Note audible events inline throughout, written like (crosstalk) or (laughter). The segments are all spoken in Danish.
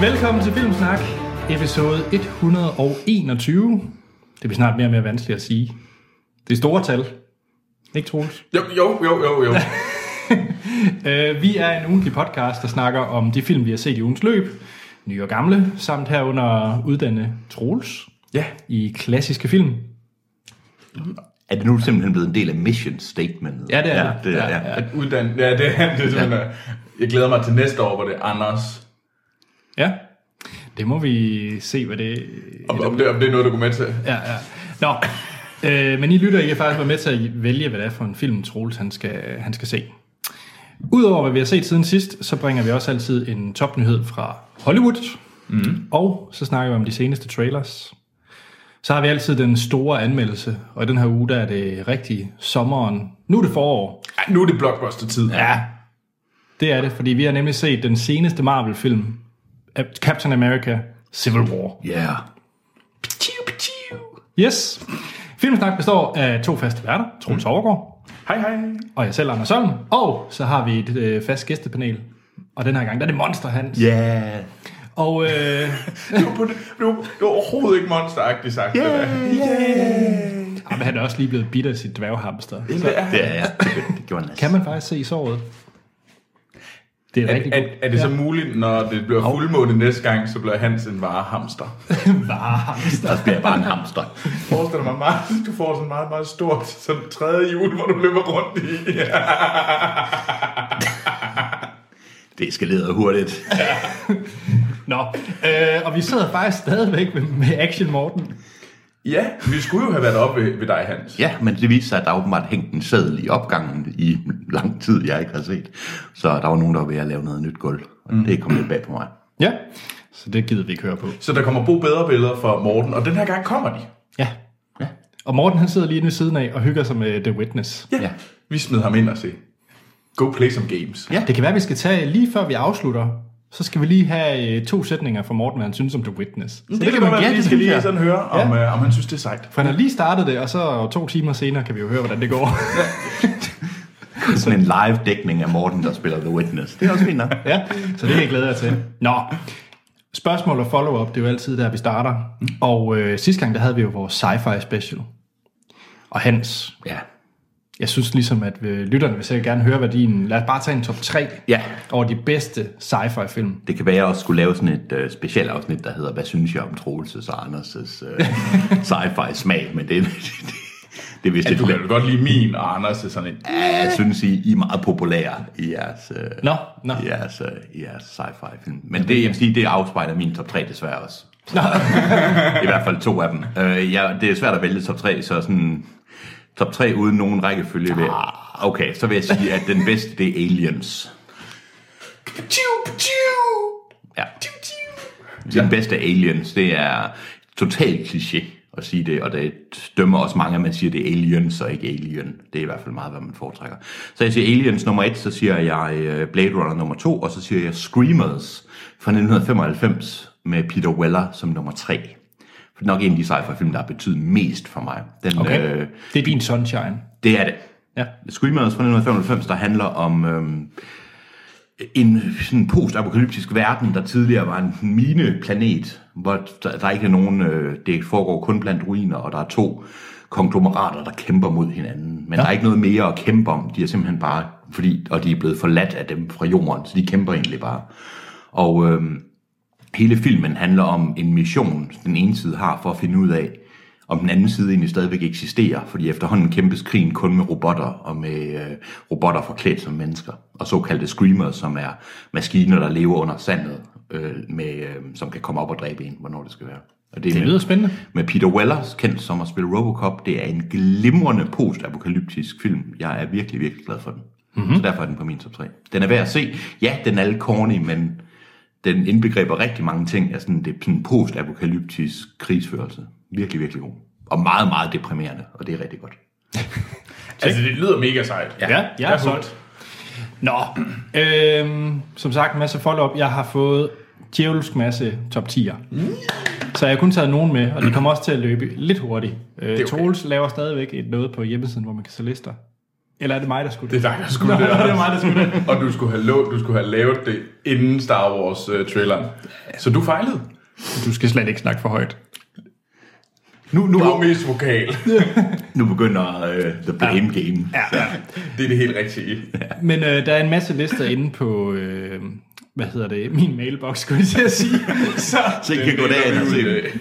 Velkommen til Filmsnak, episode 121. Det bliver snart mere og mere vanskeligt at sige. Det er store tal. Ikke Troels? Jo, jo, jo, jo, jo. Øh, vi er en ugentlig podcast, der snakker om de film, vi har set i ugens løb. Nye og gamle, samt herunder uddanne Troels ja. i klassiske film. Er det nu simpelthen blevet en del af mission statementet? Ja, det er det. ja, det. Er, Ja, ja. (laughs) At uddanne, ja, det er det, ja. Jeg glæder mig til næste år, hvor det er Anders. Ja, det må vi se, hvad det... Om, om, det, om det er noget, du går med til. Ja, ja. Nå, øh, men I lytter, I kan faktisk være med til at vælge, hvad det er for en film, Troels han skal, han skal se. Udover hvad vi har set siden sidst, så bringer vi også altid en topnyhed fra Hollywood. Mm. Og så snakker vi om de seneste trailers. Så har vi altid den store anmeldelse, og i den her uge, der er det rigtig sommeren. Nu er det forår. Ej, nu er det blockbuster-tid. Ja. Det er det, fordi vi har nemlig set den seneste Marvel-film, Captain America Civil War. Yeah. Ptiu, ptiu. Yes. Filmsnak består af to faste værter, Troels mm. Overgaard, Hej, hej. og jeg selv, Anders Holm. Og så har vi et øh, fast gæstepanel, og den her gang, der er det Monster Hans. Yeah. Og øh, Du, du, du, du er overhovedet ikke monsteragtig sagt, yeah. det der. jamen, han er også lige blevet bidt af sit dværghamster. Det er, Det er jeg. Det gjorde Nas. Kan man faktisk se i såret? Det er, rigtig er, er, godt. er det så muligt, når det bliver fuldmåne næste gang, så bliver Hans en (laughs) varehamster? Varehamster. (laughs) Der bliver jeg bare en hamster. Forestil dig mig, meget, du får sådan en meget, meget stort sådan tredje hjul, hvor du løber rundt i. Ja. Det eskalerede hurtigt. Nå, øh, og vi sidder faktisk stadigvæk med, med Action Morten. ja, vi skulle jo have været oppe ved, ved dig, Hans. Ja, men det viste sig, at der åbenbart hængte en sædel i opgangen i lang tid, jeg ikke har set. Så der var nogen, der var ved at lave noget nyt gulv. Og Mm. det kom lidt bag på mig. Ja, så det gider vi ikke høre på. Så der kommer bo bedre billeder for Morten, og den her gang kommer de. Ja. ja. Og Morten han sidder lige inde ved siden af og hygger sig med The Witness. Ja. Vi smed ham ind og se. Go play some games. Det kan være, vi skal tage, lige før vi afslutter, så skal vi lige have øh, to sætninger fra Morten, hvad han synes om The Witness. Så Det, det kan man ja, være, vi det skal synes lige jeg. sådan høre, om, ja. øh, om han synes, det er sejt. For han har lige startet det, og så to timer senere kan vi jo høre, hvordan det går. (laughs) Sådan en live dækning af Morten, der spiller The Witness. Det er også fint (laughs) nok. ja, så det kan jeg glæde jer til. Nå, spørgsmål og follow-up, det er jo altid der, vi starter. Og øh, sidste gang, der havde vi jo vores sci-fi special. Og Hans, Ja. jeg synes ligesom, at øh, lytterne vil sikkert gerne høre, hvad din... Lad os bare tage en top 3 Ja. over de bedste sci-fi film. Det kan være, at jeg også skulle lave sådan et øh, specielt afsnit, der hedder Hvad synes jeg om Troelses og Anders' øh, sci-fi smag? Men det, (laughs) det, det, det er vist Ja, lidt du kan jo godt lide min og Anders er sådan en... "Ah, Ja, jeg synes, I, I er meget populære i jeres, øh, Nå, nå. i jeres, øh, i jeres sci-fi film. Men det, jeg vil sige, det afspejler min top 3 desværre også. Nå. (laughs) I hvert fald to af dem. Øh, jeg, det er svært at vælge top 3, så sådan... Top 3 uden nogen rækkefølge. Vil, okay, så vil jeg sige, at den bedste, det er Aliens. Tju, tju! Ja. Den bedste Aliens, det er totalt kliché at sige det, og det dømmer også mange, at man siger, det er Aliens og ikke Alien. Det er i hvert fald meget, hvad man foretrækker. Så jeg siger Aliens nummer et, så siger jeg øh, Blade Runner nummer to, og så siger jeg Screamers fra 1995 med Peter Weller som nummer tre. For det er nok en af de sci-fi film, der har betydet mest for mig. Den, Okay. øh, Det er din sunshine. det er det. Ja. Screamers fra 1995, der handler om øhm, en sådan postapokalyptisk verden, der tidligere var en mineplanet, hvor der, der ikke er nogen, øh, det foregår kun blandt ruiner, og der er to konglomerater, der kæmper mod hinanden. Men ja. der er ikke noget mere at kæmpe om. De er simpelthen bare, fordi, og de er blevet forladt af dem fra jorden, så de kæmper egentlig bare. Og øhm, hele filmen handler om en mission, den ene side har for at finde ud af, om den anden side egentlig stadigvæk eksisterer, fordi efterhånden kæmpes krigen kun med robotter, og med øh, robotter forklædt som mennesker, og såkaldte screamers, som er maskiner, der lever under sandet, øh, med, øh, som kan komme op og dræbe en, hvornår det skal være. Og det, er Det med- lyder spændende. med Peter Weller, kendt som at spille Robocop. Det er en glimrende postapokalyptisk film. Jeg er virkelig, virkelig glad for den. Mm-hmm. Så derfor er den på min top 3. Den er værd at se. Ja, den er lidt corny, men den indbegriber rigtig mange ting af sådan, det er sådan postapokalyptisk krigsførelse. Virkelig, virkelig god. Og meget, meget deprimerende, og det er rigtig godt. Altså, det lyder mega sejt. Ja, jeg, jeg er er solgt. Nå, øhm, som sagt, en masse follow-up. Jeg har fået djævelsk masse top 10'er. Så jeg har kun taget nogen med, og de kommer også til at løbe lidt hurtigt. Øh, er okay. okay. Troels laver stadigvæk et noget på hjemmesiden, hvor man kan se lister. Eller er det mig, der skulle Det er dig, der skulle Nå, det. (laughs) det er mig, der skulle det. Og du skulle, have lå, du skulle have lavet det inden Star Wars-traileren. så du fejlede. Du skal slet ikke snakke for højt. Nu, nu, Du var mest vokal. nu begynder øh, the blame game. Ja, ja. Det er det helt rigtige. Men øh, der er en masse lister inde på, øh, hvad hedder det, min mailbox, skulle jeg til at sige. (laughs) Så Så I kan gå derind og se det. øh,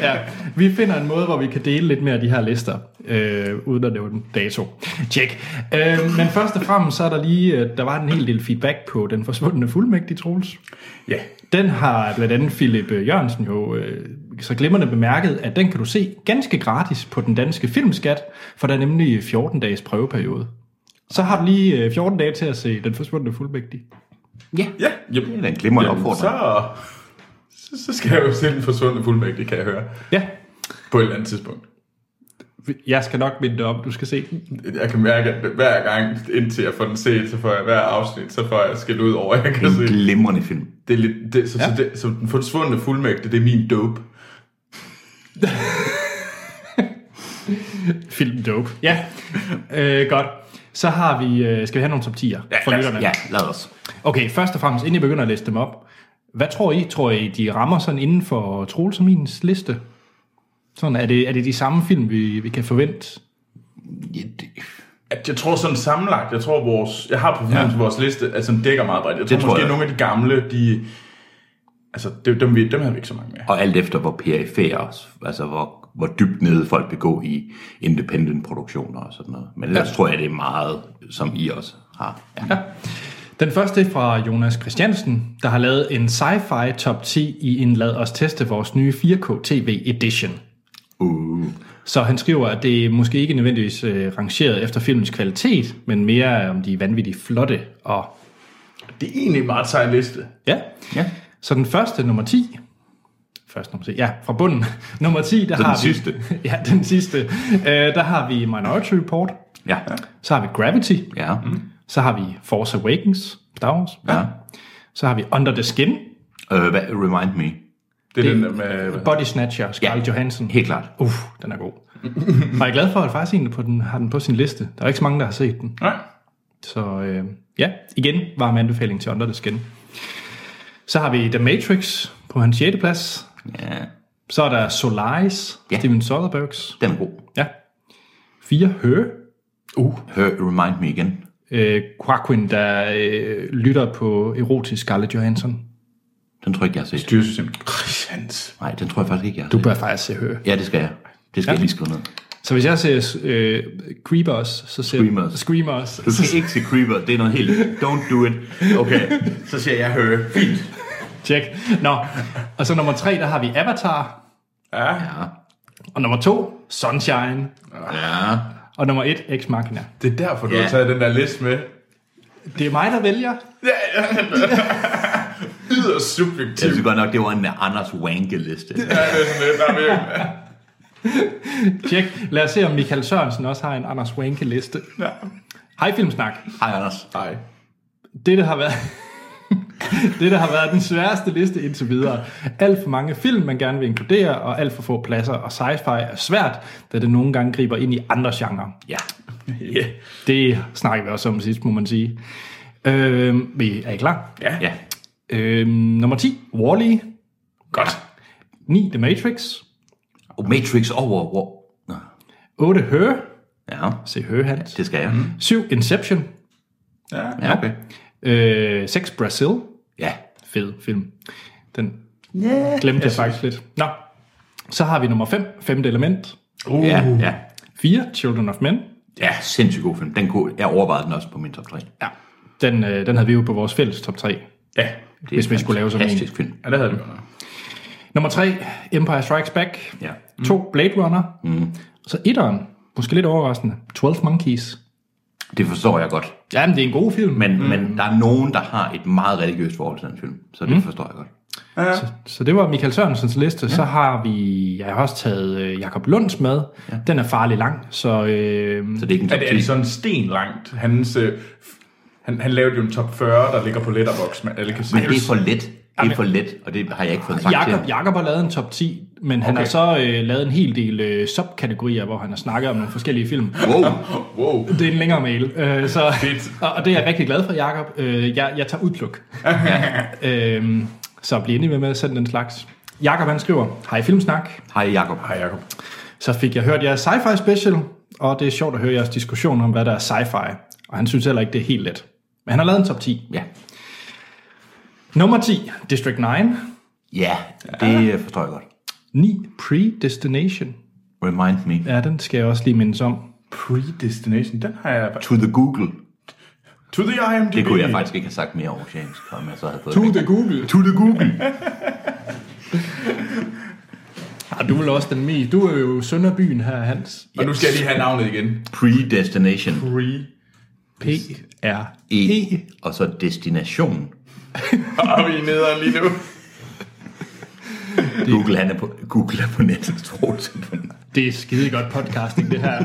ja, vi finder en måde, hvor vi kan dele lidt mere af de her lister, øh, uden at nævne en dato. Tjek. Øh, men først og fremmest, så er der lige, øh, der var en hel del feedback på den forsvundne fuldmægtige, Troels. Ja, Den har blandt andet Philip øh, Jørgensen jo øh, så glimrende bemærket, at den kan du se ganske gratis på den danske filmskat, for der er nemlig 14-dages prøveperiode. Så har du lige øh, 14 dage til at se Den forsvundne fuldmægtige. ja. Yep. Det er da en glimrende Jamen, opfordring. så, så, så skal jeg jo se den forsvundne fuldmægtige, kan jeg høre. Ja, På et eller andet tidspunkt. jeg skal nok minde dig om, du skal se den. Jeg kan mærke, at hver gang, indtil jeg får den set, så får jeg hver afsnit, så får jeg skæld ud over, at jeg kan En se. glimrende film. Det er lidt, det, så, Mm. ja. så, det, så den forsvundne fuldmægtige, det er min dope. Film dope. Ja, (laughs) øh, godt. Så har vi, øh, skal vi have nogle top 10'er ja, fra lytterne? Ja, lad os. Okay, først og fremmest, inden jeg begynder at læse dem op. Hvad tror I? Tror I, de rammer sådan inden for Troels og min liste? Sådan, er det, er det de samme film, vi, vi kan forvente? Ja, det, At jeg tror sådan sammenlagt, jeg tror vores, jeg har på fornemmelse ja. vores liste, altså den dækker meget bredt. Jeg tror, Det tror måske jeg. nogle af de gamle, de, altså dem, dem, vi- dem havde vi ikke så mange med. og alt efter, hvor perifære, altså hvor, hvor dybt nede folk vil gå i independent produktioner og sådan noget. Men ellers ja. tror jeg, det er meget, som I også har. Ja. Ja. Den første er fra Jonas Christiansen, der har lavet en sci-fi top 10 i en lad os teste vores nye 4K TV edition. Uh. Så han skriver, at det er måske ikke nødvendigvis øh, rangeret efter filmens kvalitet, men mere om de er vanvittigt flotte. Og Det er egentlig en meget sej liste. ja, ja. så den første, nummer 10, første nummer 10, ja, fra bunden, (laughs) nummer 10, der Så den har vi... sidste. (laughs) Ja, den sidste. Øh, der har vi Minority Report, Ja. så har vi Gravity, Ja. Mm. så har vi Force Awakens, Star Wars, ja. så har vi Under the Skin, Øh, hvad, remind me. Det er Det- det, den der med... Body Snatcher, Scarlett ja. Ja. Johansson. Helt klart. Uff, den er god. (laughs) Og jeg er glad for, at faktisk en på den, har den på sin liste. Der er ikke så mange, der har set den. Nej. Så øh, ja, igen var en anbefaling til Under the Skin. Så har vi The Matrix på hans 6. plads. Ja. Så er der Solaris, ja. Ja. Steven Soderberghs. Den er god. Ja. Fire Hø. Uh. Hør, remind me igen. Øh, Quackwin, der øh, lytter på erotisk Scarlett Johansson. Den tror jeg ikke, jeg har set. Dyresystemet. Christians. Nej, den tror jeg faktisk ikke, jeg har Du set. bør faktisk se Hø. Ja, det skal jeg. Det skal ja. jeg lige skrive ned. Så hvis jeg ser øh, Creepers, så ser Screamers. Screamers Du skal ikke se Creeper. Det er noget helt... Don't do it. Okay, så siger jeg hør. Fint. Tjek. Nå, og så nummer tre, der har vi Avatar. Ja. Ja. Og nummer to, Sunshine. Ja. Og nummer et, Ex Machina. Det er derfor, du Ja. har taget den der liste med. Det er mig, der vælger. Yderst Jeg subjektivt. synes godt nok, det var en Anders Wanke-liste. Ja, det er sådan lidt, der er virkelig- Tjek. Lad os se, om Michael Sørensen også har en Anders Wanke-liste. Ja. Hej Filmsnak. Hej, Anders. Nej. Det, der har været... (laughs) det, der har været den sværeste liste indtil videre. Alt for mange film, man gerne vil inkludere, og alt for få pladser, og sci-fi er svært, da det nogle gange griber ind i andre genrer. Ja. Yeah. Det snakker vi også om sidst, må man sige. Øh, vi er I klar? Ja. Ja. Øh, nummer 10, Wall-E. Godt. 9, The Matrix. Og Matrix over... Hvor... Nå. 8, Her. Ja, Se Her, Hans. det skal jeg. 7, Inception. Ja. Ja, okay. Øh, 6, Brazil. Ja. Fed film. Den yeah. glemte jeg faktisk lidt. Nå. Så har vi nummer 5, Femte Element. Uh. Ja, ja. 4, Children of Men. Ja, sindssygt god film. Den kunne, jeg overvejede den også på min top 3. Ja. Den, øh, den havde vi jo på vores fælles top 3, ja. Det er hvis vi skulle lave sådan en. fantastisk film. Ja, det havde vi godt nok. Nummer 3, Empire Strikes Back. Ja. 2, Blade Runner. Mm. Og så etteren, måske lidt overraskende, 12 Monkeys. Det forstår jeg godt. Jamen, det er en god film. Men, mm. men der er nogen, der har et meget religiøst forhold til den film. Så det mm. forstår jeg godt. Så det var Michael Sørensens liste. Ja. Så har vi, jeg har også taget øh, Jakob Lunds med. Ja. Den er farlig lang, så øh, Så det er ikke en Er top det, er 10. det sådan sten langt? Hans, øh, f- han, han lavede jo en top 40, der ligger på Letterboxd, men alle kan se. Men det er for let. Det er for let, og det har jeg ikke fået sagt til Jakob, ham. Jakob har lavet en top 10, men han Okay. har så øh, lavet en hel del øh, subkategorier, hvor han har snakket om nogle forskellige film. Wow. Wow. Det er en længere mail, øh, så, Fedt. og, og det er jeg rigtig glad for, Jakob. Øh, jeg, jeg tager udpluk. øhm, så bliv endelig ved med at sende den slags. Jakob han skriver, hej Filmsnak. Hej Jakob. Hej Jacob. Så fik jeg hørt jeres sci-fi special, og det er sjovt at høre jeres diskussion om, hvad der er sci-fi. Og han synes heller ikke, det er helt let. Men han har lavet en top 10. Ja. Nummer 10, District 9. Ja, det øh, forstår jeg godt. 9, Predestination. Remind me. Ja, den skal jeg også lige mindes om. Predestination, den har jeg... To the Google. To the IMDb. Det kunne jeg faktisk ikke have sagt mere over James, om jeg så havde fået To det. the Google. To the Google. Ah, du er vel også den mest. Du er jo Sønderbyen her, Hans. Og nu skal jeg lige have navnet (laughs) igen. Predestination. Pre. P. R. E. Og så destination. Og vi er nederen lige nu. Google, han er på, Google er på nettet, Troels er på nettet. Det er skide godt podcasting, det her.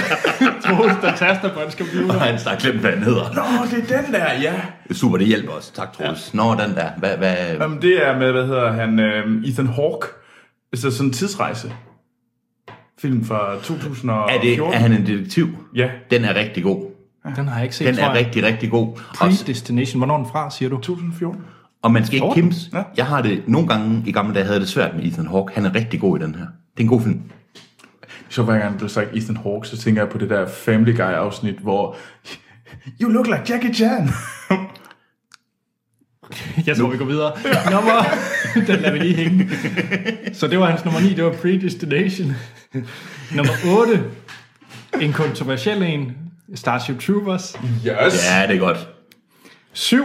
(laughs) Troels, der taster på en Og computer. han snart glemt, hvad han hedder. Nå, det er den der, ja. Super, det hjælper os. Tak, Troels. Nå, den der. Hvad, hvad? Jamen, det er med, hvad hedder han, øh, Ethan Hawke. Altså sådan en tidsrejse. Film fra 2014. Er, det, er han en detektiv? Ja, Den er rigtig god. Den har jeg ikke set, Den tror er jeg. rigtig, rigtig god. Og, Predestination. Hvornår er den fra, siger du? 2014. og man skal ikke Fjorten? kæmpe. Ja. Jeg har det nogle gange i gamle dage, havde jeg det svært med Ethan Hawke. Han er rigtig god i den her. Det er en god film. Så hver gang du sagt Ethan Hawke, så tænker jeg på det der Family Guy-afsnit, hvor... You look like Jackie Chan. (laughs) Jeg tror, vi går (laughs) videre. Nummer... (laughs) Den lader vi lige hænge. Så det var hans nummer 9, det var (laughs) Predestination. Nummer 8, en kontroversiel en, Starship Troopers. yes. Ja, det er godt. 7,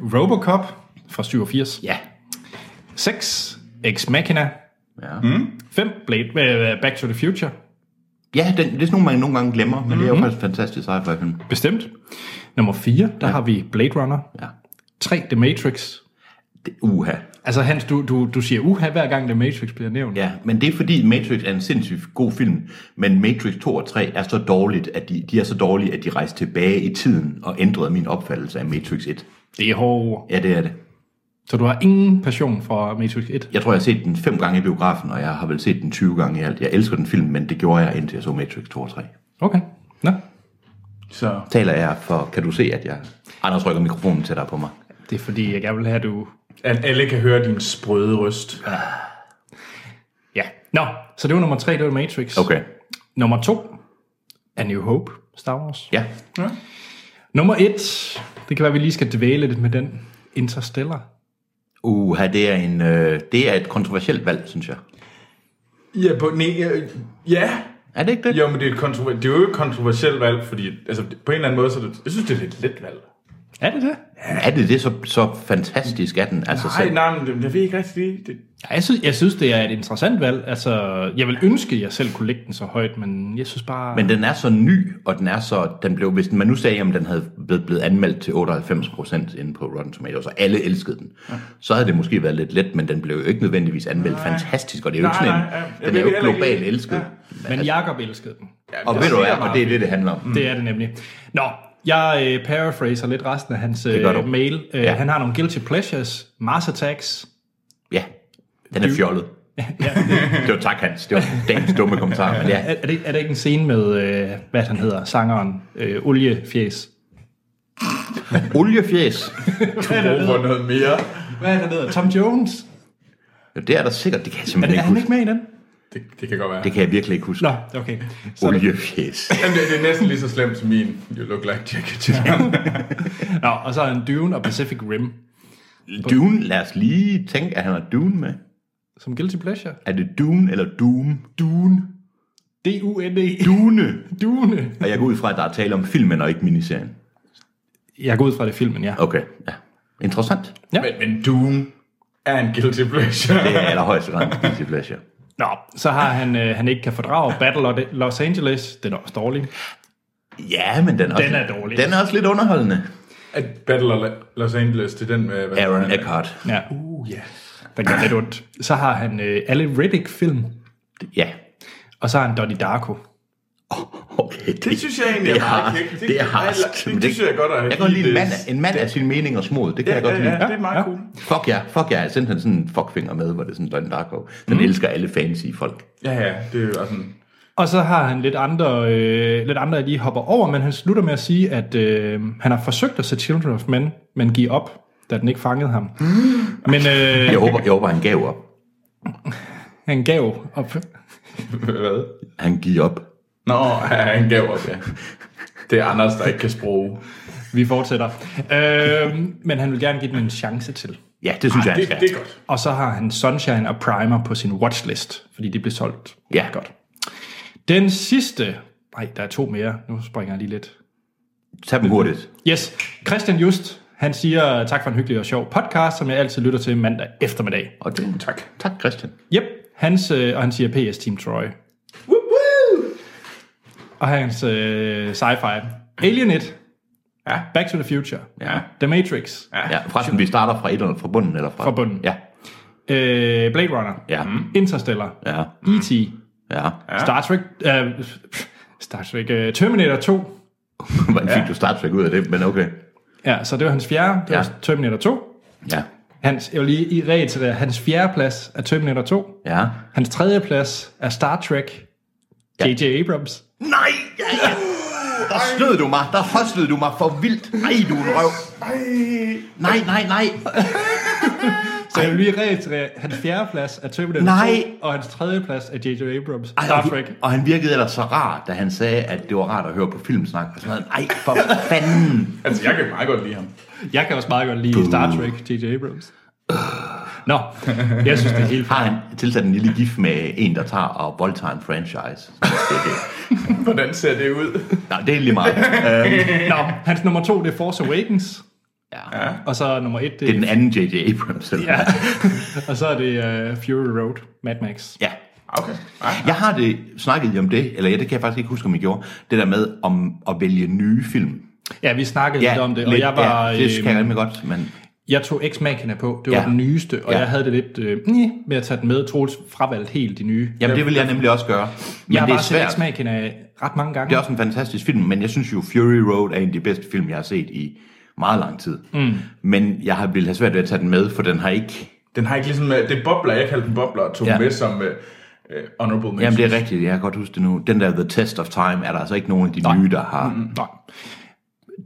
Robocop fra 87. Ja. 6, Ex Machina. Ja, mm. 5, Blade, øh, Back to the Future. ja den, det er sådan nogle, man nogle gange glemmer, men mm-hmm. det er jo faktisk en fantastisk sci-fi film. Bestemt. Nummer 4, der har vi Blade Runner. Ja. 3, The Matrix. Det, uha. Altså Hans, du, du, du siger uha, hver gang The Matrix bliver nævnt. Ja, men det er fordi Matrix er en sindssygt god film, men Matrix 2 og 3 er så dårligt, at de, de er så dårlige, at de rejste tilbage i tiden og ændrede min opfattelse af Matrix 1. Det er hårde ord. Ja, det er det. Så du har ingen passion for Matrix 1? Jeg tror, jeg har set den fem gange i biografen, og jeg har vel set den 20 gange i alt. Jeg elsker den film, men det gjorde jeg, indtil jeg så Matrix 2 og 3. Okay. Nå, Så Taler jeg for, kan du se, at jeg... Anders rykker mikrofonen tættere på mig. Det er fordi, jeg gerne vil have, at du... at alle kan høre din sprøde røst. Ja. Nå, så det var nummer tre, det var Matrix. Okay. Nummer to, A New Hope, Star Wars. Ja. Nummer et, det kan være, at vi lige skal dvæle lidt med den, Interstellar. Uha, det er, en, øh, det er et kontroversielt valg, synes jeg. Ja, på, ne, øh, ja. Er det ikke det? Jo, men det er, et kontrover- det er jo et kontroversielt valg, fordi altså, på en eller anden måde, så er det, jeg synes, det er lidt let valg. Er det det? Er det det, så, så fantastisk er den? Altså, Nej, så, nej, men det, jeg ved ikke rigtig lige. Det, Ja, jeg, synes, jeg synes, det er et interessant valg. Altså, jeg vil ønske, at jeg selv kunne lægge den så højt, men jeg synes bare... Men den er så ny, og den er så, den blev, hvis man nu sagde, at den havde blevet, blevet anmeldt til 98% inde på Rotten Tomatoes, og alle elskede den, ja. så havde det måske været lidt let, men den blev jo ikke nødvendigvis anmeldt nej. fantastisk, og det er jo ikke Nej, sådan en, nej, ja. Jeg den ved er det jo ikke heller globalt ikke. elsket. Ja. men Altså- Jakob elskede den. Og jeg ved du ser hvad, meget og det er det, det handler om. Mm. Det er det nemlig. Nå, jeg øh, paraphraser lidt resten af hans gør du. øh, mail. Øh, Ja. Han har nogle guilty pleasures, Mars attacks. Ja, den er fjollet. (laughs) Ja, Det var tak, Hans. Det var dagens dumme kommentar, men ja. Er, er, det, er det ikke en scene med, øh, hvad han hedder, sangeren, øh, Oliefjes? Oliefjes. Du bruger noget mere. Hvad er det, han hedder? Tom Jones? Ja, Det er der sikkert, det kan jeg Er, simpelthen det, er ikke han huske. ikke med i den? Det, det kan godt være. Det kan jeg virkelig ikke huske. Nå, okay. Så, er Oliefjes. Jamen, det, det er næsten lige så slemt som min. You look like Jackie Chan. der- nå, og så er han Dune og Pacific Rim Dune, lad os lige tænke, at han har Dune med. som guilty pleasure. Er det Dune eller Doom? Dune. D-U-N-E. Dune. E. Dune. Og jeg går ud fra, at der er tale om filmen og ikke miniserien. Jeg går ud fra det er filmen, ja. Okay, ja. Interessant. men, men Doom er en guilty pleasure. Det er i allerhøjeste grad en guilty pleasure. Nå, så har han, øh, han ikke kan fordrage Battle of Los Angeles. Den er også dårlig. Ja, men den er, Den også, er dårlig. Den er også lidt underholdende. At Battle of Los Angeles, det er den med... Hvad Aaron hedder han? Eckhart. Ja, Uh, ja. den gør lidt ondt. Så har han øh, alle Riddick-film, Ja. og så har han Donnie Darko. Okay. Det synes jeg egentlig er det er meget harsk. kægt. Det er harsk. Det, det, synes jeg godt at Jeg kan godt lide en mand, det- en mand af sin mening og smod. Det kan Ja, jeg godt ja, lide. ja, det er meget Ja. cool. Fuck ja, fuck ja. Jeg sendte han sådan en fuckfinger med, hvor det er sådan Don Darko. Den elsker alle fancy folk. Ja, ja, det er jo sådan... (laughs) Og så har han lidt andre, øh, lidt andre, jeg lige hopper over, men han slutter med at sige, at øh, han har forsøgt at se Children of Men, men giver op, da den ikke fangede (gasps) ham. Men øh, Jeg håber, jeg håber han gav op. han gav op. Hvad? Han giver op. Nå, ja, han gav op, ja. Det er Anders, der ikke kan sproge. Vi fortsætter. Øh, men han vil gerne give den en chance til. Ja, det synes jeg, han Det, skal. det er godt. Og så har han Sunshine og Primer på sin watchlist, fordi de blev solgt. Ja, godt. Den sidste... Nej, der er to mere. Nu springer jeg lige lidt. Tag dem hurtigt. Yes, Christian Just, han siger tak for en hyggelig og sjov podcast, som jeg altid lytter til mandag eftermiddag. Og det, tak. Tak, Christian. Yep, hans, øh, og han siger PS Team Troy. Woo, woo! Og hans øh, sci-fi. Alien 1. Ja. Back to the Future. Ja. The Matrix. Ja, forresten, vi starter fra et eller fra bunden, eller fra... Fra bunden. Ja, Øh, Blade Runner. ja, Interstellar. ja, E.T. ja. (laughs) Star Trek. Øh, Star Trek. Øh, Terminator 2. Hvordan fik du Star Trek ud af det, men okay. Ja, så det var hans fjerde. Det var Ja. Terminator 2. Ja, Hans, jeg vil lige i ret til det. Hans fjerde plads er Terminator 2. ja. Hans tredje plads er Star Trek. Ja. J.J. Abrams. Nej, ja, ja. Der snød du mig, der hoslede du mig for vildt. Nej, du er en røv. Nej, nej, nej. Så jeg vil lige reiterere, hans fjerde plads er Terminator Nej. 2, og hans tredje plads er J.J. Abrams. Star Trek. Og han virkede ellers så rar, da han sagde, at det var rart at høre på filmsnak. Og sådan noget. Ej, for fanden. Altså, jeg kan meget godt lide ham. Jeg kan også meget godt lide Star Trek, J.J. Abrams. Nå, jeg synes, det er helt Har fint. han tilsat en lille gif med en, der tager og voldtager en franchise? Det er det. Hvordan ser det ud? Nej, det er lige meget. Øhm, Nå, hans nummer to, det er Force Awakens. ja. Og så nummer et, Det er det, den anden J.J. Abrams. (laughs) Eller? ja. og så er det uh, Fury Road, Mad Max. ja. Okay. Ja. Jeg har det snakket I om det, eller ja, det kan jeg faktisk ikke huske, om jeg gjorde, det der med om at vælge nye film. Ja, vi snakkede Ja, lidt om det, og jeg var... ja, det øhm, kan jeg nemlig godt, men Jeg tog x machina på, det var Ja. den nyeste, og Ja. jeg havde det lidt øh, neh, med at tage den med. Troels fravalgte helt de nye. jamen, det vil jeg nemlig også gøre. Men jeg har det er bare set svært. x machina øh, ret mange gange. Det er også en fantastisk film, men jeg synes jo, Fury Road er en af de bedste film, jeg har set i meget lang tid. Mm. Men jeg har ville have svært ved at tage den med, for den har ikke... Den har ikke ligesom... øh, Det er bobler, jeg kalder den bobler, og tog Ja. ja. med som uh, honorable mention. Jamen, det er rigtigt, jeg kan godt huske det nu. Den der The Test of Time er der altså ikke nogen af de nye, der har... Mm. Nå.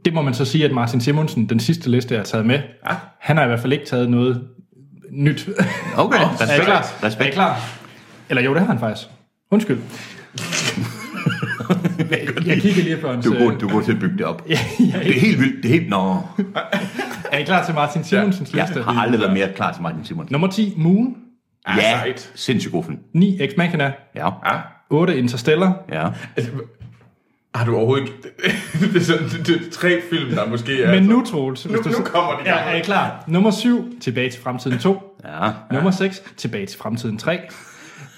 Det må man så sige, at Martin Simonsen, den sidste liste, jeg har taget med, ja. han har i hvert fald ikke taget noget nyt. (laughs) Okay, er oh, I respekt. klar? Er I respekt. klar? Eller jo, det har han faktisk. (laughs) Undskyld. Jeg kigger lige på hans... Du er, god, øh, (laughs) du er god til at bygge det op. Ja, jeg er Det er helt vildt. Det er helt... Nå, Er I klar til Martin Simonsens jeg liste? har aldrig været mere klar til Martin Simon. Nummer 10, Moon. Ah, Ja, sejt. sindssygt god film. 9, Ex Machina. Ja, Ja. 8, Interstellar. ja. Altså, Har du overhovedet (laughs) ikke... det, er sådan, det, det er tre film, der måske er... Men nu, Troels, hvis Nu- du nu så- kommer de. Ja, er I klar? Nummer 7, Tilbage til fremtiden 2. ja. Nummer 6, Tilbage til fremtiden 3.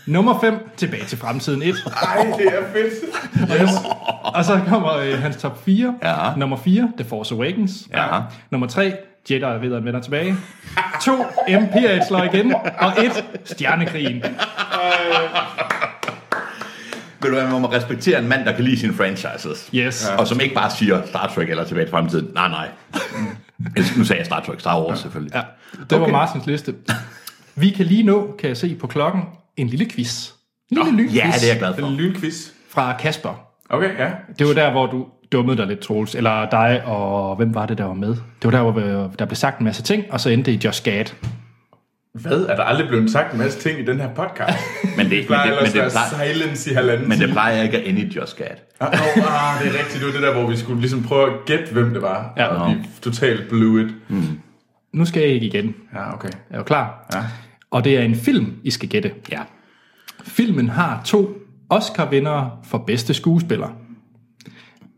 Nummer 5, Tilbage til fremtiden (laughs) 1. Ej, det er fedt. Yes. Og så kommer øh, hans top 4. Ja. Nummer 4, The Force Awakens. Ja. Nummer 3, Jedi ved at vender tilbage. 2, Imperiet slår igen. Og 1, Stjernekrigen. Ved du hvad, man må respektere en mand, der kan lide sine franchises. Yes. Ja. Og som ikke bare siger Star Trek eller tilbage til fremtiden. Nej, (laughs) nej. Ellers- nu sagde jeg Star Trek, Star Wars selvfølgelig. Ja, det okay. var Okay. Martins liste. Vi kan lige nå, kan jeg se på klokken, en lille quiz. En lille lynquiz Ja, det er jeg glad (laughs) En for. lynquiz. fra Kasper. Okay, ja. Det var der, hvor du dummede dig lidt, Troels. Eller dig og hvem var det, der var med? Det var der, hvor øh, der blev sagt en masse ting, og så endte det i Josh Gad. Hvad? Er der aldrig blevet sagt en masse ting i den her podcast? Men det, (laughs) men Det plejer det, men ellers at det, være plejer, silence i halvanden men time. det plejer ikke at ende i Just Gad. Ah, oh, ah, det er rigtigt. Det var det der, hvor vi skulle ligesom prøve at gætte, hvem det var. Ja. Ja. Og vi totalt blew it. Nu skal jeg ikke igen. Ja, okay. Er du klar? Ja. Og det er en film, I skal gætte. Ja. Filmen har to Oscar-vindere for bedste skuespiller.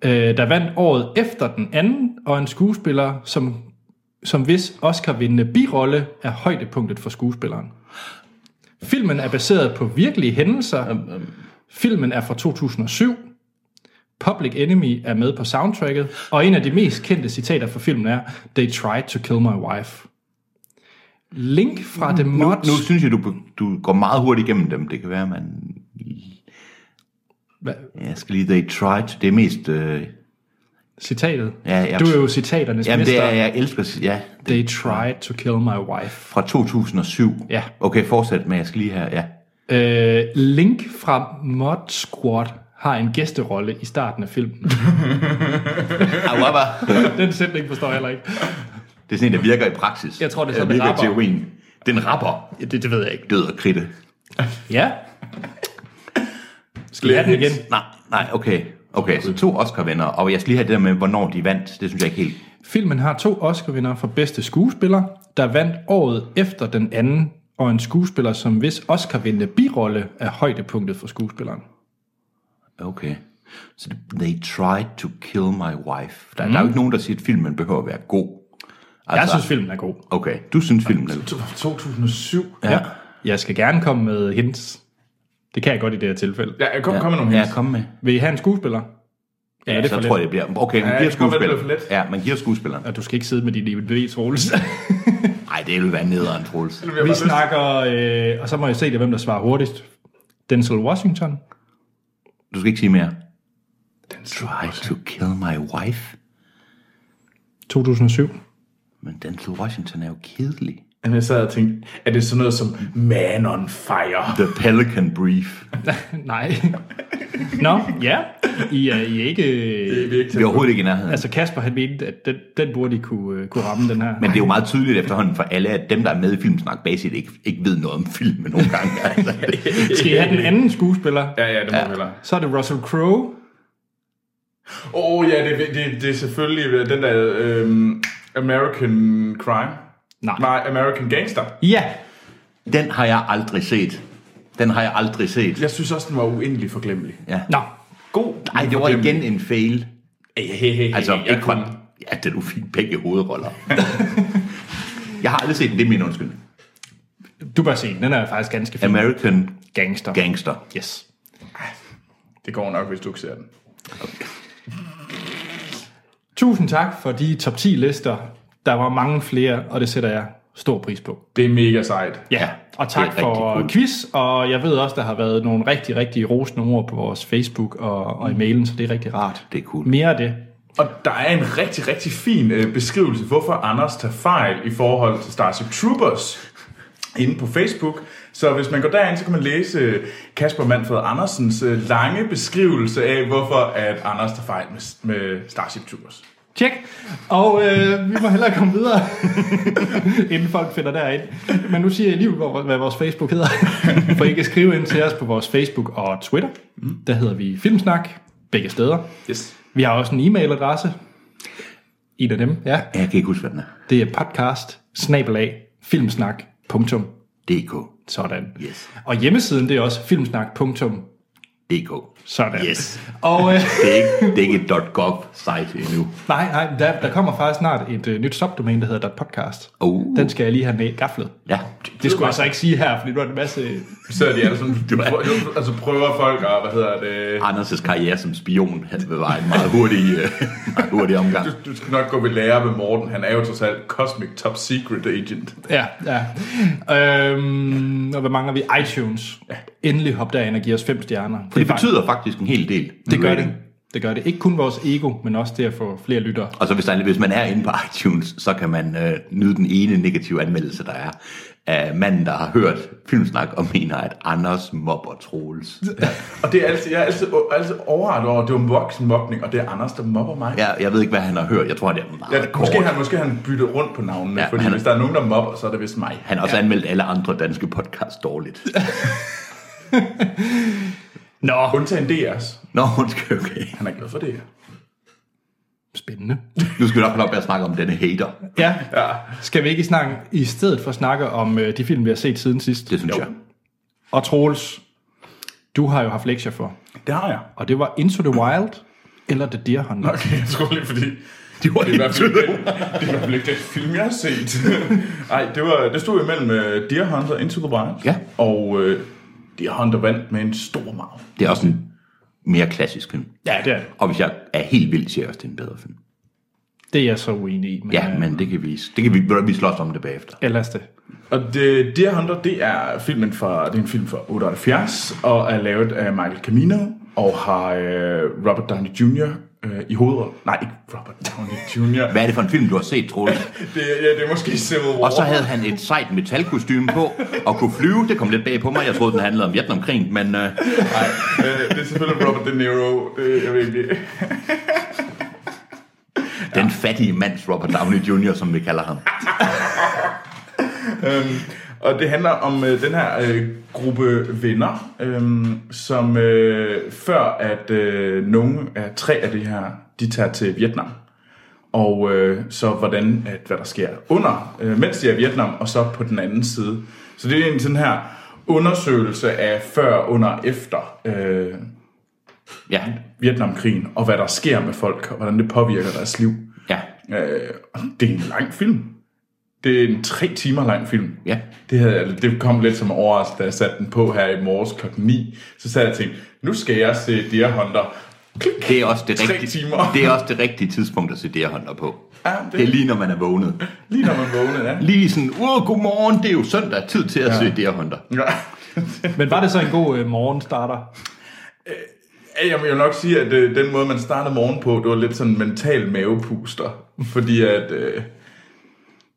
Øh, der vandt året efter den anden, og en skuespiller, som, som hvis Oscar-vindende birolle er højdepunktet for skuespilleren. Filmen er baseret på virkelige hændelser. Øhm, Filmen er fra 2007. Public Enemy er med på soundtracket, og en af de mest kendte citater fra filmen er They tried to kill my wife. Link fra The Nu, Mods... nu synes jeg, du, du går meget hurtigt igennem dem. Det kan være, man... Hvad? Jeg skal lige, they tried. Det er mest... Øh, Citatet? Ja, jeg- Du er jo citaternes jamen, det mester. er, jeg elsker... Ja, det, They tried to kill my wife. fra 2007. Ja. Okay, fortsæt, men jeg skal lige have... Ja. Øh, Link fra Mod Squad har en gæsterolle i starten af filmen. (laughs) Awaba. Den sætning forstår jeg heller ikke. det er sådan en, der virker i praksis. Jeg tror, det er sådan, den den virker i rapper. teorien. Den rapper. Ja, Det, det ved jeg ikke. Død og kritte. Ja. Skal vi have den igen? Nej, nej, okay. Okay, så to Oscar-venner, og jeg skal lige have det der med, hvornår de vandt. Det synes jeg ikke helt... Filmen har to Oscar-vinder for bedste skuespiller, der vandt året efter den anden, og en skuespiller, som hvis Oscar-vindende birolle er højdepunktet for skuespilleren. Okay. Så det- they tried to kill my wife. Der, mm. der er jo ikke nogen, der siger, at filmen behøver at være god. Jeg Altså- synes, filmen er god. Okay, du synes filmen er god. 2007? Ja. Jeg skal gerne komme med hints. Det kan jeg godt i det her tilfælde. Ja, jeg kom, ja. kom med nogle Ja, hints. kom med. Vil I have en skuespiller? Ja, det er så for tror jeg, let. det bliver... Okay, man Ja, giver det kommer til at blive skuespilleren. for Ja, man giver skuespilleren. Og du skal ikke sidde med dine DVD, Troels. Nej, det vil være nederen, Troels. Jeg har Vi bare lyst- snakker, øh, og så må jeg se det, hvem der svarer hurtigst. Denzel Washington. Du skal ikke sige mere. Then tried to kill my wife. 2007. Men Denzel Washington er jo kedelig. Jamen, jeg sad og tænkte, er det sådan noget som Man on Fire? The Pelican Brief. Nej. (laughs) Nå, ja. I er, I er ikke... øh, Det er ikke Vi er overhovedet ikke i nærheden. Altså Kasper, han mente, at den, den burde I kunne, øh, kunne ramme, den her. Men det er jo meget tydeligt efterhånden for alle, at dem, der er med i Filmsnak Basic, ikke, ikke ved noget om filmen nogle (laughs) gange. Altså, det, Skal I have den anden skuespiller? Ja, ja, det må ja. hellere. Så er det Russell Crowe. Åh oh, ja, det, det, det er selvfølgelig øh, den der øhm, American Crime. Nej. Nej, American Gangster. Ja. den har jeg aldrig set. Den har jeg aldrig set. Jeg synes også, den var uendelig forglemmelig. Nå, God. Nej, det var igen en fail. Hey, hey, hey, Altså, hey, jeg ikke kunne- fra... Ja, da du fik begge hovedroller. (laughs) jeg har aldrig set den, det er min undskyldning. du bør se den. Den er faktisk ganske fin. American Gangster. Gangster. Yes. Det går nok, hvis du ikke ser den. Tusind tak for de top 10 lister. Der var mange flere, og det sætter jeg stor pris på. Det er mega sejt. Ja, og tak det er rigtig for cool. quiz, og jeg ved også, der har været nogle rigtig, rigtig rosende ord på vores Facebook og, og i mailen, så det er rigtig rart. Mm. Det er cool. Mere af det. Og der er en rigtig, rigtig fin øh, beskrivelse, hvorfor Anders tager fejl i forhold til Starship Troopers inde på Facebook. Så hvis man går derind, så kan man læse øh, Kasper Manfred Andersens øh, lange beskrivelse af, hvorfor at Anders tager fejl med, med Starship Troopers. Tjek. Og øh, vi må hellere komme (laughs) videre, inden folk finder derind. Men nu siger jeg lige, hvor- hvad vores Facebook hedder. For I kan skrive ind til os på vores Facebook og Twitter. Mm. Der hedder vi Filmsnak, begge steder. Yes. Vi har også en e-mailadresse. En af dem, ja. Ja, Jeg kan ikke huske, hvad den er. Det er podcast snabelag filmsnak.dk. DK. Sådan. Yes. Og hjemmesiden, det er også filmsnak.dk. DK. Sådan. Yes. Og øh, (laughs) Det er ikke, det er ikke et .gov-site endnu. nej, nej, der, der kommer faktisk snart et øh, nyt subdomæne, der hedder .podcast. Oh. Den skal jeg lige have med i gaflet. Ja. Det skulle jeg så ikke sige her, fordi nu er det en masse... Så er de alle (laughs) sådan, du, du, altså prøver folk at, hvad hedder det, Anders' karriere som spion han vil være en meget hurtig, øh, meget hurtig omgang. du, du skal nok gå ved lære med Morten, han er jo trods alt Cosmic Top Secret Agent. Ja, ja. Øhm, og hvad mangler vi? iTunes. Endelig hop derind og giv os fem stjerner. For det betyder faktisk en hel del. Det gør det. Det gør det. Ikke kun vores ego, men også det at få flere lyttere. Og så Altså, hvis, der, hvis man er inde på iTunes, så kan man øh, nyde den ene negative anmeldelse, der er af manden, der har hørt filmsnak og mener, at Anders mobber Troels. Og det er altid, jeg er altid, altid overrasket over, at det er jo voksen mobning, og det er Anders, der mobber mig. Jeg, jeg ved ikke, hvad han har hørt. Jeg tror, det er meget Ja, kort. måske, han, måske han bytter rundt på navnene, Ja, ja, fordi han- han... hvis der er nogen, der mobber, så er det vist mig. Han har også ja. anmeldt alle andre danske podcasts dårligt. Nå, Undtagen DR's. Nå, undskyld, okay. Han er glad for det. spændende. Nu skal vi nok holde op med at snakke om denne hater. Ja, Ja. skal vi ikke snakke, i stedet for snakke om øh, de film, vi har set siden sidst? Det synes jo. jeg. Og Troels, du har jo haft lektier for. Det har jeg. Og det var Into the Wild eller The Deer Hunter. Okay, jeg tror lige, (laughs) fordi... Det var Det er i hvert fald ikke ikke den, det er i hvert fald ikke den film, jeg har (laughs) set. Nej, det, var, det stod imellem uh, Deer Hunter og Into the Wild. Ja. Og uh, Deer Hunter vandt med en stor marv. Det er også en mere klassisk film. Ja, det er det. Og hvis jeg er helt vild, siger jeg også, det er en bedre film. Det er jeg så uenig i. Men, Ja, øh, men det kan vi, det kan vi, ved du, vi slås om det bagefter. Ja, lad os det. Og The Deer Hunter, det er, filmen fra, det er en film fra 78, og er lavet af Michael Camino, og har øh, Robert Downey Jr. Øh, i hovedrollen. Nej, ikke Robert Downey Jr. Hvad er det for en film, du har set, Troels? det, ja, det er måske Civil War. Og så havde han et sejt metalkostyme på, og kunne flyve. Det kom lidt bag på mig. Jeg troede, den handlede om Vietnamkrigen, men øh, Nej, øh, det er selvfølgelig Robert De Niro. Det, jeg ved ikke. den fattige mands Robert Downey Jr., som vi kalder ham. øhm, og det handler om øh, den her øh, gruppe venner, øhm, som øh, før at øh, nogle af tre af de her, de tager til Vietnam. Og øh, så hvordan, at, hvad der sker under, øh, mens de er i Vietnam, og så på den anden side. Så det er en sådan her undersøgelse af før, under og efter øh, Ja, Vietnamkrigen, og hvad der sker med folk, og hvordan det påvirker deres liv. ja, Øh, og det er en lang film. Det er en tre timer lang film. ja. Det, havde, jeg- det kom lidt som overraskelse, da jeg satte den på her i morges klokken 9. Så sad jeg og tænkte, nu skal jeg se Deer Hunter. Klik. Det er også det Tre rigtige, timer. Det er også det rigtige tidspunkt at se det hånder på. Ja, Det er det, lige, når man er vågnet. lige når man vågnede, ja. Lige sådan, åh, godmorgen, det er jo søndag, tid til at ja. se det hånder. ja. Men var det så en god øh, morgenstarter? Ja, Jeg vil jo nok sige, at øh, den måde, man startede morgen på, det var lidt sådan en mental mavepuster. Fordi at... Øh,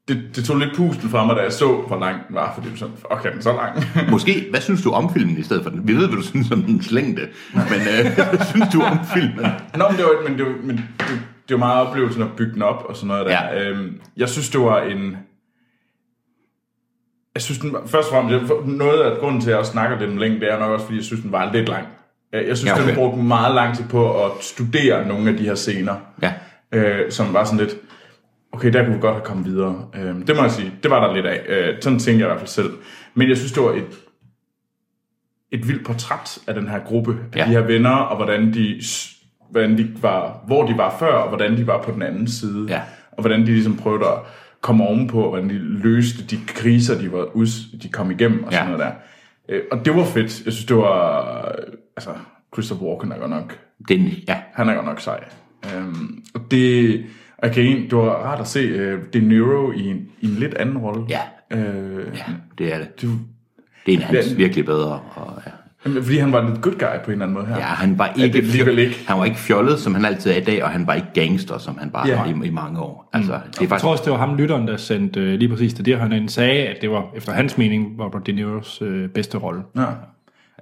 det, det tog lidt pusten fra mig, da jeg så, hvor lang den var, fordi det var sådan, fuck, er den så lang? Måske, hvad synes du om filmen i stedet for den? Vi ved, hvad du synes om dens længde, men øh, hvad synes du om filmen? (laughs) Nå, men det var, men det, var- men det, det var meget oplevelsen at bygge den op og sådan noget der. Ja. Øhm, jeg synes, det var en... Jeg synes, den, var- først og fremmest, det var- noget af grunden til, at jeg også snakker lidt om længden, det er nok også, fordi jeg synes, den var lidt lang. Øh, Jeg synes, Ja, ja, okay. okay. den brugte meget lang tid på at studere nogle af de her scener, Ja, øh, som var sådan lidt, okay, der kunne vi godt have kommet videre. Øh, det må jeg sige, det var der lidt af. Øh, sådan tænkte jeg i hvert fald selv. Men jeg synes, det var et et vildt portræt af den her gruppe, af Ja. ja. de her venner, og hvordan de, s- hvordan de var, hvor de var før, og hvordan de var på den anden side. Ja. Og hvordan de ligesom prøvede at komme ovenpå, og hvordan de løste de kriser, de, var ud, de kom igennem, og sådan Ja. noget der. Øh, og det var fedt. Jeg synes, det var... Altså, Christopher Walken er godt nok den, ja, han er godt nok sej. Øhm, og det, og jeg kan egentlig, det var rart at se uh, De Niro i en, i en lidt anden rolle. Ja. Øh, ja. det er det. Det, Det er en af hans Ja. virkelig bedre. Og, ja. jamen, fordi han var lidt good guy på en eller anden måde her. ja, han var det ikke, er alligevel ikke. han var ikke fjollet, som han altid er i dag, og han var ikke gangster, som han var Ja. i, i, mange år. Altså, det er Jeg faktisk, tror også, det var ham, lytteren, der sendte øh, lige præcis det der, han ind, sagde, at det var, efter hans mening, Robert De Niros øh, bedste rolle. Ja.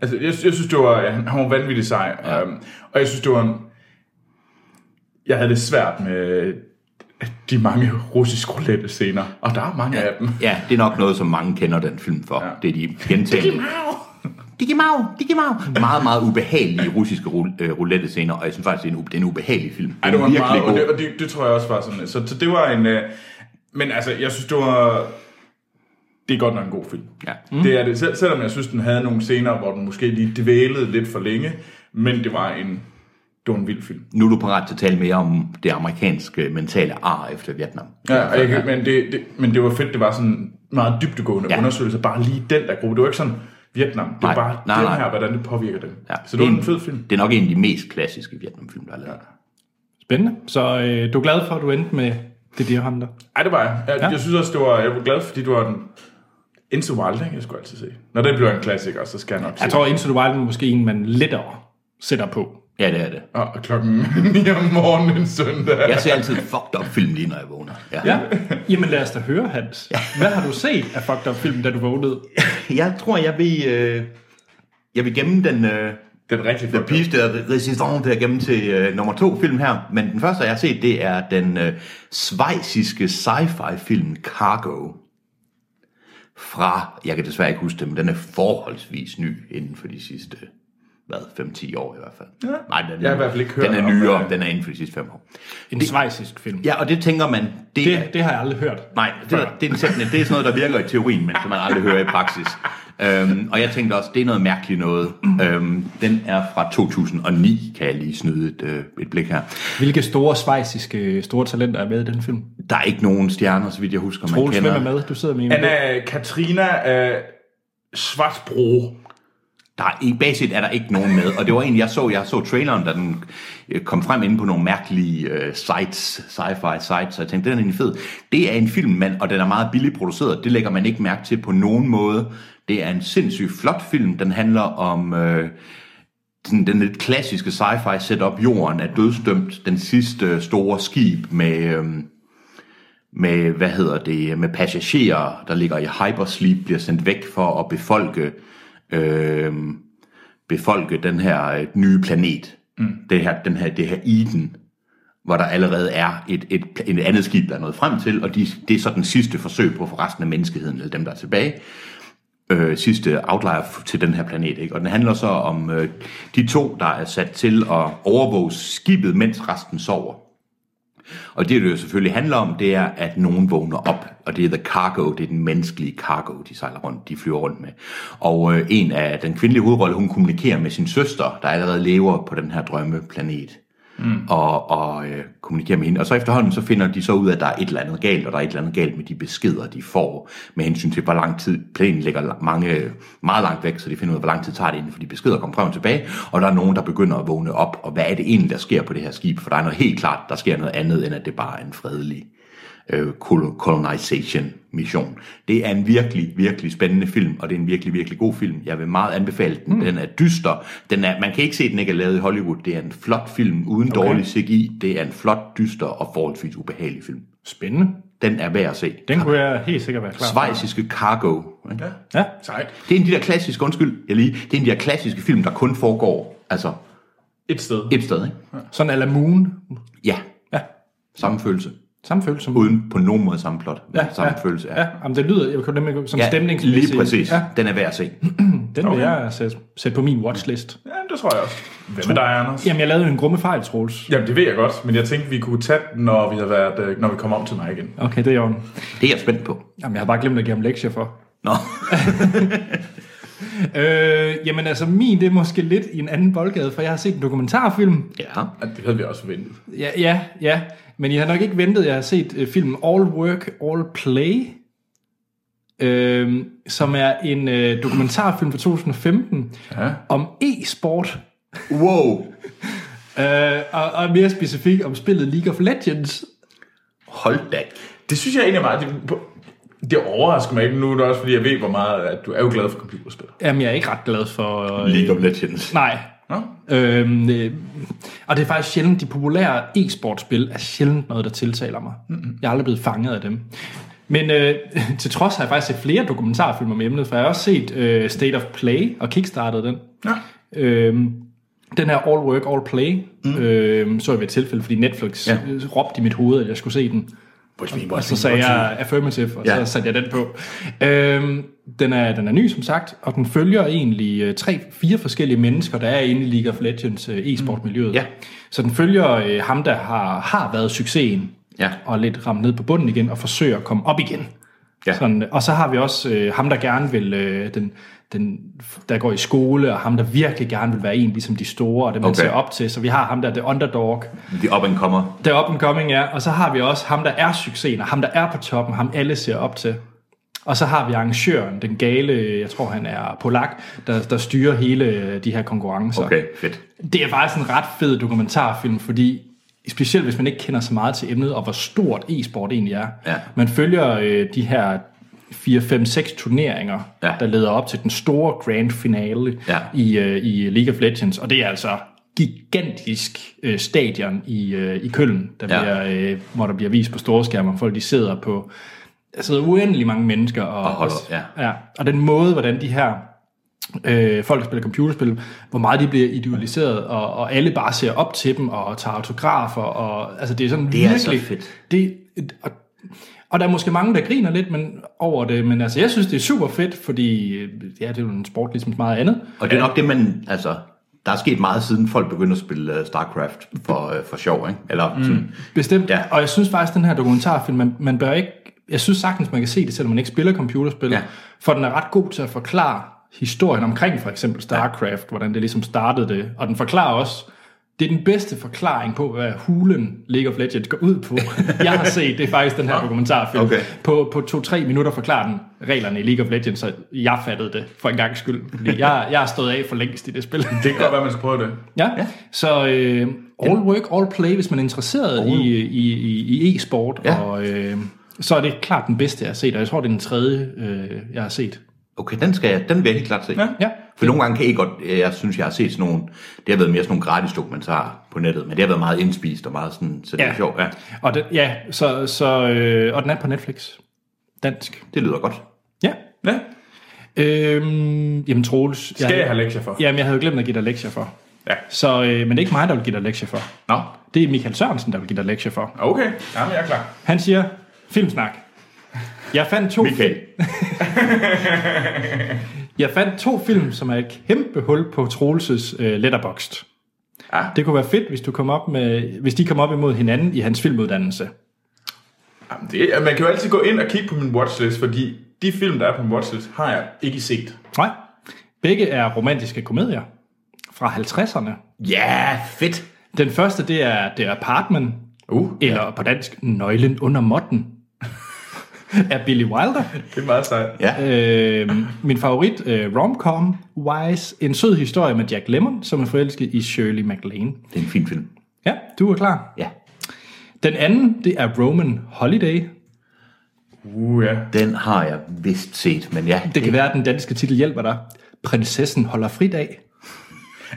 Altså, jeg, jeg synes, det var, han, han var vanvittig sej. Ja. Øhm, og jeg synes, det var en, jeg havde det svært med øh, de mange russisk roulette scener. Og der er mange ja. af dem. ja, det er nok noget, som mange kender den film for. Ja. Det er de gentagende. Digi Mau, Digi Mau. Meget, meget ubehagelige russiske rou- øh, roulette-scener, og jeg synes faktisk, det er en, u- det er en ubehagelig film. Ej, det var virkelig meget, god. og, det, og det, det tror jeg også var sådan. Så, så det var en... Øh, men altså, jeg synes, det var... Det er godt nok en god film. Ja. Mm. Det er det. Sel- selvom jeg synes, den havde nogle scener, hvor den måske lige dvælede lidt for længe, men det var en... Det var en vild film. Nu er du parat til at tale mere om det amerikanske mentale ar efter Vietnam. Ja, og jeg, kan- Altså, men, det, det, men det var fedt, det var sådan meget dybtegående Ja. ja. undersøgelse. Bare lige den der gruppe. Det var ikke sådan Vietnam. Det var Nej, bare nej, den nej. her, hvordan det påvirker dem. Ja. Så det var En- en fed film. Det er nok en af de mest klassiske Vietnamfilm, der er lavet. Spændende. Så øh, du er glad for, at du endte med det der, han der. Ej, det var jeg. Jeg, ja. jeg synes også, det var, jeg var glad, fordi du var den... Into Wilding, jeg skulle altid se. Når det bliver en klassiker, så skal jeg nok se. Jeg tror, Into the Wild er måske en, man lettere sætter på. Ja, det er det. Og Ah, klokken (laughs) 9 om morgenen en søndag. Jeg ser altid fucked up film lige, når jeg vågner. Ja. Ja. (laughs) Jamen lad os da høre, Hans. Hvad har du set af fucked up film, da du vågnede? Jeg tror, jeg vil, øh, jeg vil gemme den... Øh, Det er rigtig The Beast er resistant der gennem til øh, nummer to film her, men den første, jeg har set, det er den øh, svejsiske sci-fi film Cargo fra, jeg kan desværre ikke huske det, men den er forholdsvis ny inden for de sidste, hvad, 5-10 år i hvert fald. Ja. Nej, den, Jeg har i hvert fald ikke hørt Den er om, øh, hvad nyere, det er. den er inden for de sidste 5 år. En svejsisk film. Ja, og det tænker man, det, det. er Det, det har jeg aldrig hørt. Nej, det, er- det, er en sætning, det er sådan noget, der virker i teorien, men som man aldrig hører i praksis. Øhm, og jeg tænkte også, det er noget mærkeligt noget. Øhm, den er fra 2009, kan jeg lige snyde et, øh, et blik her. Hvilke store svejsiske store talenter er med i den film? Der er ikke nogen stjerner, så vidt jeg husker, man Troels, hvem kender. øh, er med? Du sidder med en. Anna Katrina af Svartbro. Der er, i- basalt er der ikke nogen med, og det var egentlig, jeg så, jeg så traileren, da den øh, kom frem inde på nogle mærkelige øh, sites, sci-fi sites, og jeg tænkte, den er egentlig fed. Det er en film, man, og den er meget billigt produceret, det lægger man ikke mærke til på nogen måde. Det er en sindssygt flot film, den handler om... Øh, sådan den lidt klassiske sci-fi setup, jorden er dødsdømt, den sidste øh, store skib med, øhm, med, hvad hedder det, med passagerer, der ligger i hypersleep, bliver sendt væk for at befolke, øhm, befolke den her øh, nye planet, mm. det, her, den her, det her Eden, hvor der allerede er et, et, et andet skib, der er nået frem til, og de, det er så den sidste forsøg på for resten af menneskeheden, eller dem, der er tilbage, øh, sidste outlier f- til den her planet. Ikke? Og den handler så om øh, de to, der er sat til at overvåge skibet, mens resten sover. Og det, det jo selvfølgelig handler om, det er, at nogen vågner op, og det er the cargo, det er den menneskelige cargo, de sejler rundt, de flyver rundt med. Og øh, en af den kvindelige hovedrolle, hun kommunikerer med sin søster, der allerede lever på den her drømmeplanet, mm. og, og øh, kommunikerer med hende. Og så efterhånden, så finder de så ud af, at der er et eller andet galt, og der er et eller andet galt med de beskeder, de får, med hensyn til, hvor lang tid planen ligger la- mange, meget langt væk, så de finder ud af, hvor lang tid tager det, inden for de beskeder kommer frem og tilbage, og der er nogen, der begynder at vågne op, og hvad er det egentlig, der sker på det her skib, for der er noget helt klart, der sker noget andet, end at det bare er en fredelig øh, kol- colonization mission. Det er en virkelig, virkelig spændende film, og det er en virkelig, virkelig god film. Jeg vil meget anbefale den. Hmm. Mm. Den er dyster. Den er, man kan ikke se, at den ikke er lavet i Hollywood. Det er en flot film, uden okay. dårlig CGI. Det er en flot, dyster og forholdsvis ubehagelig film. Spændende. Den er værd at se. Den kunne jeg helt sikkert være klar til. Svejsiske Cargo. ikke? Ja. Ja. Sejt. Det er en af de der klassiske, undskyld, jeg lige, det er en af de der klassiske film, der kun foregår, altså Et sted. et sted, ikke? Sådan a la Moon. Ja, Ja. samme følelse. Samme følelse som Uden på nogen måde samme plot, men ja, samme ja, følelse af. Ja, jamen, det lyder, jeg kan nemlig som ja, stemningsmæssigt. lige præcis. Ja, Ja. Den er værd at se. den okay. vil jeg sætte, sætte på min watchlist. Ja, det tror jeg også. Hvad med dig, Anders? Jamen, jeg lavede jo en grumme fejl, Troels. Jamen, det ved jeg godt, men jeg tænkte, vi kunne tage den, når vi, har været, øh, når vi kommer om til mig igen. Okay, det er jo Det er jeg spændt på. Jamen, jeg har bare glemt at give ham lektier for. Nå, Øh, jamen altså, min det er måske lidt i en anden boldgade, for jeg har set en dokumentarfilm. ja. Ja, Det havde vi også forventet. Ja, ja, ja. Men jeg har nok ikke ventet, jeg har set øh, filmen All Work, All Play, øh, som er en øh, dokumentarfilm fra 2015 Ja. om e-sport, Wow, øh, og, og mere specifikt om spillet League of Legends. hold da. Det synes jeg egentlig er meget... Det, på- det overrasker mig ikke nu, er det også fordi jeg ved, hvor meget at du er jo glad for computerspil. Jamen, jeg er ikke ret glad for... Øh, League of Legends. Nej. Nå? Øhm, øh, og det er faktisk sjældent, de populære e-sportspil er sjældent noget, der tiltaler mig. Mm-hmm. Jeg er aldrig blevet fanget af dem. Men øh, (laughs) til trods har jeg faktisk set flere dokumentarfilm om emnet, for jeg har også set øh, State of Play og kickstartede den. Ja. Øhm, den her All Work, All Play mm. øhm, så jeg ved et tilfælde, fordi Netflix ja. Ja. råbte i mit hoved, at jeg skulle se den. Watch me, Og watch så me, sagde watch me. jeg affirmative, og ja. Ja. så satte jeg den på. Øhm, den, er, den er ny, som sagt, og den følger egentlig øh, tre, fire forskellige mennesker, der er inde i League of Legends øh, e-sportmiljøet. Mm. Ja. Så den følger øh, ham, der har, har været succesen, Ja. og lidt ramt ned på bunden igen, og forsøger at komme op igen. Ja. Sådan, og så har vi også øh, ham, der gerne vil, øh, den, den, der går i skole, og ham, der virkelig gerne vil være en, ligesom de store, og det man okay. Okay. ser op til. Så vi har ham der, the underdog, The up and comer. der up and coming er, og så har vi også ham, der er succesen, og ham, der er på toppen, ham alle ser op til. Og så har vi arrangøren, den gale, jeg tror han er polak, der, der styrer hele øh, de her konkurrencer. Okay, fedt. Det er faktisk en ret fed dokumentarfilm, fordi specielt hvis man ikke kender så meget til emnet, og hvor stort e-sport egentlig er. Ja. Man følger øh, de her 4-5-6 turneringer, Ja. der leder op til den store grand finale Ja. i, øh, i League of Legends, og det er altså gigantisk øh, stadion i, øh, i Køln, der Ja. bliver, øh, hvor der bliver vist på store skærme, og folk de sidder på der sidder uendelig mange mennesker og, Og holder, ja. Ja, og den måde, hvordan de her øh, folk, der spiller computerspil, hvor meget de bliver idealiseret, og, og alle bare ser op til dem, og tager autografer, og altså det er sådan Det er virkelig... så fedt. Det, og, og der er måske mange, der griner lidt men, over det, men altså jeg synes, det er super fedt, fordi øh, ja, det er jo en sport ligesom så meget andet. Og det er nok det, man, altså, der er sket meget siden folk begyndte at spille øh, StarCraft for, øh, for sjov, ikke? Eller mm. sådan, Bestemt. Ja. Ja. Og jeg synes faktisk, den her dokumentarfilm, man, man bør ikke... Jeg synes sagtens, man kan se det, selvom man ikke spiller computerspil. Ja. Ja. For den er ret god til at forklare historien omkring for eksempel StarCraft, ja. hvordan det ligesom startede det. Og den forklarer også Det er den bedste forklaring på, hvad hulen League of Legends går ud på. Jeg har set, det er faktisk den her dokumentarfilm. okay. På, på to-tre minutter forklarer den reglerne i League of Legends, så jeg fattede det for en gang skyld. Fordi jeg, jeg har stået af for længst i det spil. Det kan godt være, man skal prøve det. Ja, ja. så øh, all work, all play, hvis man er interesseret all. i, i, i, i e-sport, ja. Ja. og, øh, så er det klart den bedste, jeg har set, og jeg tror, det er den tredje, øh, jeg har set. Okay, den, skal jeg, den vil jeg helt klart se. Ja. Ja, For nogle gange kan I godt, øh, jeg synes, jeg har set sådan nogle, det har været mere sådan nogle gratis dokumentarer på nettet, men det har været meget indspist og meget sådan, så det Ja. er sjovt. Ja, og, den, ja så, så, øh, og den er på Netflix. Dansk. det lyder godt. Ja. Ja. Øhm, jamen Troels. Skal jeg have lektier for? Jamen, jeg havde jo glemt at give dig lektier for. Ja. Så, øh, men det er ikke mig, der vil give dig lektier for. Nå. Det er Michael Sørensen, der vil give dig lektier for. Okay, jamen jeg er klar. Han siger, filmsnak. Jeg fandt to Michael. (laughs) Jeg fandt to film, som er et kæmpe hul på Troelses øh, letterboxd. Ja. Det kunne være fedt, hvis, du kom op med, hvis de kom op imod hinanden i hans filmuddannelse. Jamen, det, man kan jo altid gå ind og kigge på min watchlist, fordi de film, der er på min watchlist, har jeg ikke set. Nej. Begge er romantiske komedier fra 50'erne. Ja, fedt. Den første, det er The Apartment, Uh, eller på dansk, Nøglen under måtten, (laughs) af Billy Wilder. det er meget sejt. Ja. Øh, min favorit, øh, romcom Wise, en sød historie med Jack Lemmon, som er forelsket i Shirley MacLaine. Det er en fin film. Ja, du er klar. Ja. Den anden, det er Roman Holiday. Uh, ja. Den har jeg vist set, men ja. Det kan være, at den danske titel hjælper dig. Prinsessen holder fridag.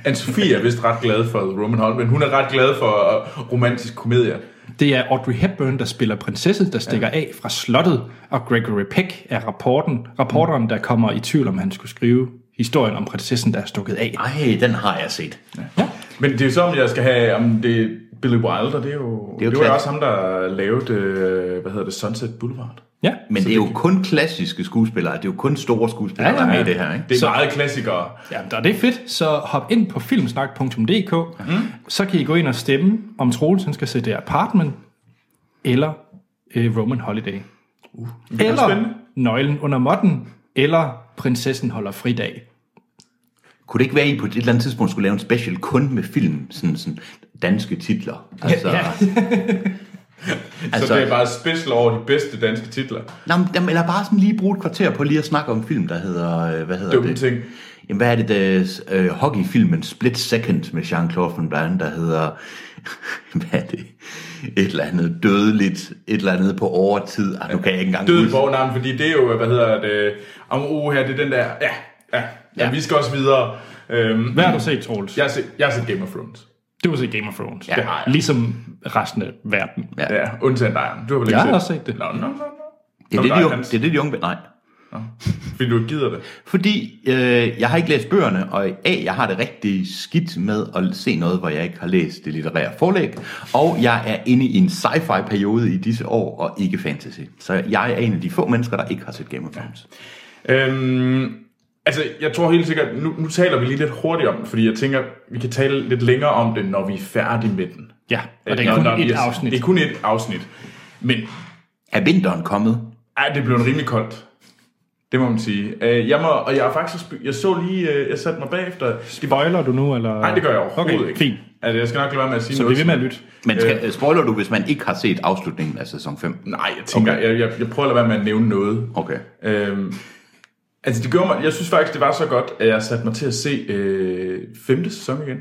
anne Sofie er vist ret glad for Roman Holm, men hun er ret glad for øh, romantisk komedier. Det er Audrey Hepburn, der spiller prinsesse, der stikker af fra slottet, og Gregory Peck er rapporten, rapporteren, der kommer i tvivl, om han skulle skrive historien om prinsessen, der er stukket af. Ej, den har jeg set. Ja. Men det er jo så, om jeg skal have, om det er Billy Wilder, det er jo, det er jo jo det var klart. også ham, der lavede, øh, hvad hedder det, Sunset Boulevard. ja. Men det er jo kun klassiske skuespillere. Det er jo kun store skuespillere, Ja, ja, der er ja. med i det her, ikke? Det er Så- så. meget klassikere. Jamen, der er det fedt, så hop ind på filmsnak.dk, Mhm. mm. så kan I gå ind og stemme, om Troels han skal se det apartment, eller øh, Roman Holiday. Uh, eller spændende. Nøglen under måtten, eller Prinsessen holder fridag. Kunne det ikke være, at I på et eller andet tidspunkt skulle lave en special kun med film, sådan, sådan danske titler? Altså, Ja. Altså, altså, (laughs) så det er bare special over de bedste danske titler. Nå, men, jamen, eller bare sådan lige bruge et kvarter på lige at snakke om en film, der hedder... øh, Hvad hedder Dumme det? ting. Jamen, hvad er det, der, øh, hockeyfilmen Split Second med Jean-Claude Van Damme, der hedder... (laughs) hvad er det? Et eller andet dødeligt, et eller andet på overtid. Ah, nu kan jeg ikke engang Død huske. fornavn, fordi det er jo, øh, hvad hedder det, om uh, her, det er den der, ja, ja, ja. Ja. vi skal også videre. Øhm, Hvad har du set, Troels? Jeg har, set, jeg har set Game of Thrones. Du har set Game of Thrones. Ja. Det har jeg. Ligesom resten af verden. Ja. Ja, undtagen dig. Du har vel ikke Jeg set har også set det. Nå, nå, nå, nå. Det er Nå, det, dig, de unge, Hans. det er det, de unge... Nej. Fordi du ikke gider det. Fordi øh, jeg har ikke læst bøgerne, og A, jeg har det rigtig skidt med at se noget, hvor jeg ikke har læst det litterære forlæg, og jeg er inde i en sci-fi-periode i disse år, og ikke fantasy. Så jeg er en af de få mennesker, der ikke har set Game of Thrones. Øhm, altså, jeg tror helt sikkert, nu, nu taler vi lige lidt hurtigt om den, fordi jeg tænker, vi kan tale lidt længere om det, når vi er færdige med den. Ja, og det Øh, er når- når kun vi et afsnit. Det er kun et afsnit. Men Er vinteren kommet? ej, det blev en rimelig koldt. Det må man sige. Øh, jeg må, og jeg er faktisk, også- jeg så lige, øh, jeg satte mig bagefter. Spoiler du nu, eller? Nej, det gør jeg overhovedet okay, ikke. fint. Altså, jeg skal nok lade være med at sige Så noget. bliv ved med at lytte. Men skal, øh. spoiler du, hvis man ikke har set afslutningen af sæson 5? Nej, jeg tænker, okay. jeg, jeg, jeg prøver at lade være med at nævne noget. Okay. Øhm, altså, det gjorde mig, jeg synes faktisk, det var så godt, at jeg satte mig til at se øh, femte sæson igen.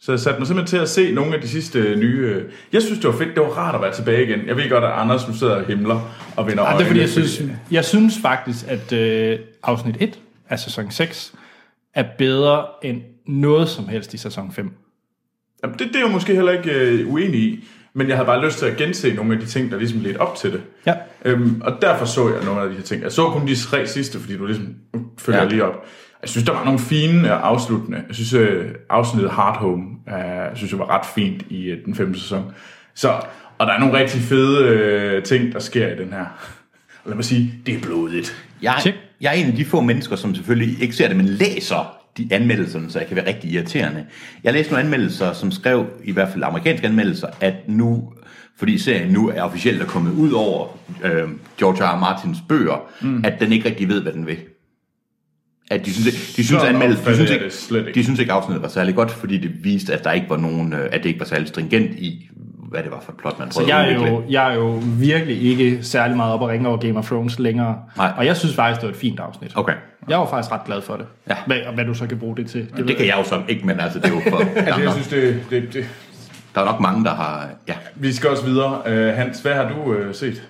Så jeg satte mig simpelthen til at se nogle af de sidste øh, nye... Øh, jeg synes, det var fedt. Det var rart at være tilbage igen. Jeg ved godt, at Anders nu sidder og himler og vender Ej, øjnene. det er fordi, jeg synes, jeg synes faktisk, at øh, afsnit 1 af sæson 6 er bedre end noget som helst i sæson 5. Jamen, det, det er jeg måske heller ikke øh, uenig i. Men jeg havde bare lyst til at gense nogle af de ting, der ligesom ledte op til det. Ja. Øhm, og derfor så jeg nogle af de her ting. Jeg så kun de tre sidste, fordi du ligesom nu følger ja. Ja. lige op. Jeg synes, der var nogle fine og afsluttende. Jeg synes, øh, afsnittet Hard Home, øh, synes jeg var ret fint i øh, den femte sæson. Så, og der er nogle rigtig fede øh, ting, der sker i den her. Og lad mig sige, det er blodigt. Jeg, Tjek. jeg er en af de få mennesker, som selvfølgelig ikke ser det, men læser de anmeldelserne, så jeg kan være rigtig irriterende. Jeg læste nogle anmeldelser, som skrev, i hvert fald amerikanske anmeldelser, at nu, fordi serien nu er officielt er kommet ud over øh, George R. R. Martins bøger, mm. at den ikke rigtig ved, hvad den vil. At de synes, de synes, Sådan anmeldelse, de opfatter synes, jeg ikke, det slet ikke. de synes ikke, afsnittet var særlig godt, fordi det viste, at der ikke var nogen, øh, at det ikke var særlig stringent i, hvad det var for et plot, man prøvede Jeg er, at udvikle. jo, jeg er jo virkelig ikke særlig meget op og ringe over Game of Thrones længere. Nej. Og jeg synes faktisk, det var et fint afsnit. Okay. Jeg var faktisk ret glad for det. Ja. Hvad, og hvad du så kan bruge det til. ved Det kan jeg jo så ikke, men altså, det er jo for... der, Altså, er jeg nok, synes, det, det, det. der er nok mange, der har... Ja, Vi skal også videre. Uh, Hans, hvad har du uh, set?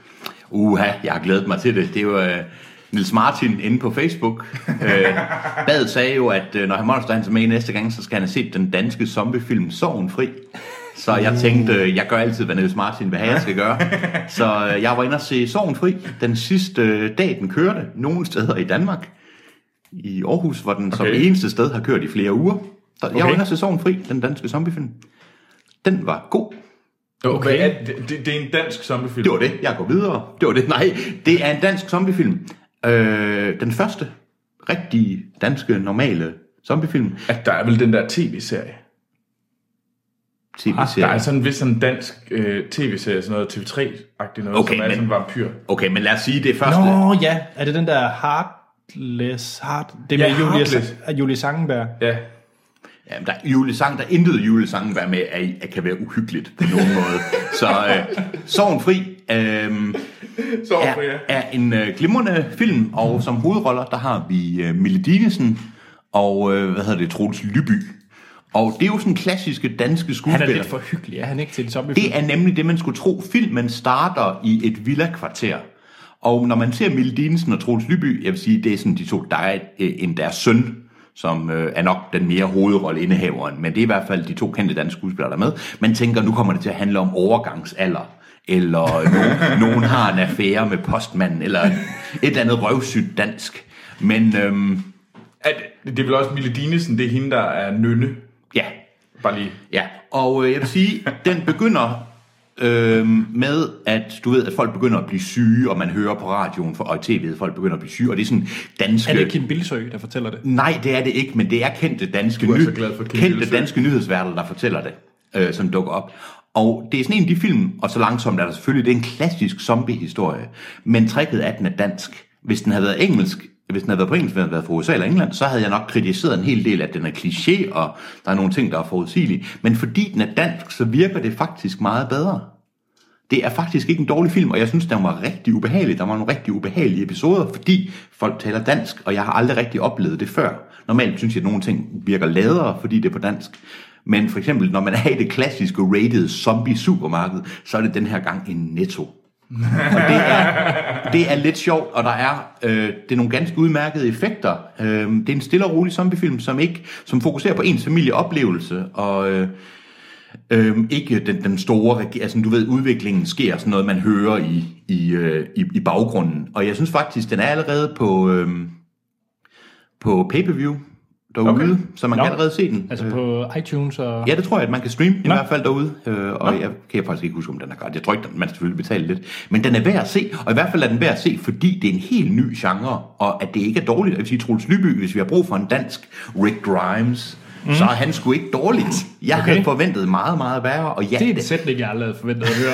Uha, jeg har glædet mig til det. Det var øh, Nils Martin inde på Facebook. Øh, Bad sagde jo, at øh, når han Monster han er med i næste gang, så skal han have set den danske zombiefilm Sorgen Fri. Så jeg tænkte, øh, jeg gør altid, hvad Niels Martin vil have, jeg skal gøre. Så øh, jeg var inde og se Sorgen Fri den sidste øh, dag, den kørte, nogle steder i Danmark. I Aarhus, hvor den okay. som Okay. eneste sted har kørt i flere uger. Så okay. jeg var Okay. inde og se Sorgen Fri, den danske zombiefilm. Den var god. Okay. Hvad er, det, det, det er en dansk zombiefilm. Det var det. Jeg går videre. Det var det. Nej, det er en dansk zombiefilm. Øh, den første rigtige danske normale zombiefilm. Ah, At der er vel den der tv-serie. Ah, Der er altså- TV-serie. sådan en vis sådan dansk øh, tv-serie, sådan noget TV3-agtigt noget, Okay, som er men- sådan en vampyr. Okay, men lad os sige det første. Nå ja, er det den der Heartless? Heart, det er Ja, med Julie, Heartless. Sa- Julie Sangenberg. Ja. Jamen, der er julesang, der er intet julesangen være med, er, er, kan være uhyggeligt på nogen (laughs) måde. Så øh, Sorgen Fri øh, Så hvorfor er, ja. er en øh, glimrende film, og som hovedroller, der har vi øh, Mille Dinesen og, øh, hvad hedder det, Troels Lyby. Og det er jo sådan klassiske danske Han skuespillere. er lidt for hyggelig, er han ikke til en zombiefilm? Det er nemlig det, man skulle tro. Filmen starter i et villakvarter. Og når man ser Mille Dinesen og Troels Lyby, jeg vil sige, det er sådan de to, der er øh, en deres søn, som øh, er nok den mere hovedrolleindehaveren, men det er i hvert fald de to kendte danske skuespillere, der er med. Man tænker, nu kommer det til at handle om overgangsalder, eller nogen, nogen har en affære med postmanden, eller et eller andet røvsygt dansk. Men øhm, At, det er vel også Mille Dinesen, det er hende, der er nynne. ja, Bare lige. Ja, og øh, jeg vil sige, den begynder øh, med, at du ved, at folk begynder at blive syge, og man hører på radioen for, og i tv'et, folk begynder at blive syge, og det er sådan danske... Er det Kim Bilsø, der fortæller det? Nej, det er det ikke, men det er kendte danske, Du er ny- så glad for Kim kendte Bildsøe. danske nyhedsværter, der fortæller det, øh, som dukker op. Og det er sådan en af de film, og så langsomt er der selvfølgelig, det er en klassisk zombiehistorie, men tricket af den er dansk. Hvis den havde været engelsk, hvis den havde været på engelsk, hvis den havde været fra USA eller England, så havde jeg nok kritiseret en hel del, at den er kliché, og der er nogle ting, der er forudsigelige. Men fordi den er dansk, så virker det faktisk meget bedre. Det er faktisk ikke en dårlig film, og jeg synes, den var rigtig ubehagelig. Der var nogle rigtig ubehagelige episoder, fordi folk taler dansk, og jeg har aldrig rigtig oplevet det før. Normalt synes jeg, at nogle ting virker ladere, fordi det er på dansk. Men for eksempel, når man er i det klassiske rated zombie-supermarked, så er det den her gang en netto. Og det er, det er lidt sjovt, og der er, øh, det er nogle ganske udmærkede effekter. Øh, det er en stille og rolig zombiefilm, som, ikke, som fokuserer på ens familieoplevelse, og... Øh, Øhm, ikke den, den store, reg- altså du ved, udviklingen sker, sådan noget man hører i, i, øh, i, i baggrunden. Og jeg synes faktisk, den er allerede på, øhm, på pay-per-view derude, okay. så man Nå. kan allerede se den. Altså på iTunes og... Ja, det tror jeg, at man kan streame i Nå. hvert fald derude. Øh, og jeg kan faktisk ikke huske, om den er gratis. Jeg tror ikke, den- man skal selvfølgelig betale lidt. Men den er værd at se, og i hvert fald er den værd at se, fordi det er en helt ny genre, og at det ikke er dårligt. Jeg vil sige, Troels Lyby, hvis vi har brug for en dansk Rick Grimes, mm. så er han sgu ikke dårligt. Jeg okay. havde forventet meget, meget værre, og ja, Det er en sætning, jeg aldrig havde forventet at høre.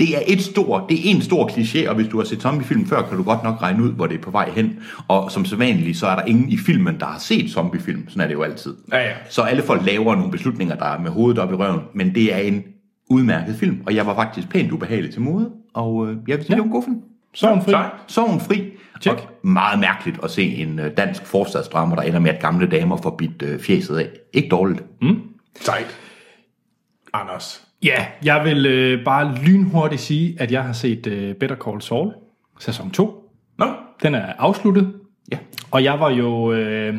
det er et stor, det er en stor kliché, og hvis du har set zombiefilm før, kan du godt nok regne ud, hvor det er på vej hen. Og som sædvanligt, så er der ingen i filmen, der har set zombiefilm. Sådan er det jo altid. Ja, ja. Så alle folk laver nogle beslutninger, der er med hovedet op i røven, men det er en udmærket film, og jeg var faktisk pænt ubehagelig til mode, og øh, jeg vil sige, ja. det var en god film. Sorgenfri. Tak. Sorgen fri. Tjek. Og meget mærkeligt at se en øh, dansk forstadsdrama, der ender med, at gamle damer får bidt øh, fjeset af. Ikke dårligt. Sejt. Anders. Ja, jeg vil øh, bare lynhurtigt sige, at jeg har set øh, Better Call Saul, sæson 2. Nå, Den er afsluttet, Ja. og jeg var jo... Øh,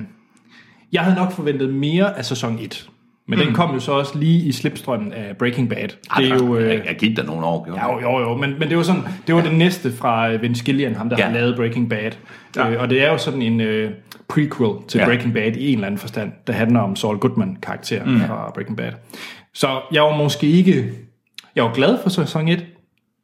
jeg havde nok forventet mere af sæson 1. Men mm. den kom jo så også lige i slipstrømmen af Breaking Bad. det er jo... Øh... Øh, Jeg, jeg gik der nogle år. gjorde jeg? jo, jo, jo, men, men det var sådan, det var det næste fra øh, Vince Gillian, ham der Ja. ja. har lavet Breaking Bad. Ja. Ja. Øh, og det er jo sådan en øh, prequel til Ja. ja. Breaking Bad i en eller anden forstand, der handler om Saul Goodman-karakteren mm. fra Breaking Bad. Så jeg var måske ikke... Jeg var glad for sæson 1,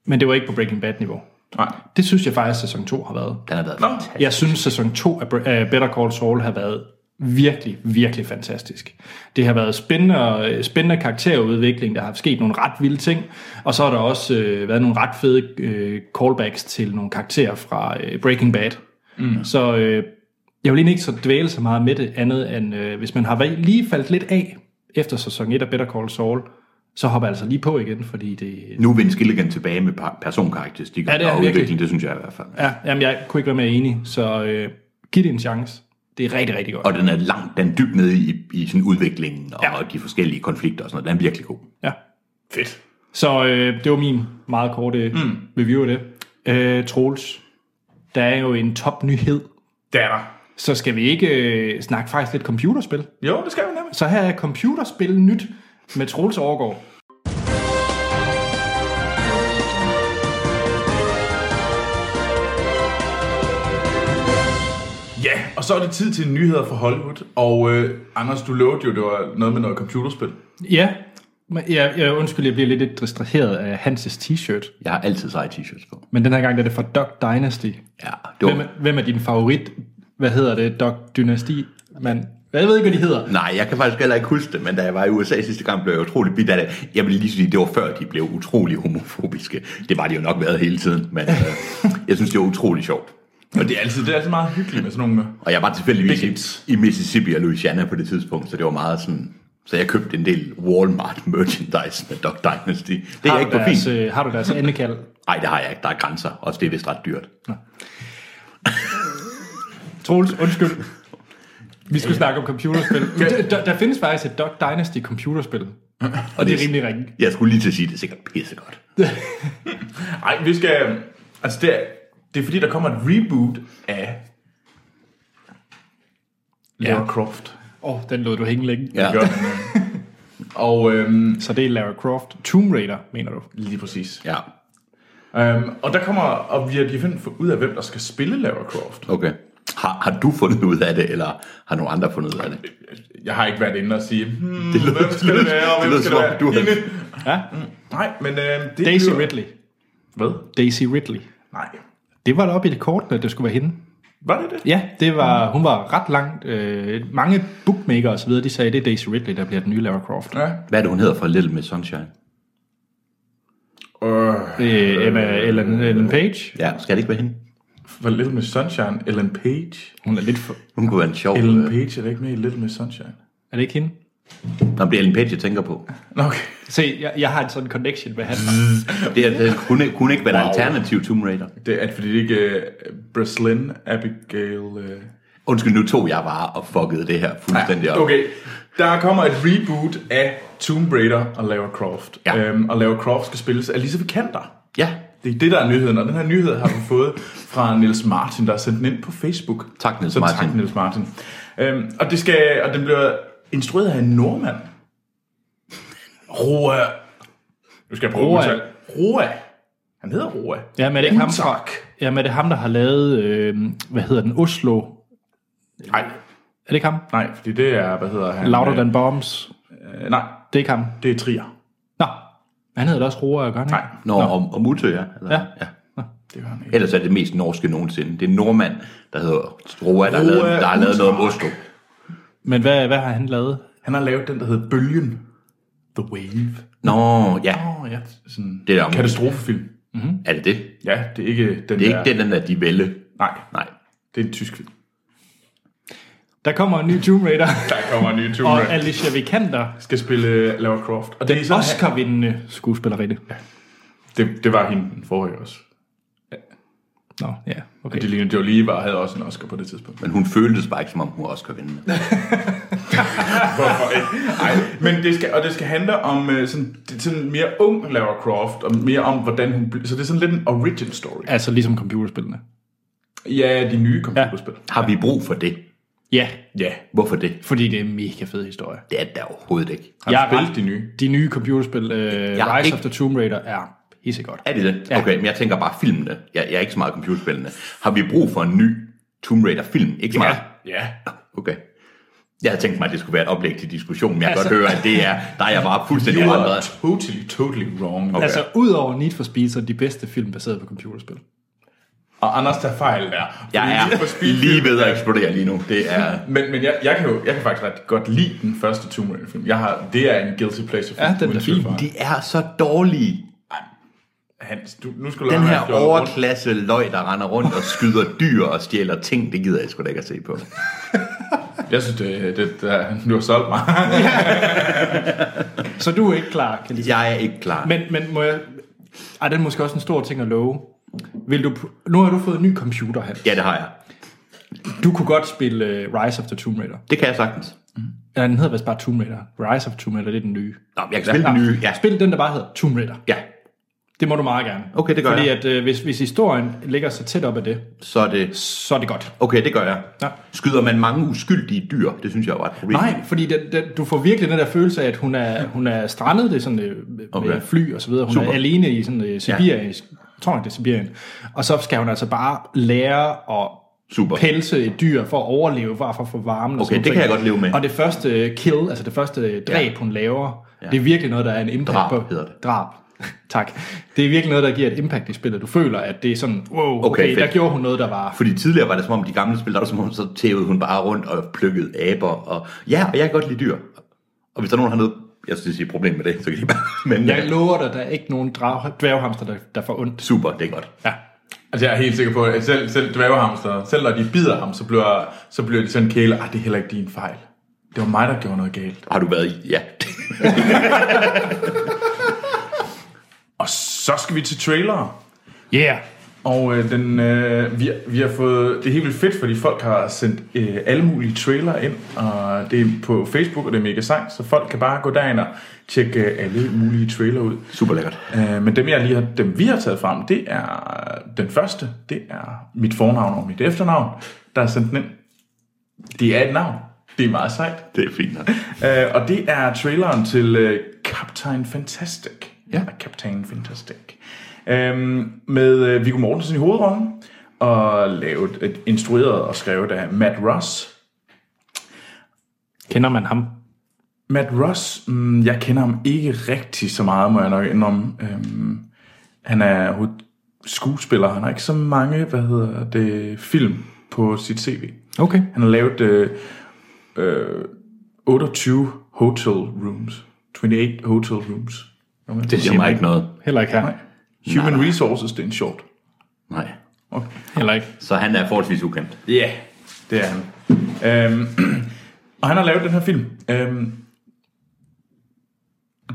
men det var ikke på Breaking Bad-niveau. nej. Det synes jeg faktisk, at sæson 2 har været. Den har været Nå. fantastisk. Jeg synes, sæson 2 af Br- af Better Call Saul har været virkelig, virkelig fantastisk. Det har været spændende, og, øh, spændende karakterudvikling, der har sket nogle ret vilde ting, og så har der også øh, været nogle ret fede øh, callbacks til nogle karakterer fra øh, Breaking Bad. Mm. Så øh, Jeg vil egentlig ikke så dvæle så meget med det andet, end øh, hvis man har været- lige faldt lidt af efter sæson 1 af Better Call Saul, så hopper jeg altså lige på igen, fordi det... Nu er Vince Gilligan tilbage med par- personkarakteristikker Ja, det er og han virkelig. udvikling, det synes jeg i hvert fald. Ja, jamen jeg kunne ikke være mere enig, så øh, giv det en chance. Det er rigtig, rigtig godt. Og den er langt, den er dybt nede i, i sådan udviklingen og Ja. ja. de forskellige konflikter og sådan noget. Den er virkelig god. Ja. Fedt. Så øh, det var min meget korte mm. review af det. Øh, Troels, der er jo en topnyhed. Det er der. Så skal vi ikke øh, snakke faktisk lidt computerspil? Jo, det skal vi nemlig. Så her er computerspil nyt med Troels Overgaard. Ja, og så er det tid til nyheder fra Hollywood. Og øh, Anders, du lovede jo, det var noget med noget computerspil. Ja, men jeg, jeg undskyld, jeg bliver lidt lidt distraheret af Hanses t-shirt. Jeg har altid seje t-shirts på. Men den her gang er det fra Duck Dynasty. Ja, det var, Hvem, er- hvem er din favorit? Hvad hedder det? Duck Dynasty? Man, jeg ved ikke, hvad de hedder. Nej, jeg kan faktisk heller ikke huske det, men da jeg var i USA sidste gang, blev jeg utrolig bidt af det. Jeg vil lige sige, det var før, de blev utrolig homofobiske. Det var de jo nok været hele tiden, men øh, (laughs) jeg synes, det var utrolig sjovt. Og det er altid, det er altid meget hyggeligt med sådan nogle... øh, Og jeg var tilfældigvis Biggins. i, i Mississippi og Louisiana på det tidspunkt, så det var meget sådan... Så jeg købte en del Walmart merchandise med Dog Dynasty. Det er jeg ikke på deres, fint. øh, har du deres endekald? Nej, det har jeg ikke. Der er grænser. Også det er vist ret dyrt. Troels, undskyld. Vi skulle snakke om computerspil. Men det- Der, der findes faktisk et Duck Dynasty computerspil. Og det er rimelig ringe. Jeg skulle lige til at sige, det er sikkert pissegodt. Ej, vi skal... Altså, det er, det er fordi, der kommer et reboot af... Lara Ja. Croft. Åh, oh, den lod du hænge længe. Ja. Gør den, (laughs) øh. og øhm, Så det er Lara Croft. Tomb Raider, mener du? lige præcis. ja, Øhm, og der kommer, og vi har lige fundet ud af, hvem der skal spille Lara Croft. okay. Har, har du fundet ud af det, eller har nogen andre fundet ud af det? Jeg har ikke været inde og sige, hmm, Det lyder- hvem skal det være, og hvem det lyder skal som det om, være? du har- Hende. Ja, Nej, men øh, det Daisy bliver- Ridley. Hvad? Daisy Ridley. Nej. Det var da oppe i det kortene, at det skulle være hende. Var det det? Ja, det var, hun var ret langt. Øh, mange bookmakers og så videre, de sagde, det er Daisy Ridley, der bliver den nye Lara Croft. Ja. Hvad er det, hun hedder fra Little Miss Sunshine? Øh, Øh, Emma Ellen, Ellen Page. Ja, skal det ikke være hende? var Little Miss Sunshine, Ellen Page? Hun er lidt for... Hun kunne være en sjov... Ellen øh, Page er da ikke med i Little Miss Sunshine. Er det ikke hende? Nå, det er Ellen Page, jeg tænker på. Nå, okay. Se, jeg, jeg har en sådan connection med han. Det er, det kunne, kunne ikke være wow. en alternativ Tomb Raider. Det er fordi det ikke uh, Breslin, Abigail... Uh... Undskyld, nu tog jeg bare og fuckede det her fuldstændig op. Okay, der kommer et reboot af Tomb Raider og Lara Croft. Ja. Øhm, og Lara Croft skal spilles af Lisa Vikander. Ja, Det er det, der er nyheden, og den her nyhed har vi fået fra Niels Martin, der har sendt den ind på Facebook. Tak, Niels Så tak, Martin. Niels Martin. Øhm, og, det skal, og den bliver instrueret af en nordmand. Roa. Nu skal jeg prøve Roa. at udtale. Roa. Han hedder Roa. Ja, men er det ikke ham fra... Tak. Ja, men er det ham, der har lavet... Øh, hvad hedder den? Oslo. Nej, Er det ikke ham? nej, fordi det er, hvad hedder han? Louder Than Bombs. Øh, nej, Det er ikke ham. det er Trier. Nå, han hedder da også Roa, gør han ikke? Nej, Nå, om, om Utø, ja. Eller, Ja. ja. det var han ikke. Ellers er det mest norske nogensinde. Det er en nordmand, der hedder Roa, der Roa har lavet, der har lavet noget om Utmark. Oslo. Men hvad, hvad har han lavet? Han har lavet den, der hedder Bølgen. The Wave. Nå, ja. Åh oh, ja, sådan Det er, der om, katastrofefilm. er det det? Ja, det er ikke den Det er der... ikke den, den der de vælge. Nej, Nej. det er en tysk film. Der kommer en ny Tomb Raider, Der kommer en ny Tomb og Raider. Alicia Vikander, Skal spille uh, Lara Croft. Og det, er sådan, Oscar-vindende skuespillerinde. det, det var hende den forrige også. Nå, ja, okay. Det lignede jo lige bare, havde også en Oscar på det tidspunkt. Men hun føltes bare ikke, som om hun også kan vinde. Hvorfor ikke? Ej, men det skal, og det skal handle om øh, sådan, det, sådan mere ung Lara Croft, og mere om, hvordan hun blev... Så det er sådan lidt en origin story. Altså ligesom computerspillene. Ja, de nye computerspil. Har vi brug for det? Ja, Ja. Hvorfor det? fordi det er en mega fed historie. Det er der overhovedet ikke. Har Jeg jeg er spillet ret- de nye? De nye computerspil, øh, har Rise ikke- of the Tomb Raider, er pissegodt. Er det det? Ja. Okay, men jeg tænker bare filmene. Jeg, jeg er ikke så meget computerspillende. Har vi brug for en ny Tomb Raider-film? Ikke så meget? Ja. Okay. Jeg havde tænkt mig, at det skulle være et oplæg til diskussion, men jeg kan Altså- godt høre, at det er, der er jeg bare fuldstændig You andre. are totally, totally wrong. Altså, udover Need for Speed, så er de bedste film baseret på computerspil. Og Anders tager fejl der. Jeg Fordi er Need for Speed- lige ved at eksplodere lige nu. Det er... Men, men jeg, jeg, kan jo jeg kan faktisk ret godt lide den første Tomb Raider film. Jeg har, det er en guilty pleasure film. Ja, den er uden fin. tvivl. De er så dårlige. Hans, du, nu skulle du Den lade her mig fjollet rundt. overklasse løg, der render rundt og skyder dyr og stjæler ting, det gider jeg sgu da ikke at se på. Jeg synes, det, det, det, (laughs) du har solgt mig. Så du er ikke klar, kan lige. Jeg er ikke klar. Men, men må jeg... Ej, det er måske også en stor ting at love. Vil du... Nu har du fået en ny computer, her. Ja, det har jeg. Du kunne godt spille uh, Rise of the Tomb Raider. Det kan jeg sagtens. Ja, den hedder vist bare Tomb Raider. Rise of Tomb Raider, det er den nye. Nå, men jeg kan spille den nye. Ja, Spil den, der bare hedder Tomb Raider. ja. Det må du meget gerne. Okay, det gør Fordi jeg. at øh, hvis, hvis historien ligger så tæt op af det, Så er det... så er det godt. Okay, det gør jeg. Ja. Skyder man mange uskyldige dyr? Det synes jeg var et problem. Nej, fordi den, den, du får virkelig den der følelse af, at hun er, hun er strandet det er sådan, øh, med Okay. okay. fly og så videre. Hun Super. er alene i sådan øh, Sibirien, ja. jeg tror nok, det er Sibirien. Og så skal hun altså bare lære at Super. pelse et dyr for at overleve, bare for at få varmen. og Okay, sådan nogle det kan ting. jeg godt leve med. Og det første øh, kill, altså det første øh, dræb, ja. hun laver, ja. det er virkelig noget, der er en impact Drab på. hedder det. Drab. (laughs) tak. Det er virkelig noget, der giver et impact i spillet. Du føler, at det er sådan, wow, okay, Okay, okay der fedt. gjorde hun noget, der var Fordi tidligere var det som om de gamle spil, der var det som om, så tævede hun bare rundt og plukkede aber. Og, ja, og jeg kan godt lide dyr. Og hvis der er nogen, der har noget, jeg synes, det er et problem med det, så kan de bare... (laughs) Men øh, Jeg ja. lover dig, der er ikke nogen drag- dværghamster, der, der får ondt. super, det er godt. Ja. Altså, jeg er helt sikker på, at selv, selv dværgehamster, selv når de bider ham, så bliver, så bliver de sådan kæle, ah, det er heller ikke din fejl. Det var mig, der gjorde noget galt. Har du været i? Ja. (laughs) Og så skal vi til trailer. Yeah. Og øh, den, øh, vi, vi har fået, det er helt vildt fedt, fordi folk har sendt øh, alle mulige trailer ind, og det er på Facebook, og det er mega sejt, så folk kan bare gå derind og tjekke øh, alle mulige trailer ud. Super lækkert. Øh, men dem, jeg lige har, dem vi har taget frem, det er den første, det er mit fornavn og mit efternavn, der er sendt den ind. Det er et navn. Det er meget sejt. Det er fint nok. Øh, og det er traileren til øh, Captain Fantastic. Ja. Eller Captain Fantastic. Øhm, med øh, Viggo Mortensen i hovedrollen, og lavet, øh, instrueret og skrevet af Matt Ross. Kender man ham? Matt Ross, mm, jeg kender ham ikke rigtig så meget, må jeg nok indrømme. Øhm, han er hoved- skuespiller, han har ikke så mange, hvad hedder det, film på sit CV. Okay. Han har lavet øh, øh, 28 hotel rooms. 28 hotel rooms. Det siger mig ikke noget. Heller ikke her. Human nej, nej. resources, det er en short. Nej. Okay. Heller ikke. Så han er forholdsvis ukendt. Ja, yeah. det er han. Øhm, (clears throat) og han har lavet den her film, øhm,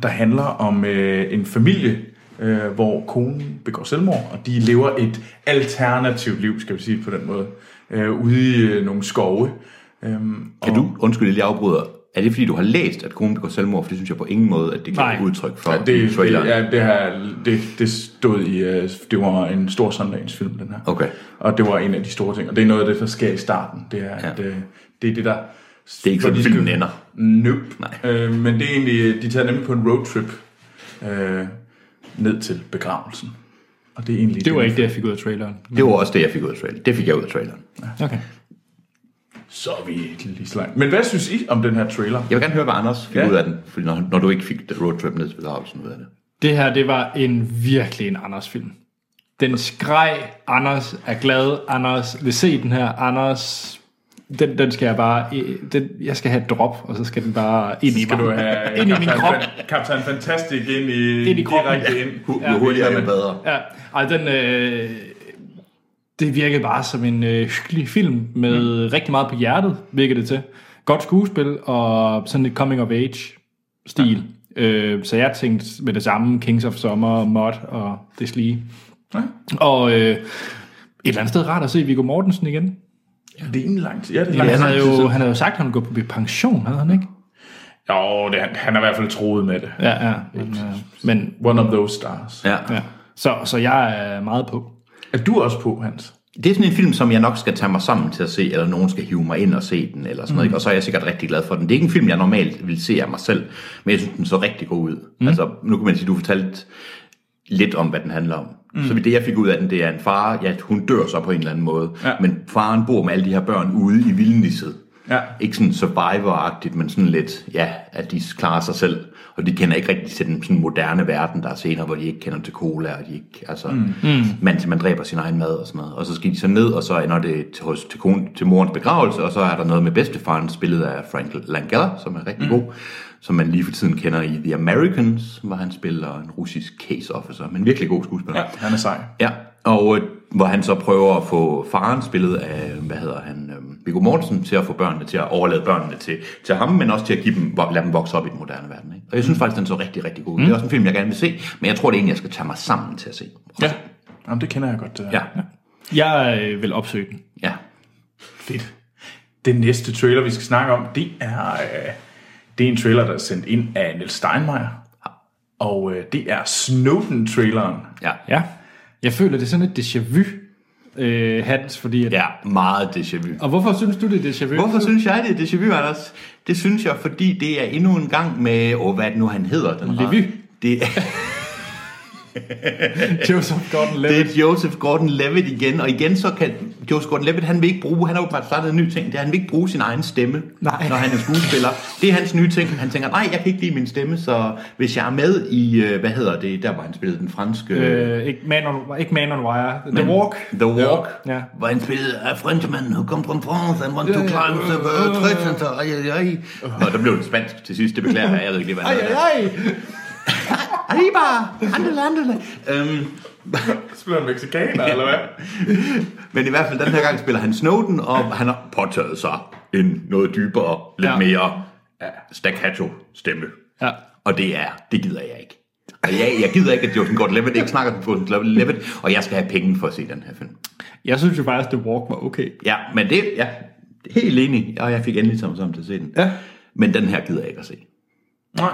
der handler om øh, en familie, øh, hvor konen begår selvmord, og de lever et alternativt liv, skal vi sige på den måde, øh, ude i øh, nogle skove. Øhm, Kan du, undskyld, jeg lige afbryder, er det fordi, du har læst, at konen begår selvmord? For det synes jeg på ingen måde, at det kan Nej. et udtryk for Ja, det, i traileren. det, ja, det, her, det, det stod i, øh, det var en stor søndagsfilm, den her. Okay. Og det var en af de store ting, og det er noget af det, der sker i starten. Det er, ja. at, Ja. øh, det, er det, der... Det er ikke hvor sådan, de skal- filmen ender. Nope. Nej. Øh, men det er egentlig, øh, de tager nemlig på en roadtrip øh, ned til begravelsen. Og det er egentlig... Det var ikke det, jeg fik ud af traileren. Det var også det, jeg fik ud af traileren. Det fik jeg ud af traileren. Okay. Så er vi ikke lige så langt. Men hvad synes I om den her trailer? Jeg vil gerne høre, hvad Anders fik Ja. ja. ud af den, fordi når, når du ikke fik det roadtrip ned til begravelsen ud af det. Det her, det var en virkelig en Anders-film. Den skreg, Anders er glad, Anders vil se den her, Anders... Den, den skal jeg bare... øh, Den, jeg skal have et drop, og så skal den bare ind i Skal mig. du have (laughs) ind i min Captain krop. Fan- Captain Fantastic ind i, Ind i kroppen. direkte ind. Hu- Jo hurtigere, jo bedre. Ja, ej, den, øh, det virkede bare som en øh, hyggelig film med mm. rigtig meget på hjertet, virkede det til. Godt skuespil og sådan lidt coming of age stil. Ja. Øh, så jeg tænkte med det samme Kings of Summer, Mod og det lige. Ja. Og øh, et eller andet sted rart at se Viggo Mortensen igen. Det er egentlig lang tid. Ja, det er lang Ja, tid. han, havde jo, han havde jo sagt, at han ville gå på pension, havde han ikke? Jo, det, han, han er i hvert fald troet med det. Ja, ja. Men, øh, men One of those stars. Ja. ja. Så, så jeg er meget på. Er du også på, Hans? Det er sådan en film, som jeg nok skal tage mig sammen til at se, eller nogen skal hive mig ind og se den, eller sådan noget. Mm. Og så er jeg sikkert rigtig glad for den. Det er ikke en film, jeg normalt vil se af mig selv, men jeg synes, den så rigtig god ud. Mm. Altså, nu kan man sige, du fortalte lidt om, hvad den handler om. Mm. Så det, jeg fik ud af den, det er en far, ja, hun dør så på en eller anden måde, Ja. men faren bor med alle de her børn ude i vildnisset. Ja. Ikke sådan survivor-agtigt, men sådan lidt, ja, at de klarer sig selv. Og de kender ikke rigtig til den sådan moderne verden, der er senere, hvor de ikke kender til cola, og de ikke, altså, mm. man, man dræber sin egen mad og sådan noget. Og så skal de så ned, og så ender det til, hos, til, kon, til morens begravelse, og så er der noget med bedstefaren, spillet af Frank Langella, som er rigtig mm. god som man lige for tiden kender i The Americans, hvor han spiller en russisk case officer, men virkelig god skuespiller. ja, han er sej. Ja, og øh, hvor han så prøver at få faren spillet af, hvad hedder han, øh, Viggo Mortensen, til at få børnene til at overlade børnene til, til ham, men også til at give dem, vo- lade dem vokse op i den moderne verden. Ikke? Og jeg synes faktisk, den så rigtig, rigtig god ud. Mm. Det er også en film, jeg gerne vil se, men jeg tror, det er en, jeg skal tage mig sammen til at se. Ja. Jamen, det kender jeg godt. øh, Det der. Ja, Jeg øh, vil opsøge den. ja. Fedt. Den næste trailer, vi skal snakke om, det er, øh, det er en trailer, der er sendt ind af Niels Steinmeier. Og øh, det er Snowden-traileren. ja. Ja. Jeg føler, det er sådan et déjà vu, øh, Hans, fordi... At, Ja, meget déjà vu. Og hvorfor synes du, det er déjà vu? Hvorfor synes jeg det er déjà vu, Anders? Det synes jeg, fordi det er endnu en gang med, åh, hvad er det nu, han hedder? Den Levy. rar- Det er, Joseph Gordon-Levitt. det er Joseph Gordon-Levitt igen, og igen så kan Joseph Gordon-Levitt, han vil ikke bruge, han har jo bare startet en ny ting, det er, han vil ikke bruge sin egen stemme, Nej. når han er skuespiller. Det er hans nye ting, han tænker, nej, jeg kan ikke lide min stemme, så hvis jeg er med i, øh, hvad hedder det, der var han spillede den franske... Øh, ikke, man on, ikke Man on Wire. The Walk. The Walk, Ja. Ja. hvor han spillede A Frenchman who come from France and want to Ja, Øh. ja. climb the world trade center. Ej, ej, ej. Nå, der blev det spansk til sidst, det beklager jeg, jeg ved ikke lige, hvad han Ej, hedder. ej, ej. Arriba! Andele, andele! Øhm, Spiller en mexikaner, eller hvad? men i hvert fald, den her gang spiller han Snowden, og han har påtaget sig en noget dybere, lidt Ja. ja. mere staccato-stemme. Ja. Og det er, det gider jeg ikke. Og jeg, jeg gider ikke, at Jordan Gordon Levitt ikke snakker på Gordon Levitt, og jeg skal have penge for at se den her film. Jeg synes jo faktisk, The Walk var okay. Ja, men det ja, helt enig, og jeg fik endelig sammen sammen til at se den. Ja. Men den her gider jeg ikke at se. (laughs) Nej.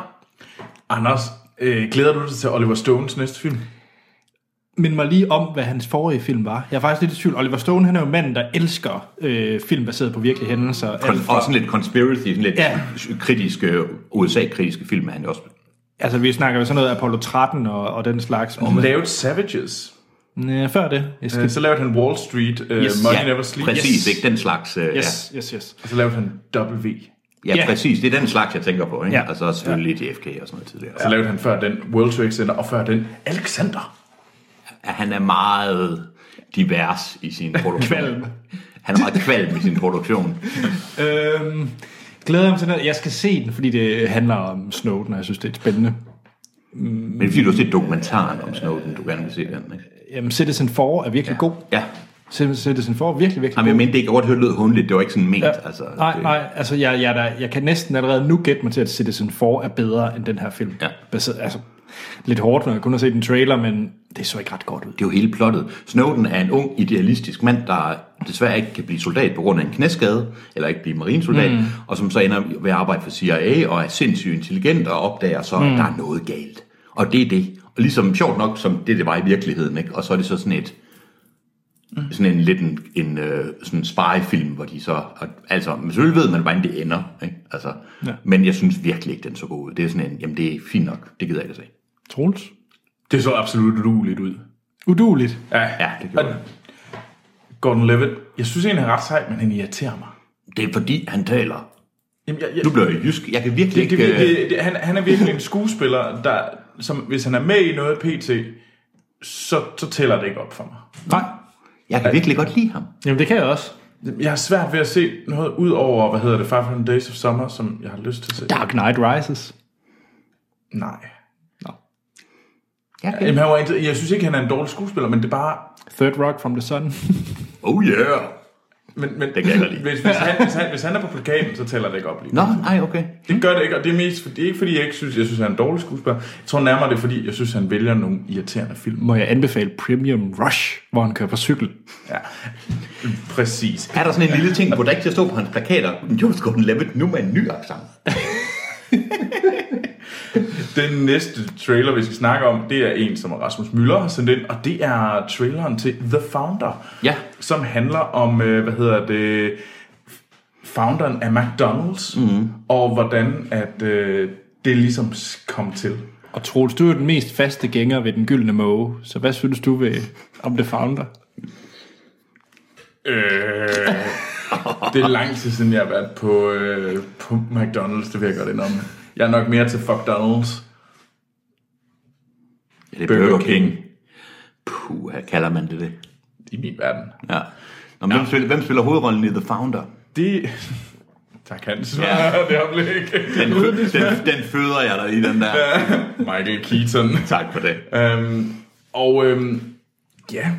Anders, øh, glæder du dig til Oliver Stones næste film? Mind mig lige om, hvad hans forrige film var. Jeg er faktisk lidt i tvivl. Oliver Stone, han er jo manden, der elsker øh, film baseret på virkelige hændelser. Alt Kon- fra- og sådan lidt conspiracy, sådan lidt Ja. ja. kritiske, USA-kritiske film er han jo også. Altså, vi snakker jo sådan noget Apollo 13 og, og den slags. Om lavet Savages. Næh, før det. Jeg skal... Øh, Så lavede han Wall Street, uh, yes, Money Never Sleeps. præcis, ikke den slags. Øh, Yes, yes, yes. Og så lavede han W. Ja, ja, Ja. præcis, det er den slags, jeg tænker på. Ikke? Ja. Ja. Og så selvfølgelig ja. JFK og sådan noget tidligere. Så Ja. lavede han før den World Trade Center, og før den Alexander. Han er meget divers i (laughs) sin produktion. Kvalm. Han er meget kvalm i sin produktion. Øhm, glæder mig til den. Jeg skal se den, fordi det handler om Snowden, og jeg synes, det er spændende. Men det er fordi, du har set dokumentaren om Snowden, du gerne vil se den, ikke? Jamen, Citizen 4 er virkelig ja. god. Ja. Citizen 4 er virkelig, virkelig Jamen, jeg god. mente det ikke godt hørt, lød hundligt. Det var ikke sådan ment. Ja. Altså, nej, det, nej, altså jeg, jeg, er da, jeg kan næsten allerede nu gætte mig til, at Citizen 4 er bedre end den her film. Ja. Baseret, altså, lidt hårdt, når jeg kun har set en trailer, men det så ikke ret godt ud. Det er jo hele plottet. Snowden er en ung, idealistisk mand, der desværre ikke kan blive soldat på grund af en knæskade, eller ikke blive marinesoldat, mm. og som så ender ved at arbejde for CIA, og er sindssygt intelligent, og opdager så, mm. at der er noget galt. Og det er det. Og ligesom sjovt nok, som det, det var i virkeligheden, ikke? og så er det så sådan et sådan en lidt en, en øh, sådan spy-film, hvor de så, og, altså, men selvfølgelig ved man, hvordan det ender, ikke? Altså, ja. men jeg synes virkelig ikke, den så god ud. Det er sådan en, jamen det er fint nok, det gider jeg ikke at se. Troels? Det så absolut luligt ud. Uduligt. Ja, det gjorde Og- det. Gordon Levitt, jeg synes egentlig, han er ret sej, men han irriterer mig. Det er fordi, han taler Jamen, jeg, jeg, Nu bliver jeg jysk. Jeg kan virkelig det, det, ikke... det, øh, det, det, han, han er virkelig en skuespiller, der, som, hvis han er med i noget pt., så, så tæller det ikke op for mig. Nej. øh, Jeg kan virkelig godt lide ham. Jamen, det kan jeg også. Jeg har svært ved at se noget ud over, hvad hedder det, 500 Days of Summer, som jeg har lyst til at se. Dark Knight Rises. Nej. Jeg kan... Jamen, han var, ikke- jeg synes ikke, han er en dårlig skuespiller, men det er bare... Third Rock from the Sun. (laughs) Oh yeah! Men, men, Det kan jeg godt lide. Hvis, hvis, han, hvis, han, hvis han er på plakaten, så tæller det ikke op lige. Nå, nej, okay. Det gør det ikke, og det er, mest, for- det er ikke fordi, jeg ikke synes, jeg synes, han er en dårlig skuespiller. Jeg tror nærmere, det er fordi, jeg synes, han vælger nogle irriterende film. Må jeg anbefale Premium Rush, hvor han kører på cykel. Ja, præcis. Er der sådan en lille ting, hvor der ikke til at stå på hans plakater? Jo, skal den lave nu med en ny accent. Den næste trailer, vi skal snakke om, det er en, som Rasmus Møller har sendt ind, og det er traileren til The Founder, Ja. som handler om, øh, hvad hedder det, founderen af McDonald's, mm. og hvordan at øh, det ligesom s- kom til. Og Troels, du er den mest faste gænger ved den gyldne måge, så hvad synes du ved, om The Founder? Øh, Det er lang tid siden, jeg har været på, øh, på McDonald's, det vil jeg godt indrømme. Jeg er nok mere til fuck Donald's. Ja, det er Burger King. Puh, her kalder man det det. I min verden. Ja. Nå, men ja. Hvem, spiller, hvem spiller hovedrollen i The Founder? De... Tak, Hans. Ja. (laughs) det oplæg. Den, den, den føder jeg dig i, den der. Ja. Michael Keaton. Tak for det. Øhm, og øhm, ja,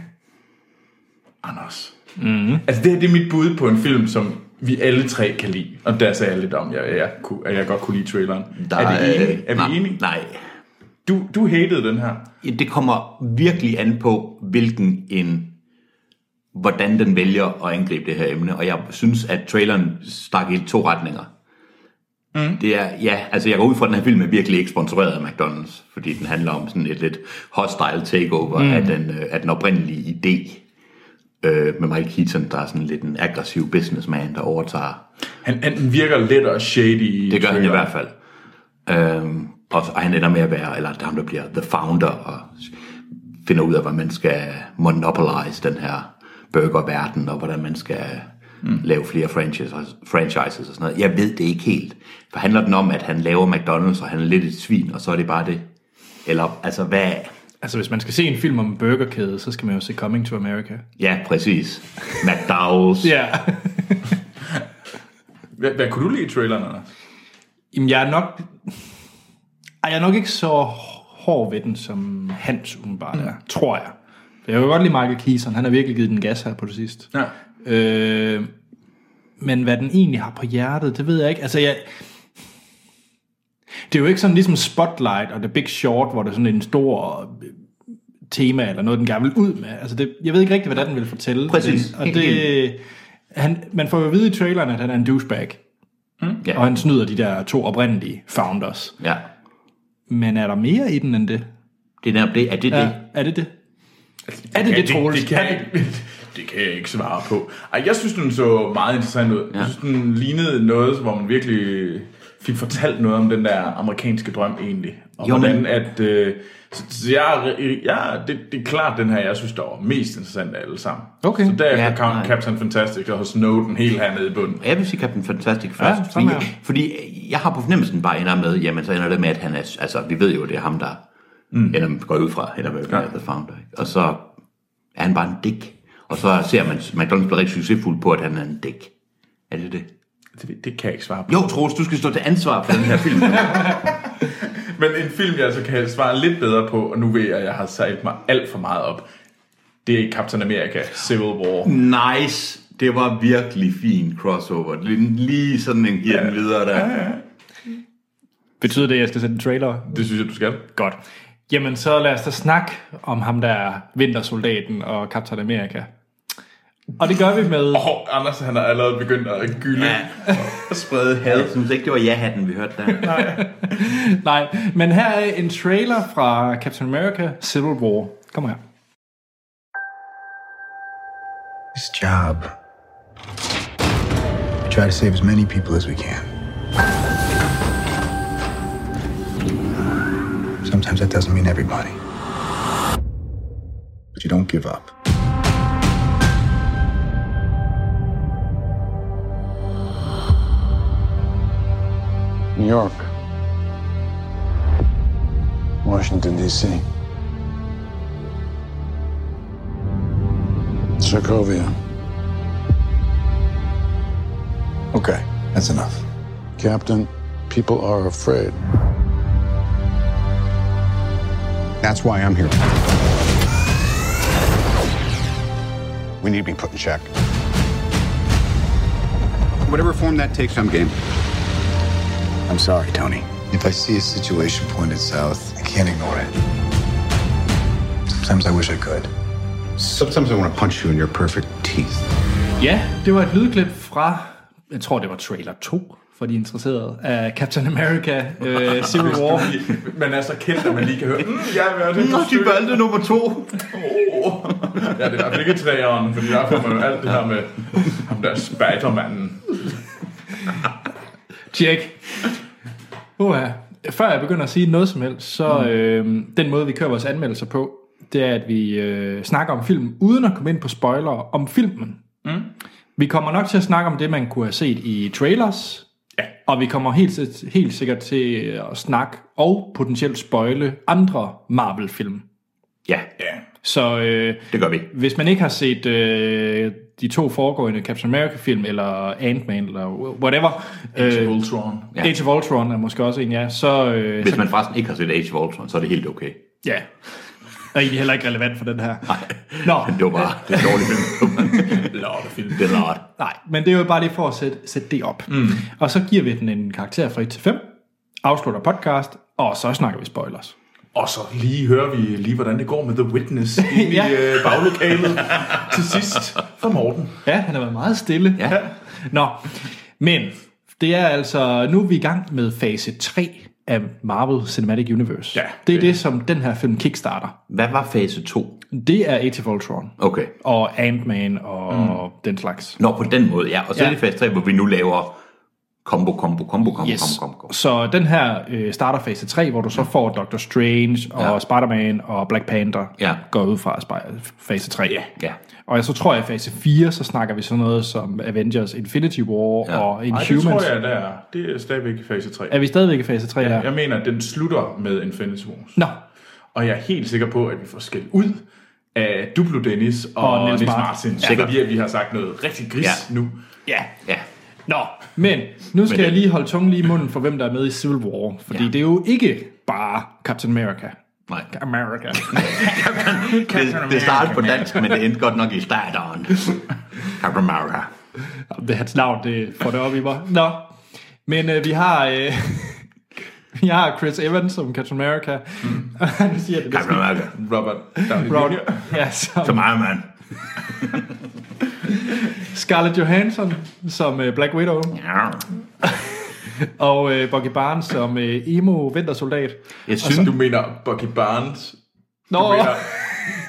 Anders. Mm. Altså det her det er mit bud på en film, som vi alle tre kan lide. Og der sagde jeg lidt om, jeg, jeg, kunne- at jeg godt kunne lide traileren. Der, er vi enige? Er vi øh, nej, enige? Nej, Du, du hatede den her. det kommer virkelig an på, hvilken en hvordan den vælger at angribe det her emne, og jeg synes, at traileren stak i to retninger. Mm. Det er, ja, altså jeg går ud fra, at den her film er virkelig ikke sponsoreret af McDonald's, fordi den handler om sådan et lidt hostile takeover mm. af, den, øh, af den oprindelige idé øh, med Mike Keaton, der er sådan lidt en aggressiv businessman, der overtager Han, han virker let og shady. i det gør han i traileren. hvert fald. Øhm, og, og han ender med at være, eller det er ham, der bliver the founder, og finder ud af, hvordan man skal monopolize den her burgerverden, og hvordan man skal mm. lave flere franchises, franchises og sådan noget. Jeg ved det ikke helt. For handler den om, at han laver McDonald's, og han er lidt et svin, og så er det bare det? Eller, altså hvad... Altså, hvis man skal se en film om en burgerkæde, så skal man jo se Coming to America. Ja, (laughs) præcis. McDowell's. Ja. Hvad, hvad kunne du lide i traileren, Anders? (laughs) Jamen, jeg er nok... Ej, jeg er nok ikke så hård ved den, som Hans umiddelbart er, tror jeg. For jeg kan godt lide Michael Keaton. Han har virkelig givet den gas her på det sidste. Ja. Øh, men hvad den egentlig har på hjertet, det ved jeg ikke. Altså, jeg... Det er jo ikke sådan ligesom Spotlight og The Big Short, hvor der er sådan en stor øh, tema eller noget, den gerne vil ud med. Altså, det, jeg ved ikke rigtig, hvad den vil fortælle. Præcis. Det, og Helt det, han, man får jo at vide i traileren, at han er en douchebag, Ja. og han snyder de der to oprindelige founders. ja. Men er der mere i den end det? Det er netop det. Er det Ja. det? Er det det? Er det det, Troels? Det kan, Er jeg ikke, (laughs) det kan jeg ikke svare på. Ej, jeg synes, den så meget interessant ud. Ja. Jeg synes, den lignede noget, hvor man virkelig fik fortalt noget om den der amerikanske drøm egentlig. Og Jo, jo, men- hvordan at... Øh, så, så jeg, jeg, det, det er klart den her, jeg synes, der var mest interessant af alle sammen. Okay. Så der Ja, ja, nej. Count, Captain Fantastic og Snowden helt hernede i bunden. Og Jeg vil sige Captain Fantastic først, ja, sådan fordi, er jeg, fordi jeg har på fornemmelsen bare ender med, jamen så ender det med, at han er, altså vi ved jo, det er ham, der mm. ender, går ud fra, ender med at være The Founder. Ikke? Og så er han bare en dæk. Og så ser man, McDonald's bliver rigtig succesfuld på, at han er en dæk. Er det det? Det, det kan jeg ikke svare på. Jo, Troels, du skal stå til ansvar for den her (laughs) film. Men en film, jeg så kan svare lidt bedre på, og nu ved jeg, at jeg har sejlet mig alt for meget op, det er Captain America Civil War. nice. Det var virkelig fin crossover. Lige- Lige sådan en giver den videre der. Betyder det, at jeg skal sætte en trailer Det synes jeg, du skal. Godt. Jamen, så lad os da snakke om ham, der er vintersoldaten og Captain America. Og det gør vi med... Og Anders, han er allerede begyndt at gylde Ja. og sprede had. Jeg synes ikke, det var ja-hatten, vi hørte (laughs) der. Nej, men her er en trailer fra Captain America Civil War. Kom her. His job. We try to save as many people as we can. Sometimes that doesn't mean everybody. But you don't give up. New York. Washington, D.C. Sokovia. Okay, that's enough. Captain, people are afraid. That's why I'm here. We need to be put in check. Whatever form that takes, I'm game. I'm sorry, Tony. If I see a situation pointed south, I can't ignore it. Sometimes I wish I could. Sometimes I want to punch you in your perfect teeth. Ja, det var et lydklip fra, jeg tror det var trailer 2, for de interesserede, af Captain America øh, (laughs) Civil War. Man er så altså, kendt, at man lige kan høre, mm, jeg vil det. Nå, de valgte nummer to. Oh. Ja, det er i hvert fald ikke træeren, fordi der får man jo alt det her med ham der spidermanden. Tjek. Uha. Før jeg begynder at sige noget som helst, så mm. øh, den måde, vi kører vores anmeldelser på, det er, at vi øh, snakker om film uden at komme ind på spoilere om filmen. Mm. Vi kommer nok til at snakke om det, man kunne have set i trailers. Ja. Og vi kommer helt, sit- helt sikkert til at snakke og potentielt spoile andre Marvel-film. Ja, Ja. Så øh, det gør vi. hvis man ikke har set øh, de to foregående Captain America-film, eller Ant-Man, eller whatever, Øh, øh, Ultron. ja. Age of Ultron er måske også en, ja, så, øh, Hvis man forresten ikke har set Age of Ultron, så er det helt okay. Ja. Og egentlig heller ikke relevant for den her. (laughs) Nej. Det var bare det er en dårlig (laughs) film. Lortefilm. Det er lort. Nej, men det er jo bare lige for at sætte, sætte det op. Mm. Og så giver vi den en karakter fra 1 til 5, afslutter podcast, og så snakker vi spoilers. Og så lige hører vi lige, hvordan det går med The Witness inde Ja. ja. i øh, baglokalet til sidst fra Morten. Ja, han har været meget stille. Ja. Nå, men det er altså, nu er vi i gang med fase 3 af Marvel Cinematic Universe. Ja, det er det, som den her film kickstarter. Hvad var fase 2? Det er Age of Ultron Okay. og Ant-Man og mm. den slags. Nå, på den måde, ja. Og så Ja. er det fase 3, hvor vi nu laver combo, combo, combo, combo, Yes. combo, combo. Så den her øh, starter fase 3, hvor du så får Doctor Strange og ja. Ja. Spider-Man og Black Panther, Ja. går ud fra spi- fase 3. Ja. Ja. Og så tror jeg, at fase 4, så snakker vi sådan noget som Avengers Infinity War ja. Ja. og Nej, det Inhumans. tror jeg, der er. Det er stadigvæk i fase 3. Er vi stadigvæk i fase 3 ja. der? Jeg mener, at den slutter med Infinity Wars. Nå, Og jeg er helt sikker på, at vi får skæld ud af Duplo Dennis og, Og og Niels Niels Martin. Martin. Martin. Ja. Sikkert. Fordi at vi har sagt noget rigtig gris ja. Ja. nu. ja. Ja. Nå, men nu skal Men- jeg lige holde tungen lige i munden for, hvem der er med i Civil War. Fordi ja. Ja. det er jo ikke bare Captain America. Nej. America. Det, det startede på dansk, men det endte godt nok i (laughs) starteren. Captain America. Det er hans navn, det får det op i mig. Nå, men øh, vi har... Øh, (laughs) vi har Chris Evans som Captain America. Mm. (laughs) Han siger det Captain America. Robert Downey Brown. Jr. Ja, som Som Iron Man. Scarlett Johansson som øh, Black Widow. Ja. Og øh, Bucky Barnes som øh, emo vintersoldat. Jeg Så synes, du mener Bucky Barnes? Nå, Du mener,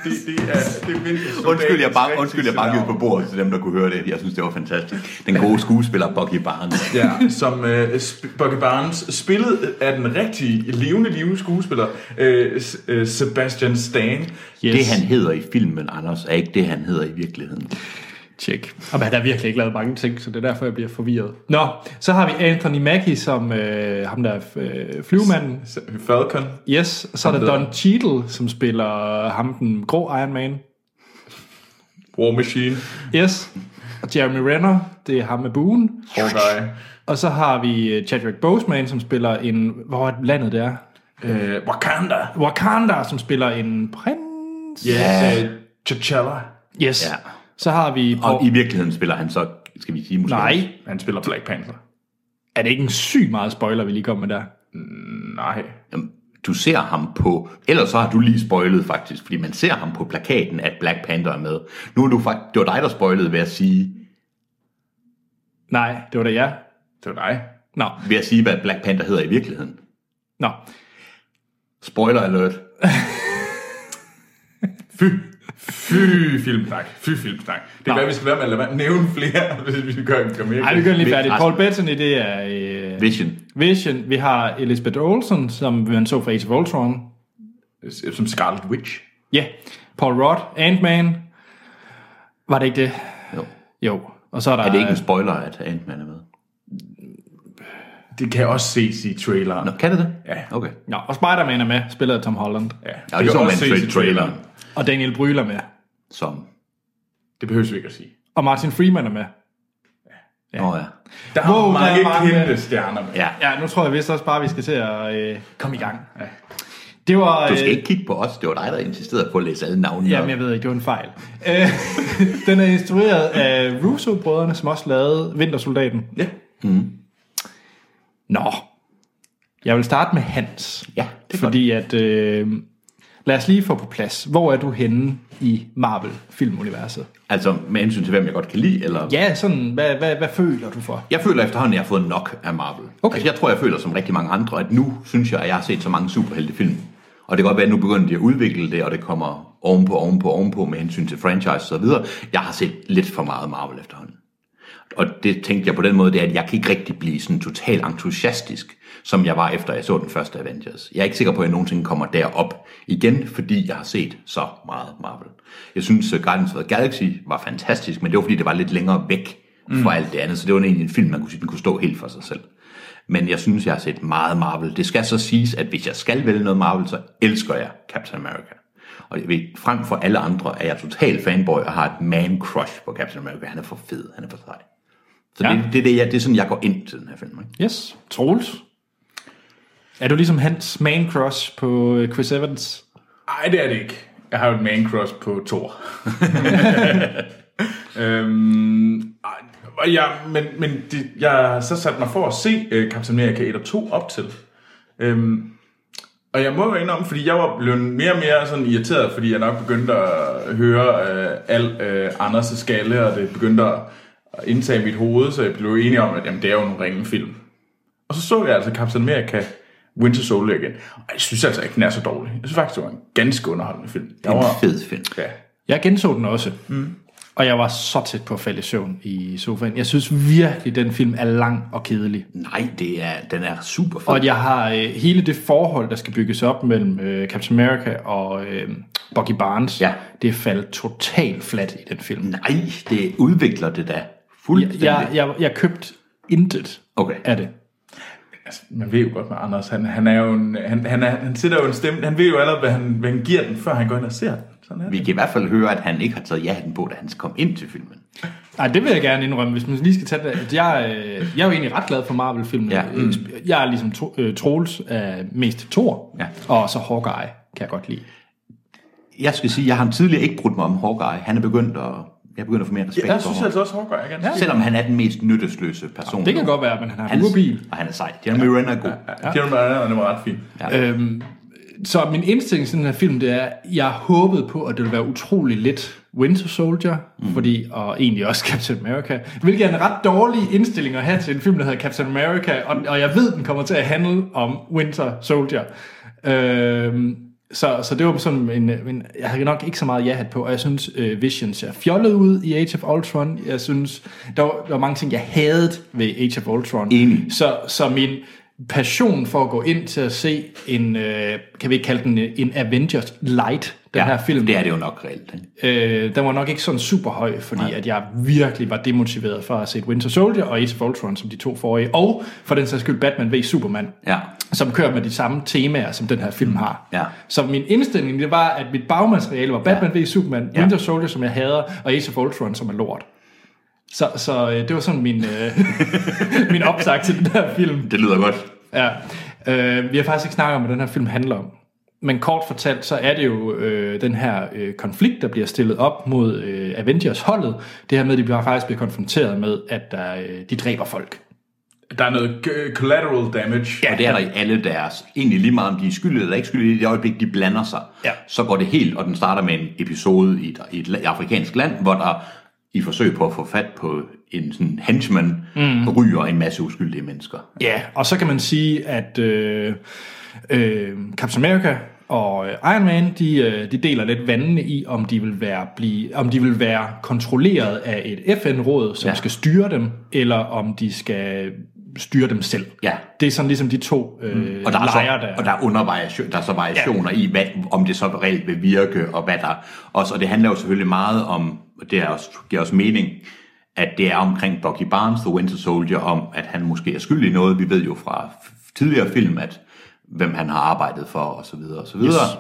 det, det er, det er virkelig soldatens Undskyld, jeg, bare, rigtige undskyld, jeg bankede navn. på bordet til dem, der kunne høre det. Jeg synes, det var fantastisk. Den gode skuespiller, Bucky Barnes. Ja, som øh, sp- Bucky Barnes spillet af den rigtige levende, levende skuespiller, øh, S- øh, Sebastian Stan. yes. Det, han hedder i filmen, Anders, er ikke det, han hedder i virkeligheden. Tjek. Og han har virkelig ikke lavet mange ting, så det er derfor, jeg bliver forvirret. Nå, så har vi Anthony Mackie som øh, ham der er, øh, flyvemanden. S- Falcon. Yes, så er der Don Cheadle, som spiller øh, ham den grå Iron Man. War Machine. Yes. Og Jeremy Renner, det er ham med buen. Hawkeye. Og så har vi øh, Chadwick Boseman, som spiller en... Hvor er landet det er? Øh, Wakanda. Wakanda, som spiller en prins. Ja. Øh, T'Challa. Yes. Ja. Så har vi... Og Paul... i virkeligheden spiller han så, skal vi sige måske... Nej, Han spiller Black Panther. er det ikke en syg meget spoiler, vi lige kom med der? Mm, Nej. Jamen, Du ser ham på... Ellers så har du lige spoilet faktisk, fordi man ser ham på plakaten, at Black Panther er med. Nu er du faktisk... Det var dig, der spoilede ved at sige, Nej, det var da jeg. Det var dig. Nå, ved at sige hvad Black Panther hedder i virkeligheden. nå. Spoiler alert. Fy. Fy filmsnak. Fy filmsnak. Det Nå. kan være, vi skal være med at lade være- nævne flere, (laughs) hvis vi gør, gør mere. Ej, vi gør den lige Vig- færdigt. altså- Rasmus. Paul Bettany, det er øh, Vision. Vision. Vi har Elizabeth Olsen, som man så fra Age of Ultron. Som Scarlet Witch. Ja, Paul Rudd, Ant-Man. Var det ikke det? Jo. Jo. Og så er der... Er det ikke en spoiler, at Ant-Man er med? Det kan også ses i traileren. Nå, kan det det? Ja. Okay. Nå, og Spider-Man er med, spillet af Tom Holland. Ja, Og det kan så man også ses tra- i traileren, Og Daniel Brühl er med. som... Det behøver vi ikke at sige. Og Martin Freeman er med. Ja. Nå ja. Der er Wow, wow, der mange, er mange- kendte stjerner med. Ja. Ja, nu tror jeg vist også bare, vi skal til at øh, komme i gang. Ja. Det var... Du skal øh, ikke kigge på os. Det var dig, der insisterede på at læse alle navnene. Jamen, jeg ved ikke, det var en fejl. Øh, (laughs) den er instrueret af Russo-brødrene, som også lavede Vintersoldaten. Ja. Nå, jeg vil starte med Hans. Ja, det er Fordi at, øh, lad os lige få på plads. Hvor er du henne i Marvel-filmuniverset? Altså, med hensyn til, hvem jeg godt kan lide, eller... Ja, sådan, hvad, hvad, hvad føler du for? Jeg føler efterhånden, at jeg har fået nok af Marvel. Okay. Altså, jeg tror, jeg føler som rigtig mange andre, at nu synes jeg, at jeg har set så mange superheltefilm. Og det kan godt være, at nu begynder de at udvikle det, og det kommer ovenpå, ovenpå, ovenpå med hensyn til franchise og så videre. Jeg har set lidt for meget Marvel efterhånden. Og det tænkte jeg på den måde, det er, at jeg kan ikke rigtig blive sådan totalt entusiastisk, som jeg var efter jeg så den første Avengers. Jeg er ikke sikker på, at jeg nogensinde kommer derop igen, fordi jeg har set så meget Marvel. Jeg synes, øh, Guardians of the Galaxy var fantastisk, men det var fordi, det var lidt længere væk fra alt det andet, så det var egentlig en film, man kunne sige, den kunne stå helt for sig selv. Men jeg synes, jeg har set meget Marvel. Det skal så siges, at hvis jeg skal vælge noget Marvel, så elsker jeg Captain America. Og jeg ved, frem for alle andre er jeg total fanboy og har et man-crush på Captain America. Han er for fed, han er for sej. Så Ja. ja. det, det, er det, jeg, det er sådan, jeg går ind til den her film. Ikke? Yes, Troels. Er du ligesom hans man crush på øh, Chris Evans? Nej, det er det ikke. Jeg har jo et man crush på Thor. øhm, ej, og jeg, men men det, jeg har så sat mig for at se uh, Captain America 1 og 2 op til. Øhm, og jeg må jo indrømme, fordi jeg var blevet mere og mere sådan irriteret, fordi jeg nok begyndte at høre øh, al øh, Anders' skalle, og det begyndte at at indtage mit hoved, så jeg blev enig om, at jamen, det er jo en ringe film. Og så så jeg altså Captain America Winter Soldier igen. Og jeg synes altså ikke, den er så dårlig. Jeg synes faktisk, det var en ganske underholdende film. Jeg Det er var, en fed film. ja. Jeg genså den også. Mm. Og jeg var så tæt på at falde i søvn i sofaen. Jeg synes virkelig, den film er lang og kedelig. Nej, det er, den er super fed. Og at jeg har øh, hele det forhold, der skal bygges op mellem øh, Captain America og øh, Bucky Barnes, Ja. det faldt totalt fladt i den film. Nej, det udvikler det da fuldstændig. Jeg, jeg, jeg købte intet Okay. af det. Altså, man ved jo godt med Anders, han, han er jo en, han, han, er, han sætter jo en stemme, han ved jo allerede, hvad han, hvad han giver den, før han går ind og ser den. Sådan er Vi det. kan i hvert fald høre, at han ikke har taget ja-hatten på, da han kom ind til filmen. Ej, det vil jeg gerne indrømme, hvis man lige skal tage det. at Jeg, øh, jeg er jo egentlig ret glad for Marvel-filmene. Ja. Mm. Jeg er ligesom to, øh, Troels af mest Thor, Ja. og så Hawkeye kan jeg godt lide. Jeg skal sige, jeg har tidligere ikke brudt mig om Hawkeye. Han er begyndt at, jeg er begyndt at få mere respekt Jeg for synes ham. altså også, Hawkeye er ganske ja. Selvom han er den mest nyttesløse person. Det kan nu. godt være, men han har en Han urbil. Og han er sej. Jeremy ja. Renner er god. Ja. Det var, den var ret fin. Øhm, så min indstilling til den her film, det er, jeg håbede på, at det ville være utrolig lidt Winter Soldier, mm. fordi, og egentlig også (laughs) Captain America, hvilket er en ret dårlig indstilling at have til en film, der hedder Captain America, og, og jeg ved, den kommer til at handle om Winter Soldier. Øhm, så, så det var sådan en, en... Jeg havde nok ikke så meget ja-hat på, og jeg synes, øh, Vision ser fjollet ud i Age of Ultron. Jeg synes, der var, der var mange ting, jeg hadede ved Age of Ultron. Enig. Så, så min passion for at gå ind til at se en, øh, kan vi ikke kalde den øh, en Avengers Light, den Ja, ja, her film, Det er det jo nok reelt. ikke? øh, den var nok ikke sådan super høj, fordi at jeg virkelig var demotiveret for at se Winter Soldier og Age of Ultron som de to forrige, og for den sags skyld Batman v Superman, Ja. Mm. som kører med de samme temaer, som den her film har. Ja. Så min indstilling, det var, at mit bagmateriale var Batman ja. v Superman, Ja. Winter Soldier, som jeg hader, og Age of Ultron, som er lort. Så, så øh, det var sådan min, øh, (laughs) min opsag til den her film. Det lyder godt. Ja. Øh, vi har faktisk ikke snakket om, hvad den her film handler om. Men kort fortalt, så er det jo øh, den her øh, konflikt, der bliver stillet op mod øh, Avengers-holdet. Det her med, at de bliver faktisk bliver konfronteret med, at der, øh, de dræber folk. Der er noget g- collateral damage. Og det er der i alle deres, egentlig lige meget om de er skyldige eller ikke skyldige, i det øjeblik, de blander sig, Ja. så går det helt, og den starter med en episode i et, i et la- afrikansk land, hvor der i forsøg på at få fat på en sådan henchman, mm. ryger en masse uskyldige mennesker. Ja, og så kan man sige, at øh, øh, Captain America og øh, Iron Man, de, øh, de deler lidt vandene i, om de vil være, blive, om de vil være kontrolleret af et FN-råd, som Ja. ja. skal styre dem, eller om de skal styre dem selv. Ja. Det er sådan ligesom de to øh, mm. Og der, er lejre, så, der og der er undervariation, der er så variationer ja. i, hvad, om det så reelt vil virke, og hvad der også, og det handler jo selvfølgelig meget om, og det er også, giver også mening, at det er omkring Bucky Barnes, The Winter Soldier, om at han måske er skyldig i noget. Vi ved jo fra f- tidligere film, at hvem han har arbejdet for, og så videre, og så videre. Yes.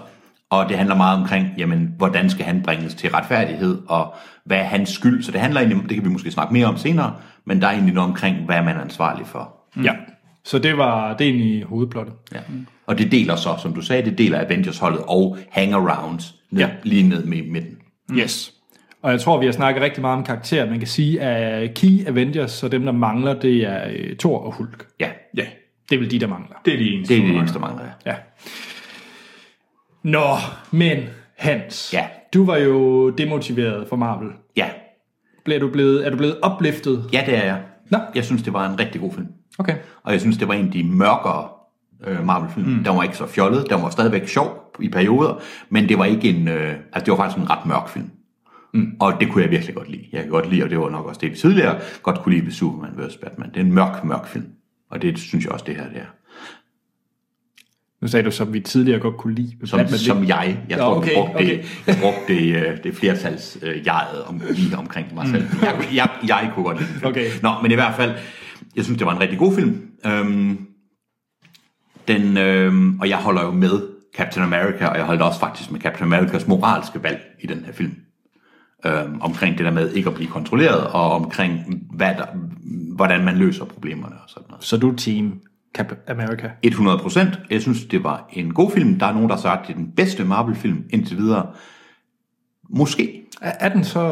Og det handler meget omkring, jamen, hvordan skal han bringes til retfærdighed, og hvad er hans skyld? Så det handler egentlig, det kan vi måske snakke mere om senere, men der er egentlig noget omkring, hvad man er ansvarlig for. Ja, Mm. så det var det er egentlig hovedplottet. Ja. Og det deler så, som du sagde, det deler Avengers-holdet og hangarounds ned, ja. Ja. lige ned med i midten. Mm. Yes. Og jeg tror, vi har snakket rigtig meget om karakterer. Man kan sige, at Key Avengers, så dem, der mangler, det er øh, Thor og Hulk. Ja, Ja, Det er vel de, der mangler. det er de eneste. det er det eneste, der mangler. ja. Ja. Nå, men Hans, Ja. du var jo demotiveret for Marvel. Ja, Bliver du blevet, er du blevet opliftet? ja det er jeg. Nå. Jeg synes, det var en rigtig god film. Okay. Og jeg synes, det var en af de mørkere øh, Marvel-film. Mm. Den var ikke så fjollet, den var stadigvæk sjov i perioder, men det var ikke en, øh, altså det var faktisk en ret mørk film. Mm. Og det kunne jeg virkelig godt lide. Jeg kan godt lide, og det var nok også det, vi tidligere godt kunne lide ved Superman vs. Batman. Det er en mørk, mørk film. Og det synes jeg også, det her det er. Nu sagde du, som vi tidligere godt kunne lide. Som, Batman, Batman, det- som jeg. Jeg Nå, tror, okay, okay, brugte okay. det, jeg brugte det, øh, det flertals øh, jeget om, lige omkring mig selv. Jeg, jeg, jeg kunne godt lide den film. Mm. Okay. Nå, men i hvert fald, jeg synes, det var en rigtig god film. Øhm, den, øhm, og jeg holder jo med Captain America, og jeg holdt også faktisk med Captain Americas moralske valg i den her film. Øhm, omkring det der med ikke at blive kontrolleret, og omkring, hvad der, hvordan man løser problemerne og sådan noget. Så du er team Cap America. 100 procent. Jeg synes, det var en god film. Der er nogen, der har sagt, det er den bedste Marvel-film indtil videre. Måske. Er, er den så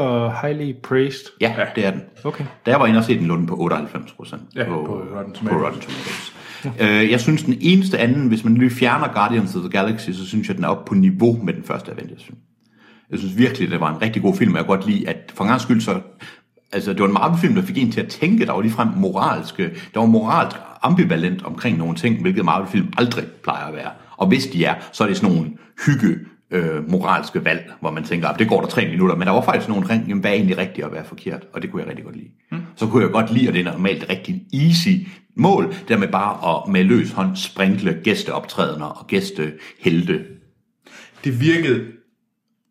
highly praised? Ja, ja. det er den. Okay. Da jeg var inde og se den, lå den på 98 procent. Ja, på, på Rotten På Tomatoes. Rotten Tomatoes. Ja. Øh, jeg synes, den eneste anden, hvis man lige fjerner Guardians of the Galaxy, så synes jeg, den er oppe på niveau med den første Avengers-film. Jeg synes virkelig, det var en rigtig god film, og jeg kan godt lide, at for en gangs skyld, så, altså, det var en Marvel-film, der fik en til at tænke, der var ligefrem moralske, der var moralsk ambivalent omkring nogle ting, hvilket Marvel-film aldrig plejer at være. Og hvis de er, så er det sådan nogle hygge, øh, moralske valg, hvor man tænker, at det går der tre minutter, men der var faktisk nogle omkring, jamen, hvad er egentlig rigtigt og hvad er forkert, og det kunne jeg rigtig godt lide. Mm. Så kunne jeg godt lide, at det er normalt rigtig easy mål, det der med bare at med løs hånd sprinkle gæsteoptrædener og gæstehelte. Det virkede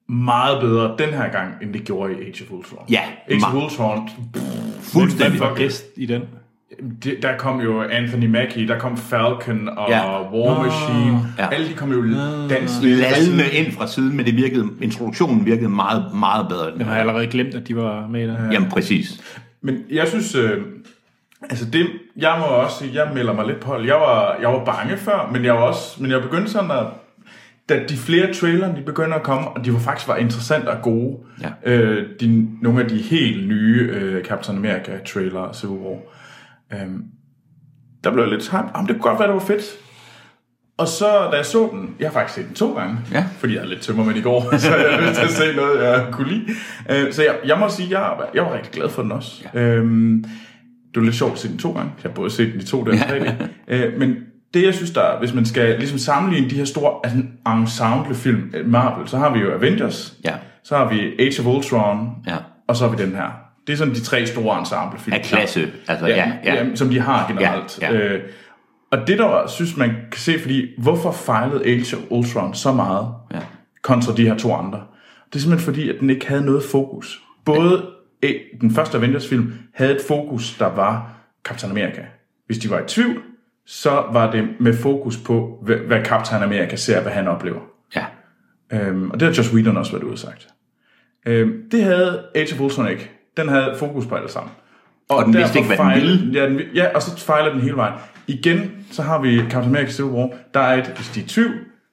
meget bedre den her gang, end det gjorde i Age of Ultron. Ja, Age of meget. Ultron, Fuldstændig. Hvem fuck- Gæst i den. det, der kom jo Anthony Mackie, der kom Falcon og Ja. War Machine. Ja. Alle de kom jo dansende. lallende ind fra siden, men det virkede, introduktionen virkede meget, meget bedre. End Jeg har allerede glemt, at de var med i den. Jamen præcis. Men jeg synes, øh, altså det, jeg må også sige, jeg melder mig lidt på hold. Jeg var, jeg var bange før, men jeg var også, men jeg begyndte sådan at, da de flere trailerne, de begynder at komme, og de var faktisk var interessante og gode. Ja. Øh, de, nogle af de helt nye øh, Captain America trailer og Civil War. Øh, der blev jeg lidt hype. Jamen, det kunne godt være, det var fedt. Og så, da jeg så den, jeg har faktisk set den to gange, Ja. fordi jeg er lidt tømmermænd i går, (laughs) så jeg er nødt til at se noget, jeg kunne lide. Øh, Så jeg, jeg må sige, jeg, jeg var rigtig glad for den også. Ja. Øhm, det var lidt sjovt at se den to gange. Jeg har både set den i to dage og tre dage. Øh, Men det, jeg synes, der er- hvis man skal ligesom sammenligne de her store altså, ensemble film Marvel, så har vi jo Avengers, Ja. så har vi Age of Ultron, Ja. og så har vi den her. Det er sådan de tre store ensemble film. Af klasse. Altså, ja, ja. ja. Jamen, som de har generelt. Ja, Ja, ja. ja. Øh, og det der synes man kan se, fordi hvorfor fejlede Age of Ultron så meget Ja. kontra de her to andre? Det er simpelthen fordi, at den ikke havde noget fokus. Både ja. den første Avengers film havde et fokus, der var Captain America. Hvis de var i tvivl, så var det med fokus på, hvad- hvad Captain America ser, hvad han oplever. ja. Øhm, og det har Joss Whedon også været ude og sagt. Øhm, det havde Age of Ultron ikke. Den havde fokus på alle sammen. Og den vidste derfor ikke, hvad den fejlede- ville. Ja, den, vi- ja, og så fejler den hele vejen. Igen, så har vi Captain America Civil War. Der er et, hvis de er i tvivl,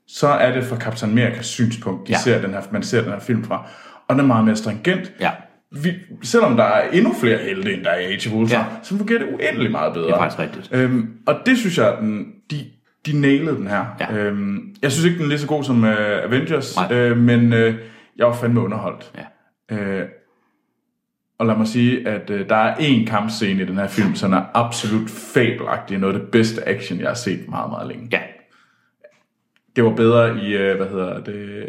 så er det fra Captain Americas synspunkt, de Ja. ja. ser den her, man ser den her film fra. Og den er meget mere stringent. Ja. Vi, selvom der er endnu flere helte, end der er i Age of Ultron, Ja. ja. så fungerer det uendelig meget bedre. Det er faktisk rigtigt. Øhm, og det synes jeg, den, de, de nailede den her. Ja. Øhm, jeg synes ikke, den er lige så god som øh, Avengers, Nej. øh, men øh, jeg var fandme underholdt. ja. Øh, og lad mig sige, at øh, der er én kampscene i den her film, som er absolut fabelagtig. Noget af det bedste action, jeg har set meget, meget længe. Ja. Det var bedre i, øh, hvad hedder det,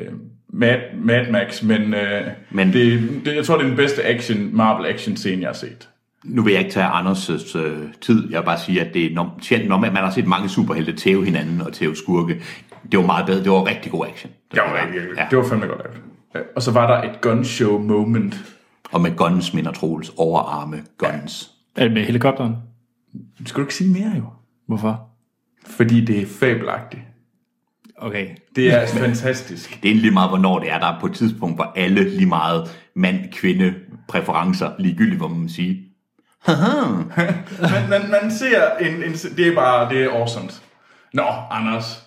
Mad, Mad Max, men, øh, Men- men... Det, det, jeg tror, det er den bedste action, Marvel action scene, jeg har set. Nu vil jeg ikke tage Anders' øh, tid. Jeg vil bare sige, at det er norm- sjældent normalt. Man har set mange superhelte tæve hinanden og tæve skurke. Det var meget bedre. Det var rigtig god action. Det var, ja. ja. det var fandme godt lavet. Øh, Og så var der et gunshow moment. Og med guns, minder Troels. Overarme, guns. Er det med helikopteren? Skal du ikke sige mere jo? Hvorfor? Fordi det er fabelagtigt. Okay. Det er altså fantastisk. Det er lige meget, hvornår det er. Der er på et tidspunkt, hvor alle lige meget mand, kvinde, præferencer, ligegyldigt, hvor man må sige. Man, man, man ser en, en... Det er bare... Det er awesome. Nå, Anders.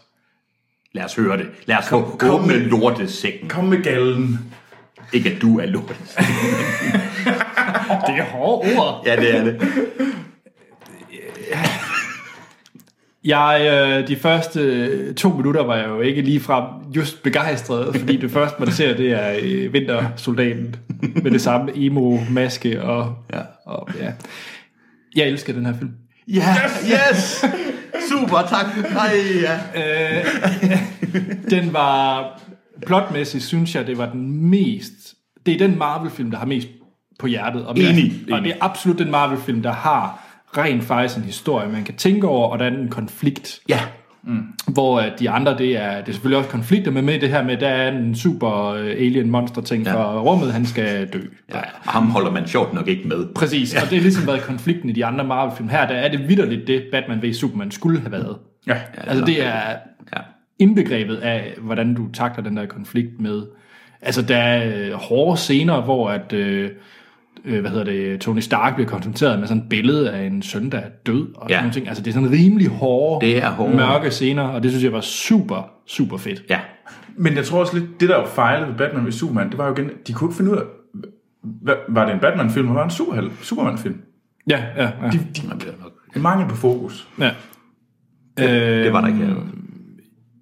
Lad os høre det. Lad os få kom åbne med- lortesækken. Kom med gallen. Ikke at du er lort. Det er hårde ord. ja, det er det. Jeg, øh, de første øh, to minutter var jeg jo ikke ligefrem just begejstret, fordi det første, man ser, det er øh, vintersoldaten med det samme emo-maske. Og, Ja. Og, ja. Jeg elsker den her film. Ja, yes! yes! Super, tak. Hej, ja. Den var plotmæssigt, synes jeg, det var den mest det er den Marvel-film, der har mest på hjertet. Og, mere, Enig, og enig. det er absolut den Marvel-film, der har rent faktisk en historie, man kan tænke over, og der er en konflikt. Ja, Hvor øh, de andre, det er, det er selvfølgelig også konflikter, men med i det her med, der er en super øh, alien monster ting ja. Ja. fra rummet, han skal dø. ja. Og ham holder man sjovt nok ikke med. Præcis, ja. og det har ligesom været konflikten i de andre Marvel-film. Her der er det vidderligt det, Batman v Superman skulle have været. Ja. Altså det er Ja. indbegrebet af, hvordan du takler den der konflikt med. Altså der er øh, hårde scener, hvor at, øh, øh, hvad hedder det, Tony Stark bliver konfronteret med sådan et billede af en søn, der er død. Og ja. Ja. sådan nogle ting. Altså det er sådan rimelig hårde, Det er hårde. mørke scener, og det synes jeg var super, super fedt. Ja. Men jeg tror også lidt, det der jo fejlede ved Batman ved Superman, det var jo igen, de kunne ikke finde ud af, hva- var det en Batman-film, eller var det en superhel- Superman-film? Ja, ja, ja. De, de, Jamen, det er nok- en mangel på fokus. ja. Øh, Det var der ikke.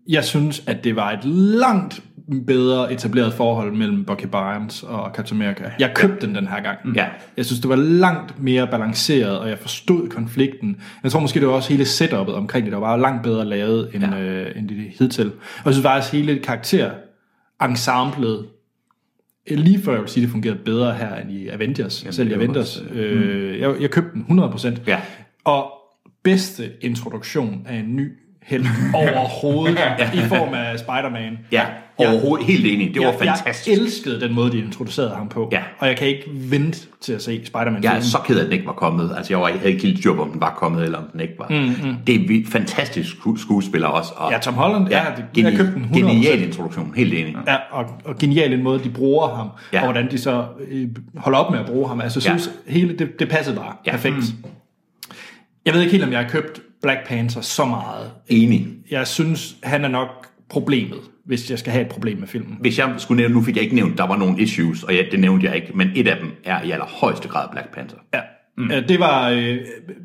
jeg synes, at det var et langt bedre etableret forhold mellem Bucky Barnes og Captain America. Jeg købte den den her gang. Ja. Jeg synes, det var langt mere balanceret, og jeg forstod konflikten. Jeg tror måske, det var også hele setupet omkring det, der var langt bedre lavet, end, ja. Ja. øh, end det hidtil. Og jeg synes faktisk, hele karakter ensemblet øh, lige før jeg vil sige, det fungerede bedre her end i Avengers. Jamen, Selv i det var Avengers. Også, øh, jeg, jeg købte den 100%. Ja. Og bedste introduktion af en ny held (laughs) overhovedet i form af Spider-Man. Ja, overhovedet helt enig. Det var jeg, fantastisk. Jeg elskede den måde, de introducerede ham på. Ja. Og jeg kan ikke vente til at se Spider-Man. Jeg er filmen. så ked af, at den ikke var kommet. Altså, jeg var- jeg havde ikke helt job, om den var kommet, eller om den ikke var. Mm-hmm. Det er vi- fantastisk sku- skuespiller også. Og Ja, Tom Holland, ja, det- jeg købte den 100%. Genial introduktion, helt enig. Ja, og, og genial en måde, de bruger ham, ja. Ja. og hvordan de så øh, holder op med at bruge ham. Altså, jeg Ja. synes, ja. hele det, det passede bare ja. Ja. perfekt. Mm. Jeg ved ikke helt, om jeg har købt Black Panther så meget. Enig. Jeg synes, han er nok problemet, hvis jeg skal have et problem med filmen. Hvis jeg skulle nævne, nu fik jeg ikke nævnt, der var nogle issues, og ja, det nævnte jeg ikke, men et af dem er i allerhøjeste grad Black Panther. Ja. Mm. Det var øh,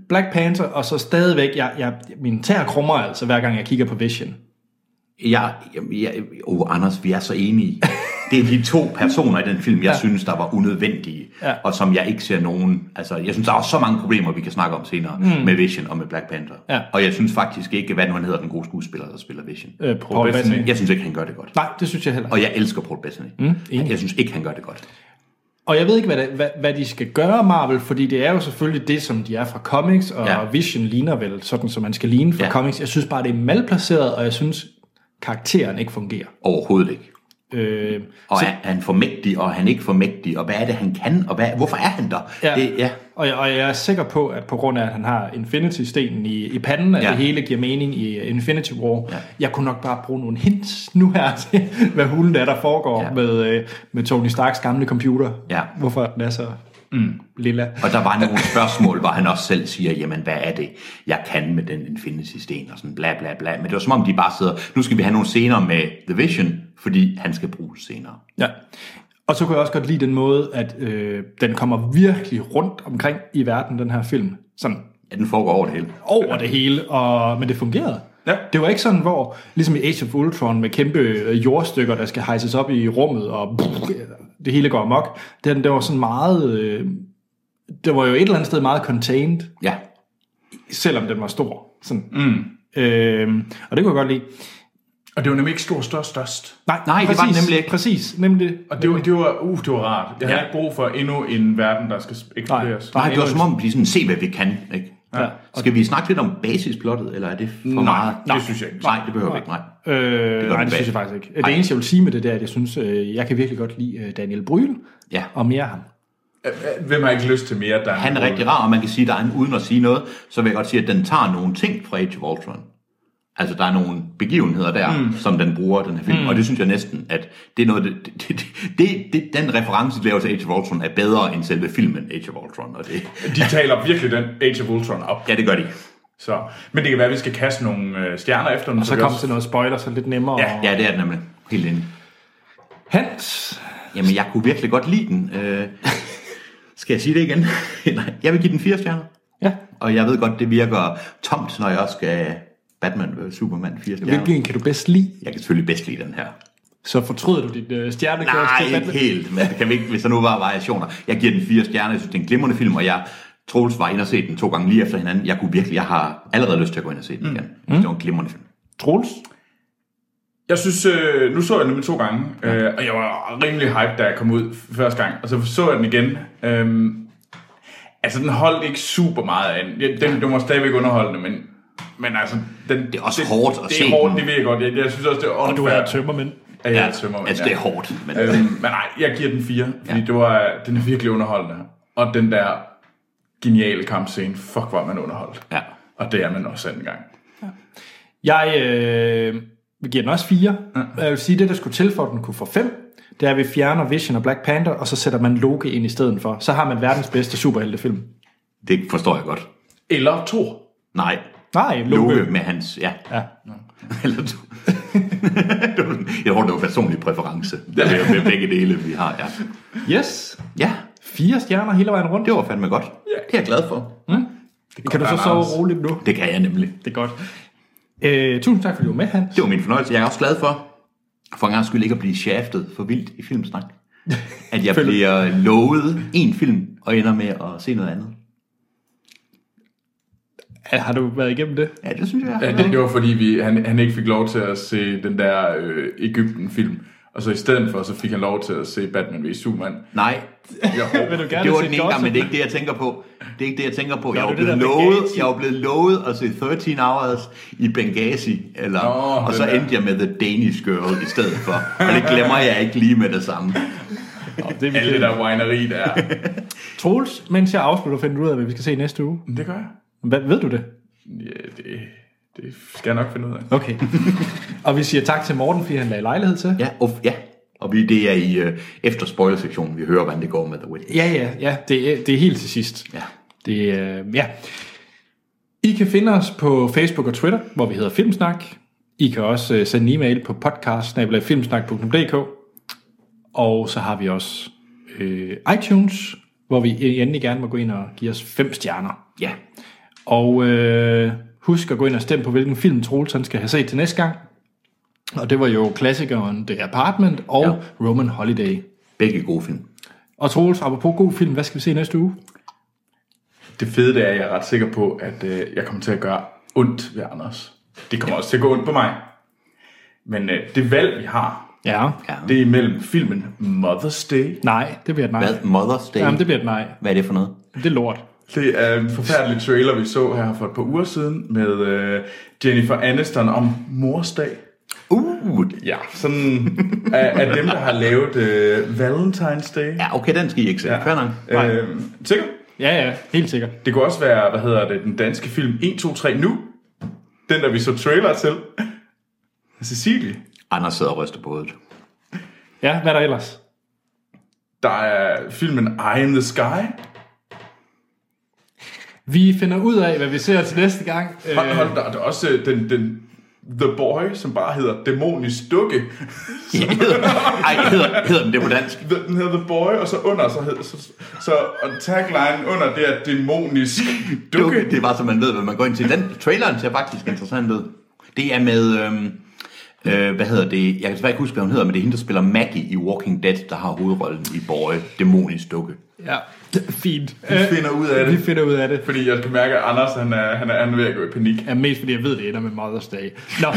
Black Panther, og så stadigvæk, jeg, jeg, min tær krummer altså, hver gang jeg kigger på Vision. Jeg, jeg, jeg, oh, Anders, vi er så enige. Det er de to personer i den film, jeg ja. synes, der var unødvendige, Ja. og som jeg ikke ser nogen... Altså, jeg synes, der er så mange problemer, vi kan snakke om senere mm. med Vision og med Black Panther. Ja. Og jeg synes faktisk ikke, hvad nu han hedder, den gode skuespiller, der spiller Vision. Øh, Paul, Paul Bettany. Jeg synes ikke, han gør det godt. Nej, det synes jeg heller ikke. Og jeg elsker Paul Bettany. Mm, jeg synes ikke, han gør det godt. Og jeg ved ikke, hvad, det, hvad, hvad de skal gøre Marvel, fordi det er jo selvfølgelig det, som de er fra comics, og ja. Ja. Vision ligner vel sådan, som man skal ligne fra ja. Ja. comics. Jeg synes bare, det er malplaceret, og jeg synes, karakteren ikke fungerer. Overhovedet ikke. Øh, Og er han for mægtig, og er han ikke for mægtig, og hvad er det, han kan, og hvad, hvorfor er han der? Ja. Det, ja. og, jeg, og jeg er sikker på, at på grund af, at han har Infinity-stenen i, i panden, at ja. Ja. det hele giver mening i uh, Infinity War. Ja. Ja. Jeg kunne nok bare bruge nogle hints nu her (laughs) til, hvad hulen er, der foregår ja. Ja. med, øh, med Tony Starks gamle computer. Ja. Hvorfor den er så mm, lilla. Og der var nogle spørgsmål, hvor han også selv siger, jamen hvad er det, jeg kan med den Infinity-sten, og sådan bla bla bla. Men det var som om, de bare sidder, nu skal vi have nogle scener med The Vision, fordi han skal bruges senere. Ja. Og så kunne jeg også godt lide den måde, at øh, den kommer virkelig rundt omkring i verden, den her film. Sådan Ja, den foregår over det hele. over det hele, og, men det fungerede. Ja. Det var ikke sådan, hvor ligesom i Age of Ultron med kæmpe øh, jordstykker, der skal hejses op i rummet, og (laughs) brrr, det hele går amok. Den, det var sådan meget... Øh, det var jo et eller andet sted meget contained, Ja, selvom den var stor. Sådan. Mm. Øh, og det kunne jeg godt lide. Og det var nemlig ikke stor, størst, størst. Nej, Nej, det var den nemlig ikke. Præcis, nemlig det. Og det var, det var, uh, det var rart. Jeg havde Ja. ikke brug for endnu en verden, der skal eksploderes. nej, det var som om, de sådan, se hvad vi kan, ikke? Ja. Skal vi snakke lidt om basisplottet, eller er det for nej, meget? det synes jeg ikke. Nej, det behøver vi ikke, Øh, nej. det gør nej, det den bag. synes jeg faktisk ikke. Nej. Det eneste, jeg vil sige med det, der, er, at jeg synes, øh, jeg kan virkelig godt lide øh, Daniel Bryl Ja. og mere ham. Hvem har ikke lyst til mere? Der Han er rigtig rar, og man kan sige, der er en, uden at sige noget, så vil jeg godt sige, at den tager nogle ting fra Age of Ultron. Altså, der er nogle begivenheder der, mm. som den bruger, den her film. Mm. Og det synes jeg næsten, at det er noget, det, det, det, det, det, den reference, de laver til Age of Ultron, er bedre end selve filmen Age of Ultron. Og det, De taler virkelig den Age of Ultron op. ja, det gør de. Så. Men det kan være, at vi skal kaste nogle øh, stjerner efter den. Og så vi kom også- til noget spoiler, så lidt nemmere. Ja. Ja, det er den nemlig. Helt enig. Hans, Jamen, jeg kunne virkelig godt lide den. Øh, skal jeg sige det igen? (laughs) Nej, jeg vil give den fire stjerner. ja. Og jeg ved godt, det virker tomt, når jeg også skal Batman vs. Superman fire stjerner. hvilken kan du bedst lide? Jeg kan selvfølgelig bedst lide den her. Så fortryder du dit øh, stjernekast Nej, til ikke Batman? helt, men kan vi ikke, hvis der nu var variationer. Jeg giver den fire stjerner, jeg synes, det er en glimrende film, og jeg Troels var inde og se den to gange lige efter hinanden. Jeg kunne virkelig, jeg har allerede lyst til at gå ind og se den igen. Mm. Det var en glimrende film. Troels? Jeg synes, øh, nu så jeg den nemlig to gange, øh, og jeg var rimelig hyped, da jeg kom ud f- første gang, og så så jeg den igen. Øh, altså, den holdt ikke super meget an. Jeg- Den, den var stadigvæk underholdende, men, men altså... Den, det er også hårdt at det, se Det er hårdt, den. det ved jeg godt. Jeg, jeg synes også, det er Og unfair. du er tømmermænd. at jeg er tømmermand, altså, det er hårdt. Men, øhm, men nej, jeg giver den 4, fordi ja. det var, den er virkelig underholdende. Og den der geniale kampscene, fuck var man underholdt. ja. Og det er man også anden gang. Jeg øh, giver den også 4. Jeg vil sige, det der skulle til for, at den kunne få 5, det er, at vi fjerner Vision og Black Panther, og så sætter man Loki ind i stedet for. Så har man verdens bedste superheltefilm. Det forstår jeg godt. Eller to. Nej, Nej, Loki. Loke med hans, ja. Ja. (laughs) Eller du. (laughs) Det var- jeg tror, det var personlig præference. Det er med begge dele, vi har, ja. Yes. Ja, Fire stjerner hele vejen rundt. det var fandme godt. Det er jeg glad for. kan du så godt, sove Anders. roligt nu? Det kan jeg nemlig. Det er godt. Øh, tusind tak, fordi du var med, Hans. Det var min fornøjelse. Jeg er også glad for, for en gang skyld ikke at blive shaftet for vildt i filmsnak. (laughs) At jeg bliver lovet en film, og ender med at se noget andet. Har du været igennem det? Ja, det synes jeg. Ja, det, det var fordi, vi, han, han ikke fik lov til at se den der øh, Ægypten-film. Og så i stedet for, så fik han lov til at se Batman vs. Superman. Nej, (laughs) Vil du gerne det var se den ene gang, Dawson? men det er ikke det, jeg tænker på. Det er ikke det, jeg tænker på. Jeg det var er det blevet, der lovet, Benghazi. jeg var blevet lovet at se 13 Hours i Benghazi, eller, Nå, og det så der. endte jeg med The Danish Girl i stedet for. Og det glemmer jeg ikke lige med det samme. Det er vi Alt det ked af. der winery der. er. Troels, mens jeg afslutter, finder du ud af, hvad vi skal se næste uge. Men det gør jeg. Hvad, ved du det? Ja, det, det skal jeg nok finde ud af. Okay. (laughs) og vi siger tak til Morten, fordi han lagde lejlighed til. Ja, uff, ja. Og vi, det er i øh, efter spoiler-sektionen, vi hører, hvordan det går med The Witch. Ja, ja, ja. Det, er- det er helt til sidst. Ja. Det, er- øh, ja. I kan finde os på Facebook og Twitter, hvor vi hedder Filmsnak. I kan også øh, sende en e-mail på podcast Og så har vi også øh, iTunes, hvor vi endelig gerne må gå ind og give os fem stjerner. ja. Og øh, husk at gå ind og stemme på, hvilken film Troels han skal have set til næste gang. Og det var jo klassikeren The Apartment og ja. Roman Holiday. Begge gode film. Og Troels, apropos god film, hvad skal vi se næste uge? Det fede det er, at jeg er ret sikker på, at øh, jeg kommer til at gøre ondt ved Anders. Det kommer også til at gå ondt på mig. Men øh, det valg, vi har, Ja. Ja. Det, det er imellem filmen Mother's Day. Nej, det bliver et nej. Hvad? Mother's Day? Jamen, det bliver et nej. Hvad er det for noget? Det er lort. Det er en forfærdelig trailer, vi så her for et par uger siden med øh, Jennifer Aniston om morsdag. Uh, Ja, sådan af, af dem, der har lavet øh, Valentine's Day. ja, okay, den skal I ikke se. Ja. Fair nok. Øh, sikker? Ja, ja, helt sikkert. Det kunne også være, hvad hedder det, den danske film 1, 2, 3 nu. Den, der vi så trailer til. Cecilie. Anders sidder og ryster på hovedet. (laughs) Ja, hvad er der ellers? Der er filmen Eye in the Sky. Vi finder ud af, hvad vi ser til næste gang. Øh, Hold, hold, der, der er også øh, den, den The Boy, som bare hedder Dæmonisk Dukke. Ja, hedder, ej, hedder, hedder den det på dansk? The- Den hedder The Boy, og så under, så, hed, så, så og tagline under, det er Dæmonisk Dukke. dukke. Det var, så man ved, hvad man går ind til. Den traileren ser faktisk interessant ud. Det er med, øhm, øh, hvad hedder det, jeg kan desværre ikke huske, hvad hun hedder, men det er hende, der spiller Maggie i Walking Dead, der har hovedrollen i Boy, dæmonisk dukke. Ja, det er fint. Vi finder ud af Vi det. finder ud af det. Fordi jeg kan mærke, at Anders han er, han er, han er ved at gå i panik. Ja, mest fordi jeg ved, det ender med Mother's Day. Nå.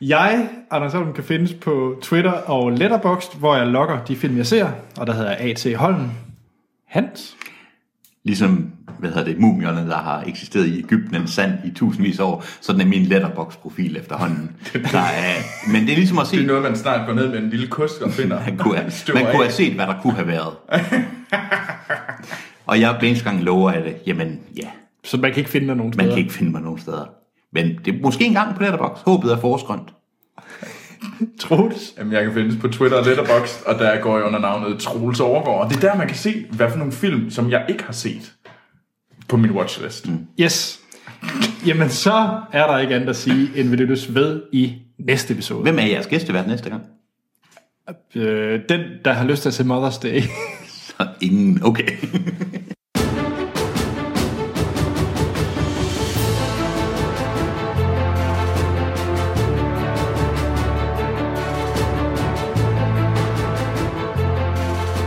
jeg, Anders Holm, kan findes på Twitter og Letterboxd, hvor jeg logger de film, jeg ser. Og der hedder jeg A.T. Holm. Hans. Ligesom, hvad hedder det, mumierne, der har eksisteret i Ægypten eller sand i tusindvis af år, sådan er min letterbox-profil efterhånden. Der er, men det er ligesom at se, Det er noget, man snart går ned med en lille kost og finder. (laughs) man kunne, have, Støver man af. kunne have set, hvad der kunne have (laughs) været. Og jeg hver eneste gang lover af det, jamen ja, Så man kan ikke finde dig nogen Man steder. kan ikke finde mig nogen steder. Men det er måske engang på Letterbox. Håbet er forårsgrønt. Troels. Jamen, jeg kan findes på Twitter og Letterboxd, og der går jeg under navnet Troels Overgaard. Og det er der, man kan se, hvad for nogle film, som jeg ikke har set på min watchlist. Mm. Yes. Jamen, så er der ikke andet at sige, end vi lyttes ved i næste episode. Hvem er jeres gæstevært næste gang? (laughs) Øh, den, der har lyst til at se Mother's Day. (laughs) Så ingen. Okay. (laughs)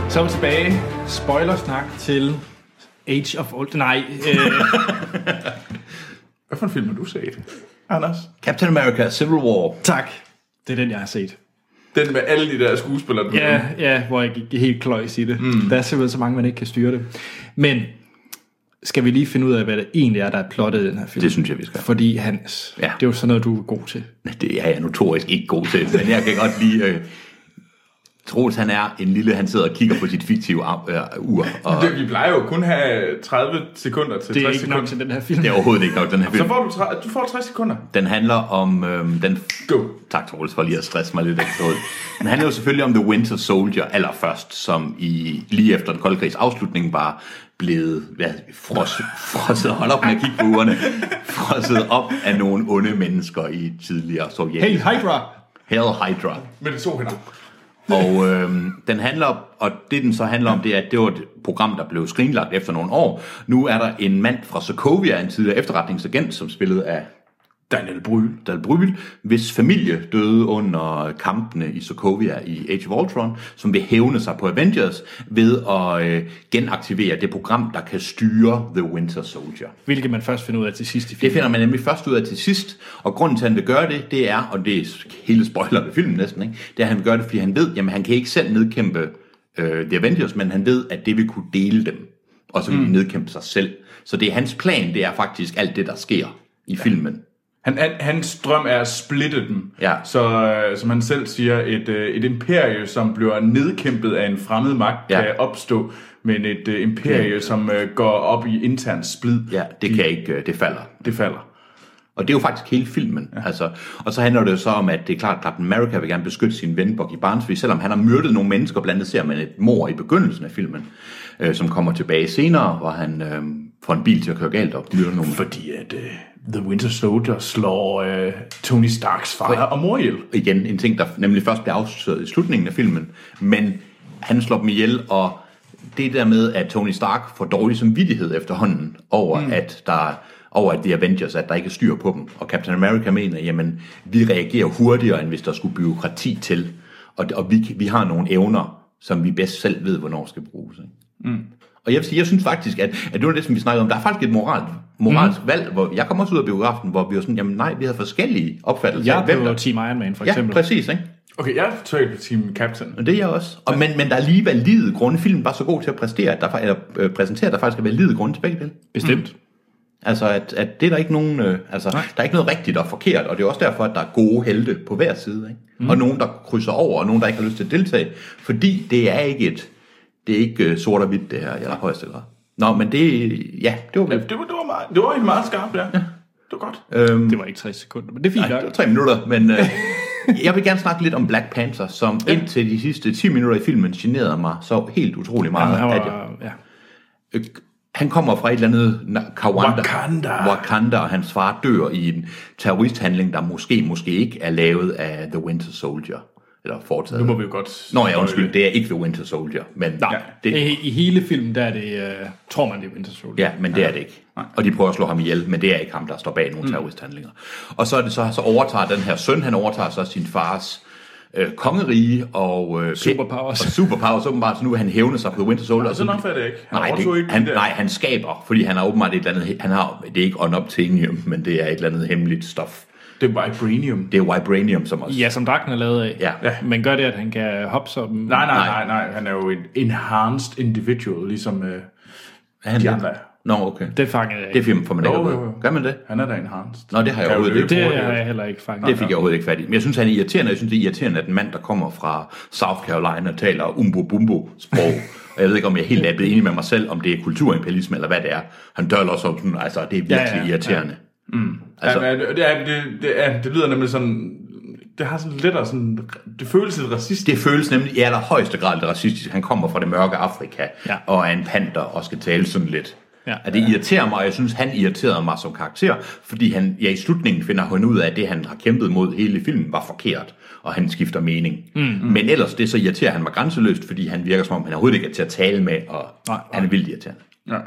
Så er vi tilbage. Spoilersnak til (laughs) Age of Old... Nej, øh, Hvad for en film har du set? Anders? Captain America Civil War. Tak. Det er den, jeg har set. Den med alle de der skuespillere. på. Ja, ja hvor jeg gik helt kløjs i det. Mm. Der er simpelthen så mange, man ikke kan styre det. Men skal vi lige finde ud af, hvad det egentlig er, der er plottet i den her film? Det synes jeg, vi skal. Fordi Hans, Ja. ja. det er jo sådan noget, du er god til. Det er jeg notorisk ikke god til, men jeg kan godt lide... Øh, Troels, han er en lille, han sidder og kigger på sit fiktive ar- øh, ur, og Det, vi plejer jo kun at have 30 sekunder til Det er 60 ikke sekunder. nok til den her film. det er overhovedet ikke nok, den her Så film. får du, tre- du får 60 sekunder. Den handler om... Øh, den Go. Tak, Troels, for lige at stresse mig lidt ekstra ud. Den handler jo selvfølgelig om The Winter Soldier allerførst, som i, lige efter den kolde krigs afslutning var blevet hvad, fros, frosset, hold op med at kigge på ugerne, frosset op af nogle onde mennesker i tidligere Sovjet. Hey, Hydra! Hell Hydra. Med de to hænder. Og øh, den handler, og det den så handler om, det er, at det var et program, der blev skrinlagt efter nogle år. Nu er der en mand fra Sokovia, en tidligere efterretningsagent, som spillede af Daniel Bryl, Daniel Bryl, hvis familie døde under kampene i Sokovia i Age of Ultron, som vil hævne sig på Avengers ved at øh, genaktivere det program, der kan styre The Winter Soldier. Hvilket man først finder ud af til sidst i Det filmen. finder man nemlig først ud af til sidst, og grunden til, at han vil gøre det, det er, og det er hele spoiler ved filmen næsten, ikke? det er, at han vil gøre det, fordi han ved, jamen han kan ikke selv nedkæmpe øh, The Avengers, men han ved, at det vil kunne dele dem, og så vil de nedkæmpe sig selv. Så det er hans plan, det er faktisk alt det, der sker i ja. filmen. Han, han, hans drøm er at splitte dem. Ja. Så øh, som han selv siger, et, øh, et imperie, som bliver nedkæmpet af en fremmed magt, Ja. ja. kan opstå, men et øh, imperie, ja. som øh, går op i intern splid, Ja, det kan ikke, øh, det falder. det falder. Og det er jo faktisk hele filmen. Ja. Altså, og så handler det jo så om, at det er klart, at Captain America vil gerne beskytte sin ven Bucky Barnes, fordi selvom han har myrdet nogle mennesker, blandt andet ser man et mor i begyndelsen af filmen, øh, som kommer tilbage senere, hvor han øh, får en bil til at køre galt op, myrder nogle Fordi at øh, The Winter Soldier slår øh, Tony Starks far og mor ihjel. igen en ting, der nemlig først bliver afsløret i slutningen af filmen, men han slår dem ihjel, og det der med, at Tony Stark får dårlig samvittighed efterhånden over, mm. at der over at The Avengers, at der ikke er styr på dem. Og Captain America mener, jamen, vi reagerer hurtigere, end hvis der skulle byråkrati til. Og, og vi, vi har nogle evner, som vi bedst selv ved, hvornår skal bruges. Ikke? Og jeg vil sige, jeg synes faktisk, at, at det var det, som vi snakkede om. Der er faktisk et moral, moralsk mm. valg, hvor jeg kom også ud af biografen, hvor vi var sådan, jamen nej, vi havde forskellige opfattelser. Jeg af, blev jo Team Iron Man, for Ja, eksempel. præcis, ikke? Okay, jeg er totalt på Team Captain. Og det er jeg også. Og, men, men der er lige valide grunde. Filmen var så god til at præstere, at der, fa- eller, øh, præsentere, at der faktisk er valide grunde til begge dele. Bestemt. Altså, at, at det er der ikke nogen... Øh, altså, der er ikke noget rigtigt og forkert, og det er også derfor, at der er gode helte på hver side, ikke? Mm. Og nogen, der krydser over, og nogen, der ikke har lyst til at deltage, fordi det er ikke et... Det er ikke øh, sort og hvidt, det her, i allerhøjeste grad. Nå, men det... Ja, det var Ja, vel... det, var, det, var meget, det var en meget skarp der. Ja. Det var godt. Øhm, Det var ikke 60 sekunder, men det er fint Nej, nok. det var tre minutter, men (laughs) øh, jeg vil gerne snakke lidt om Black Panther, som ja. indtil de sidste 10 minutter i filmen generede mig så helt utrolig meget. Han Jamen, at jeg, var, ja. øh, han kommer fra et eller andet na- Kawanda, Wakanda. Wakanda, og hans far dør i en terroristhandling, der måske, måske ikke er lavet af The Winter Soldier. Eller foretaget. Nu må vi jo godt... Nå ja, undskyld, det er ikke The Winter Soldier, men Nej, det, I, I hele filmen, der er det, uh, tror man, det er Winter Soldier. Ja, men det er det ikke. Og de prøver at slå ham ihjel, men det er ikke ham, der står bag Mm. nogle terroristhandlinger. Og så, er det så, så overtager den her søn, han overtager så sin fars øh, kongerige og... Øh, Superpowers. Og superpowers, åbenbart. Så nu vil han hævne sig på Winter Soldier. og sådan opfatter jeg ikke. Han nej, overtog det, ikke han, de der- nej, han skaber, fordi han har åbenbart et eller andet... Han har, det er ikke unobtainium, men det er et eller andet hemmeligt stof. Det var Vibranium. Det er vibranium, som også... Ja, som dragten er lavet af. Ja. Ja. Men gør det, at han kan hoppe som... Nej, nej, nej, nej. Han er jo en enhanced individual, ligesom øh, er han de det? andre er. Nå, okay. Det fangede jeg Det ikke. film får man ikke Jo, oh, jo, jo. Gør man det? Han er da enhanced. Nå, det har jeg Kan jo overhovedet ikke. løbe Det hurtigere. har jeg heller ikke fanget. Det fik jeg overhovedet ikke fat i. Men jeg synes, han er irriterende. Jeg synes, det er irriterende, at en mand, der kommer fra South Carolina, taler umbo-bumbo-sprog. og jeg ved ikke, om jeg er helt er blevet enig med mig selv, om det er kulturimperialisme eller hvad det er. Han døller også om sådan, altså, det er virkelig ja, Ja, ja, ja, irriterende. Ja. Mm. Altså, Altså. Ja, men det, er- det, det, er, det lyder nemlig sådan... Det har sådan lidt af sådan... Det føles lidt racistisk. det føles nemlig i allerhøjeste grad lidt racistisk. Han kommer fra det mørke Afrika ja. Ja. og er en panter og skal tale sådan lidt. Ja, Ja. at det irriterer mig, og jeg synes, han irriterede mig som karakter, fordi han, ja, i slutningen finder han ud af, at det, han har kæmpet mod hele filmen, var forkert, og han skifter mening. Mm. Men ellers, det så irriterer han mig grænseløst, fordi han virker, som om han overhovedet ikke er til at tale med, og nej, Nej, han er vildt irriterende. Ja.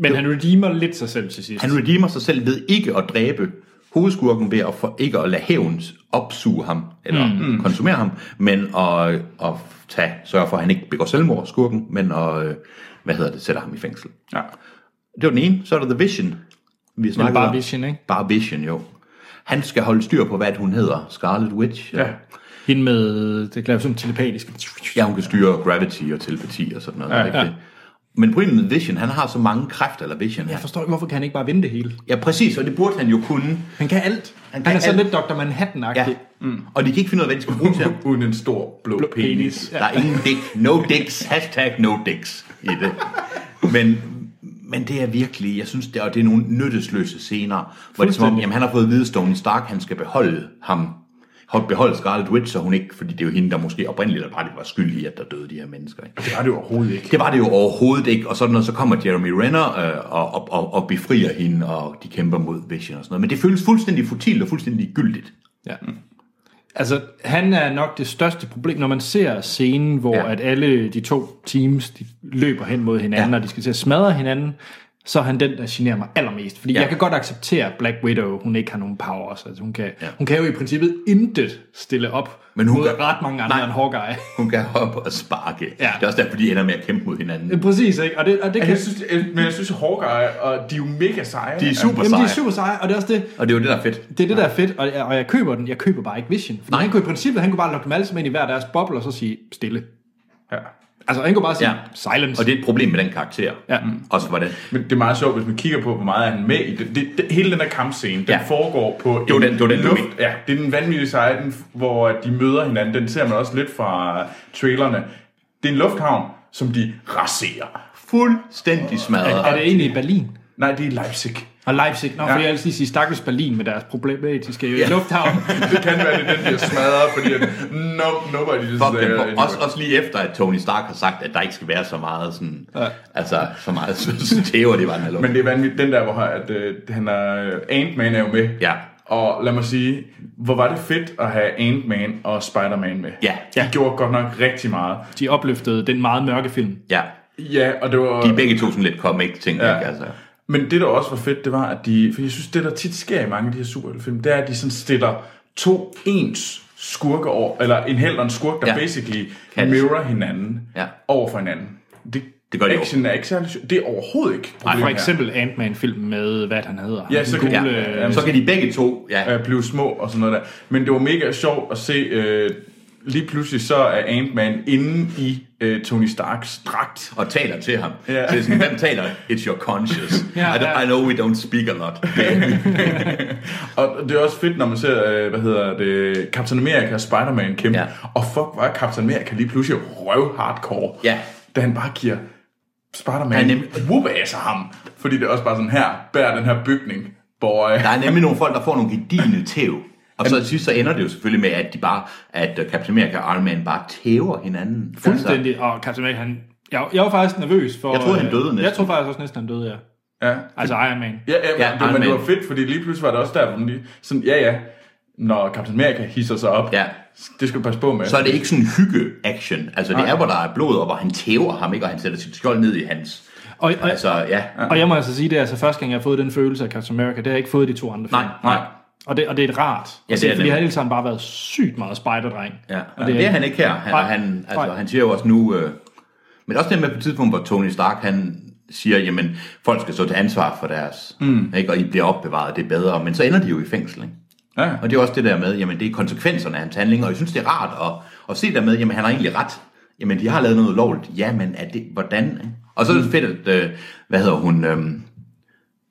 Men han redeemer lidt sig selv til sidst. Han redeemer sig selv ved ikke at dræbe hovedskurken ved at for, ikke at lade hævn opsuge ham, eller mm. konsumere ham, men at, at tage, sørge for, at han ikke begår selvmord, skurken, men at, øh, hvad hedder det, sætter ham i fængsel. ja. Det var den ene. Så er der The Vision. Vi snakkede bare om. Vision, ikke? Bare Vision, jo. Han skal holde styr på, hvad hun hedder. Scarlet Witch? Ja. Hende med, det klarer sådan telepatiske. Ja, hun kan styre gravity og telepati og sådan noget. Ja, ikke ja. Det? Men problemet med Vision, han har så mange kræfter, eller Vision. Jeg Ja, forstår ikke, hvorfor kan han ikke bare vinde det hele? ja præcis, og det burde han jo kunne. Han kan alt. Han, kan han er sådan alt. lidt Dr. Manhattan-agtig. Ja. Ja. Mm. Og de kan ikke finde ud af, hvad de skal bruge til ham. Uden en stor blå, blå penis. Penis. Ja. Der er ingen dick. No dicks. Hashtag no dicks i det. Men, men det er virkelig, jeg synes, det, og det er nogle nyttesløse scener, hvor det er som om, Fuldstændig. jamen, han har fået at vide, Tony Stark, han skal beholde ham. Hold- Beholde Scarlet Witch, så hun ikke, fordi det er jo hende, der måske oprindeligt eller bare det var skyld i, at der døde de her mennesker. Ikke? Det var det jo overhovedet ikke. Det var det jo overhovedet ikke, og sådan noget, så kommer Jeremy Renner øh, og, og, og, og befrier hende, og de kæmper mod Vision og sådan noget. Men det føles fuldstændig futilt og fuldstændig gyldigt. Ja. Mm. Altså, han er nok det største problem, når man ser scenen, hvor Ja. ja. at alle de to teams de løber hen mod hinanden, ja. Ja. og de skal til at smadre hinanden, så er han den, der generer mig allermest. Fordi Ja. ja. jeg kan godt acceptere, at Black Widow, hun ikke har nogen powers. Altså, hun, kan, Ja. ja. hun kan jo i princippet intet stille op Men hun mod kan- kan... ret mange andre Nej. Nej. end Hawkeye. Hun kan hoppe og sparke. Ja. Ja. Det er også derfor, de ender med at kæmpe mod hinanden. Præcis, ikke? Og det, og det kan... Altså, Jeg synes, jeg, men jeg synes, Hawkeye, og de er jo mega seje. Altså, De er super Jamen, de seje. er super seje, og det er også det, Og det er jo det, der er fedt. Det er det, der er fedt, og jeg, og jeg køber den. Jeg køber bare ikke Vision. Fordi Nej. Nej. han kunne i princippet, han kunne bare lokke dem alle sammen ind i hver deres boble, og så sige stille. Ja. Altså, han kunne bare sige Ja. ja. silence. Og det er et problem med den karakter. Ja. Også hvordan. Men det er meget sjovt, hvis man kigger på, hvor meget er han med i det. det, det hele den der kampscene, den Ja. foregår på Det var den- det var den, du mente. Ja, det er den vanvittige seje, den, hvor de møder hinanden. Den ser man også lidt fra trailerne. Det er en lufthavn, som de raserer. Fuldstændig smadret. er det egentlig i Berlin? Nej, det er Leipzig. Og Leipzig? Nå, ja. Ja. fordi jeg altid sige stakkels Berlin med deres problematiske ja. lufthavn. Det kan være, det er den, de har smadret, fordi at no, nobody just Fuck dem. there For- anymore. Også, også lige efter, at Tony Stark har sagt, at der ikke skal være så meget sådan... Ja. Altså, så meget (laughs) så tæver, det var den her Men luft. det er vanvittigt, den der, hvor at, øh, han er, Ant-Man er jo med. Ja. Og lad mig sige, hvor var det fedt at have Ant-Man og Spider-Man med. Ja. De Ja. gjorde godt nok rigtig meget. (laughs) De opløftede den meget mørke film. Ja. Ja, og det var... De er begge to sådan lidt comic-ting, ja. Ja. ikke? Altså. Men det, der også var fedt, det var, at de... For jeg synes, det, der tit sker i mange af de her superheltefilm, det er, at de sådan stiller to ens skurke over, eller en held og en skurk, der Ja. ja. basically Kan- mirror hinanden Ja. over for hinanden. Det, Det gør de jo. action er ikke særlig... sjov. Det er overhovedet ikke Og problemet for her. eksempel Ant-Man-filmen med, hvad han hedder. Ja, Den så kan- gule, Ja. øh, Jamen, Så kan de begge to... Ja. øh, blive små og sådan noget der. Men det var mega sjovt at se, øh, lige pludselig så er Ant-Man inde i øh, Tony Starks dragt. Og taler til ham. Så Ja. det er sådan, hvem taler? It's your conscious. Ja, I, don't, ja. I know we don't speak a lot. Og det er også fedt, når man ser, øh, hvad hedder det, Captain America og Spider-Man kæmpe. Ja. Ja. Og fuck, var Captain America lige pludselig røv hardcore. Ja. Da han bare giver Han Spider-Man er nem- whoop af ham. Fordi det er også bare sådan her, bær den her bygning, boy. Der er nemlig nogle folk, der får nogle gedigende tæv. Og så til sidst, så ender det jo selvfølgelig med, at de bare, at øh, Captain America og Iron Man bare tæver hinanden. Fuldstændig. Og Captain America, han... Jeg, jeg var faktisk nervøs for... Jeg troede, han øh, døde næsten. Jeg troede faktisk også næsten, han døde, ja. Ja. Altså Iron Man. Ja, ja, Ja, ja det, Iron men det Man. var fedt, fordi lige pludselig var det også der, hvor man lige, sådan, ja ja, når Captain America hisser sig op, Altså, Ja. det skal du passe på med. så er det ikke sådan en hygge-action. Altså, det er, hvor der er blod, og hvor han tæver ham, ikke? Og han sætter sit skjold ned i hans. Og, og, Altså, ja. og jeg må altså sige, det er altså første gang, jeg har fået den følelse af Captain America. Det har jeg ikke fået i de to andre film. Nej, nej. Og det, og det er et rart. Ja, Ja, det det er er fordi det. han hele tiden bare været sygt meget spejderdreng. Ja. Og Og det, er han ikke her. Han, Nej, han, altså, nej. han siger jo også nu... Øh, men også det med på et tidspunkt, hvor Tony Stark, han siger, jamen, folk skal stå til ansvar for deres, mm. ikke? og I bliver opbevaret, det er bedre, men så ender de jo i fængsel, ikke? Ja. Og det er også det der med, jamen, det er konsekvenserne af hans handlinger, og jeg synes, det er rart at, at se der med, jamen, han har egentlig ret. Jamen, de har lavet noget lovligt. Ja, men er det, hvordan? ikke? Og så er det fedt, at, øh, hvad hedder hun, øh,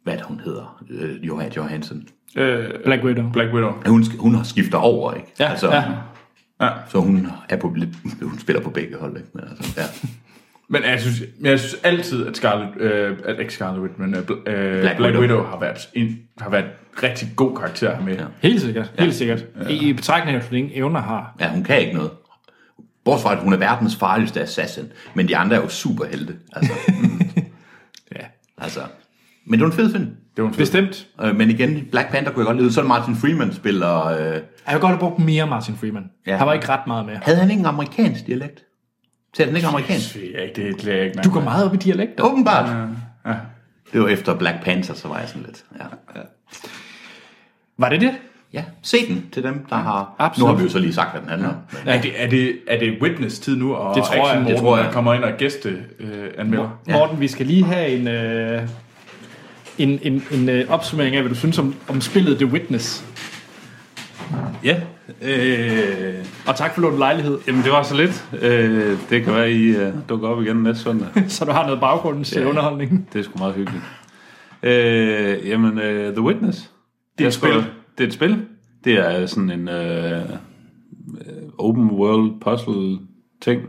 hvad er det, hun hedder, øh, Johan Johansen. Øh, Black Widow. Black Widow. Hun, sk- hun har skifter over, ikke? Ja, altså, ja. Så hun, er på, hun spiller på begge hold, ikke? Men altså, ja. Men jeg synes, men jeg synes altid, at Scarlet, øh, at ikke Scarlet Witch, men øh, bl- øh, Black Black, Widow. Widow, har, været en, har været rigtig god karakter at have med. Ja. Helt sikkert. Helt sikkert. I, i betragtning af, at hun ingen evner har. ja, hun kan ikke noget. Bortset fra, at hun er verdens farligste assassin, men de andre er jo superhelte. Altså, (laughs) Ja. altså. Men det var en fed film. Det var en fed. Bestemt. Øh, men igen, Black Panther kunne jeg godt lide. Så er det Martin Freeman spiller... Øh, Jeg har godt have brugt mere Martin Freeman. Ja. Ja. Han var ikke ret meget med. havde han ikke en amerikansk dialekt? Talte han ikke amerikansk? Det er ikke det, det er ikke Du går meget op i dialekter. Åbenbart. Ja, ja. Det var efter Black Panther, så var jeg sådan lidt... Ja. Var det det? ja, se den til dem, der har... Absolut. Nu har vi jo så lige sagt, hvad den handler om. men- Er det, er, det, er det Witness-tid nu, og Det tror jeg, Action Morten, det tror jeg. der kommer ind og gæste øh, anmelder? Ja. Morten, vi skal lige have en, øh, en, en, en øh, opsummering af, hvad du synes om, om spillet The Witness. Ja, øh, og tak for lånt lejlighed, Jamen, det var så lidt. Øh, det kan være, I øh, dukker op igen næste søndag. (laughs) så du har noget øh, baggrund til Ja. underholdningen. Det er sgu meget hyggeligt. Øh, jamen, øh, The Witness. Det er et spil. Det er et spil. Det er øh, sådan en øh, øh, open world puzzle ting,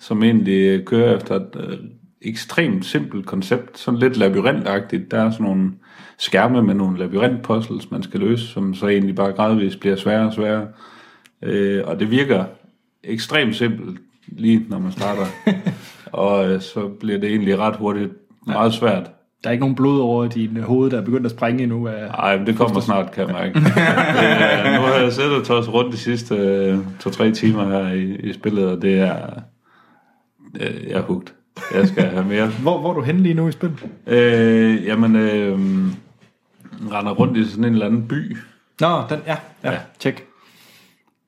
som egentlig øh, kører efter et øh, ekstremt simpelt koncept. Sådan lidt labyrintagtigt. Der er sådan nogle skærme med nogle labyrintpuzzles, man skal løse, som så egentlig bare gradvist bliver sværere og sværere. Øh, og det virker ekstremt simpelt, lige når man starter. og øh, så bliver det egentlig ret hurtigt meget svært. Der er ikke nogen blod over din øh, hoved, der er begyndt at sprænge endnu. Af... Ej, men det kommer snart, kan jeg mærke. øh, nu har jeg siddet og tosset rundt de sidste øh, to-tre timer her i, i spillet, og det er... Øh, jeg er hugt. Jeg skal have mere. Hvor, hvor er du henne lige nu i spil? Øh, jamen, øh, render rundt i sådan en eller anden by, Nå, den, ja, ja, Ja. ja. tjek.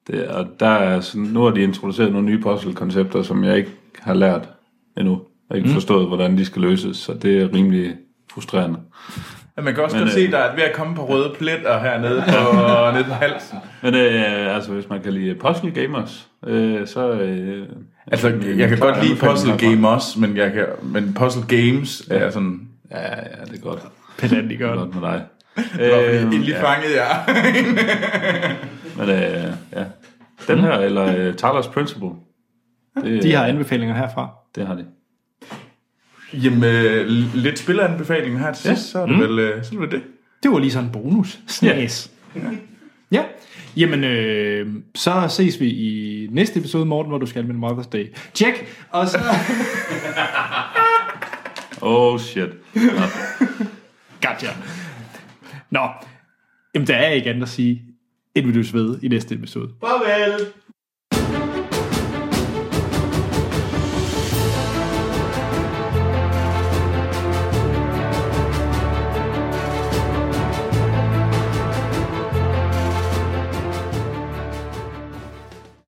Det, og der er sådan, nu har de introduceret nogle nye puzzle-koncepter, som jeg ikke har lært endnu. Jeg har ikke mm. forstået, hvordan de skal løses, så det er rimelig frustrerende. Ja, man kan også Men, godt øh, se, der er ved at komme på røde pletter hernede (laughs) på, nede på halsen. Men øh, altså, hvis man kan lide puzzle gamers, øh, så... Øh, Altså, øh, jeg kan klar godt lide anbefaling puzzle herfra. game også, men, jeg kan, men puzzle games er sådan... Ja, ja, det er godt. Pedantik Det er godt. godt med dig. Øh, lige ja, fanget jer. men øh, ja. Den her, Mm. eller øh, Tyler's Principle. Det, De har anbefalinger herfra. Det har de. Jamen, øh, lidt spilleranbefaling her til Ja. sidst, så er det vel øh, så er det. vel det. Det var lige sådan en bonus. Snas. Ja. ja. Jamen, øh, så ses vi i næste episode, Morten, hvor du skal med Mother's Day. Tjek! Og så... Oh shit. (laughs) gotcha. Nå. Jamen, der er ikke andet at sige, end vi lyttes ved i næste episode. Farvel!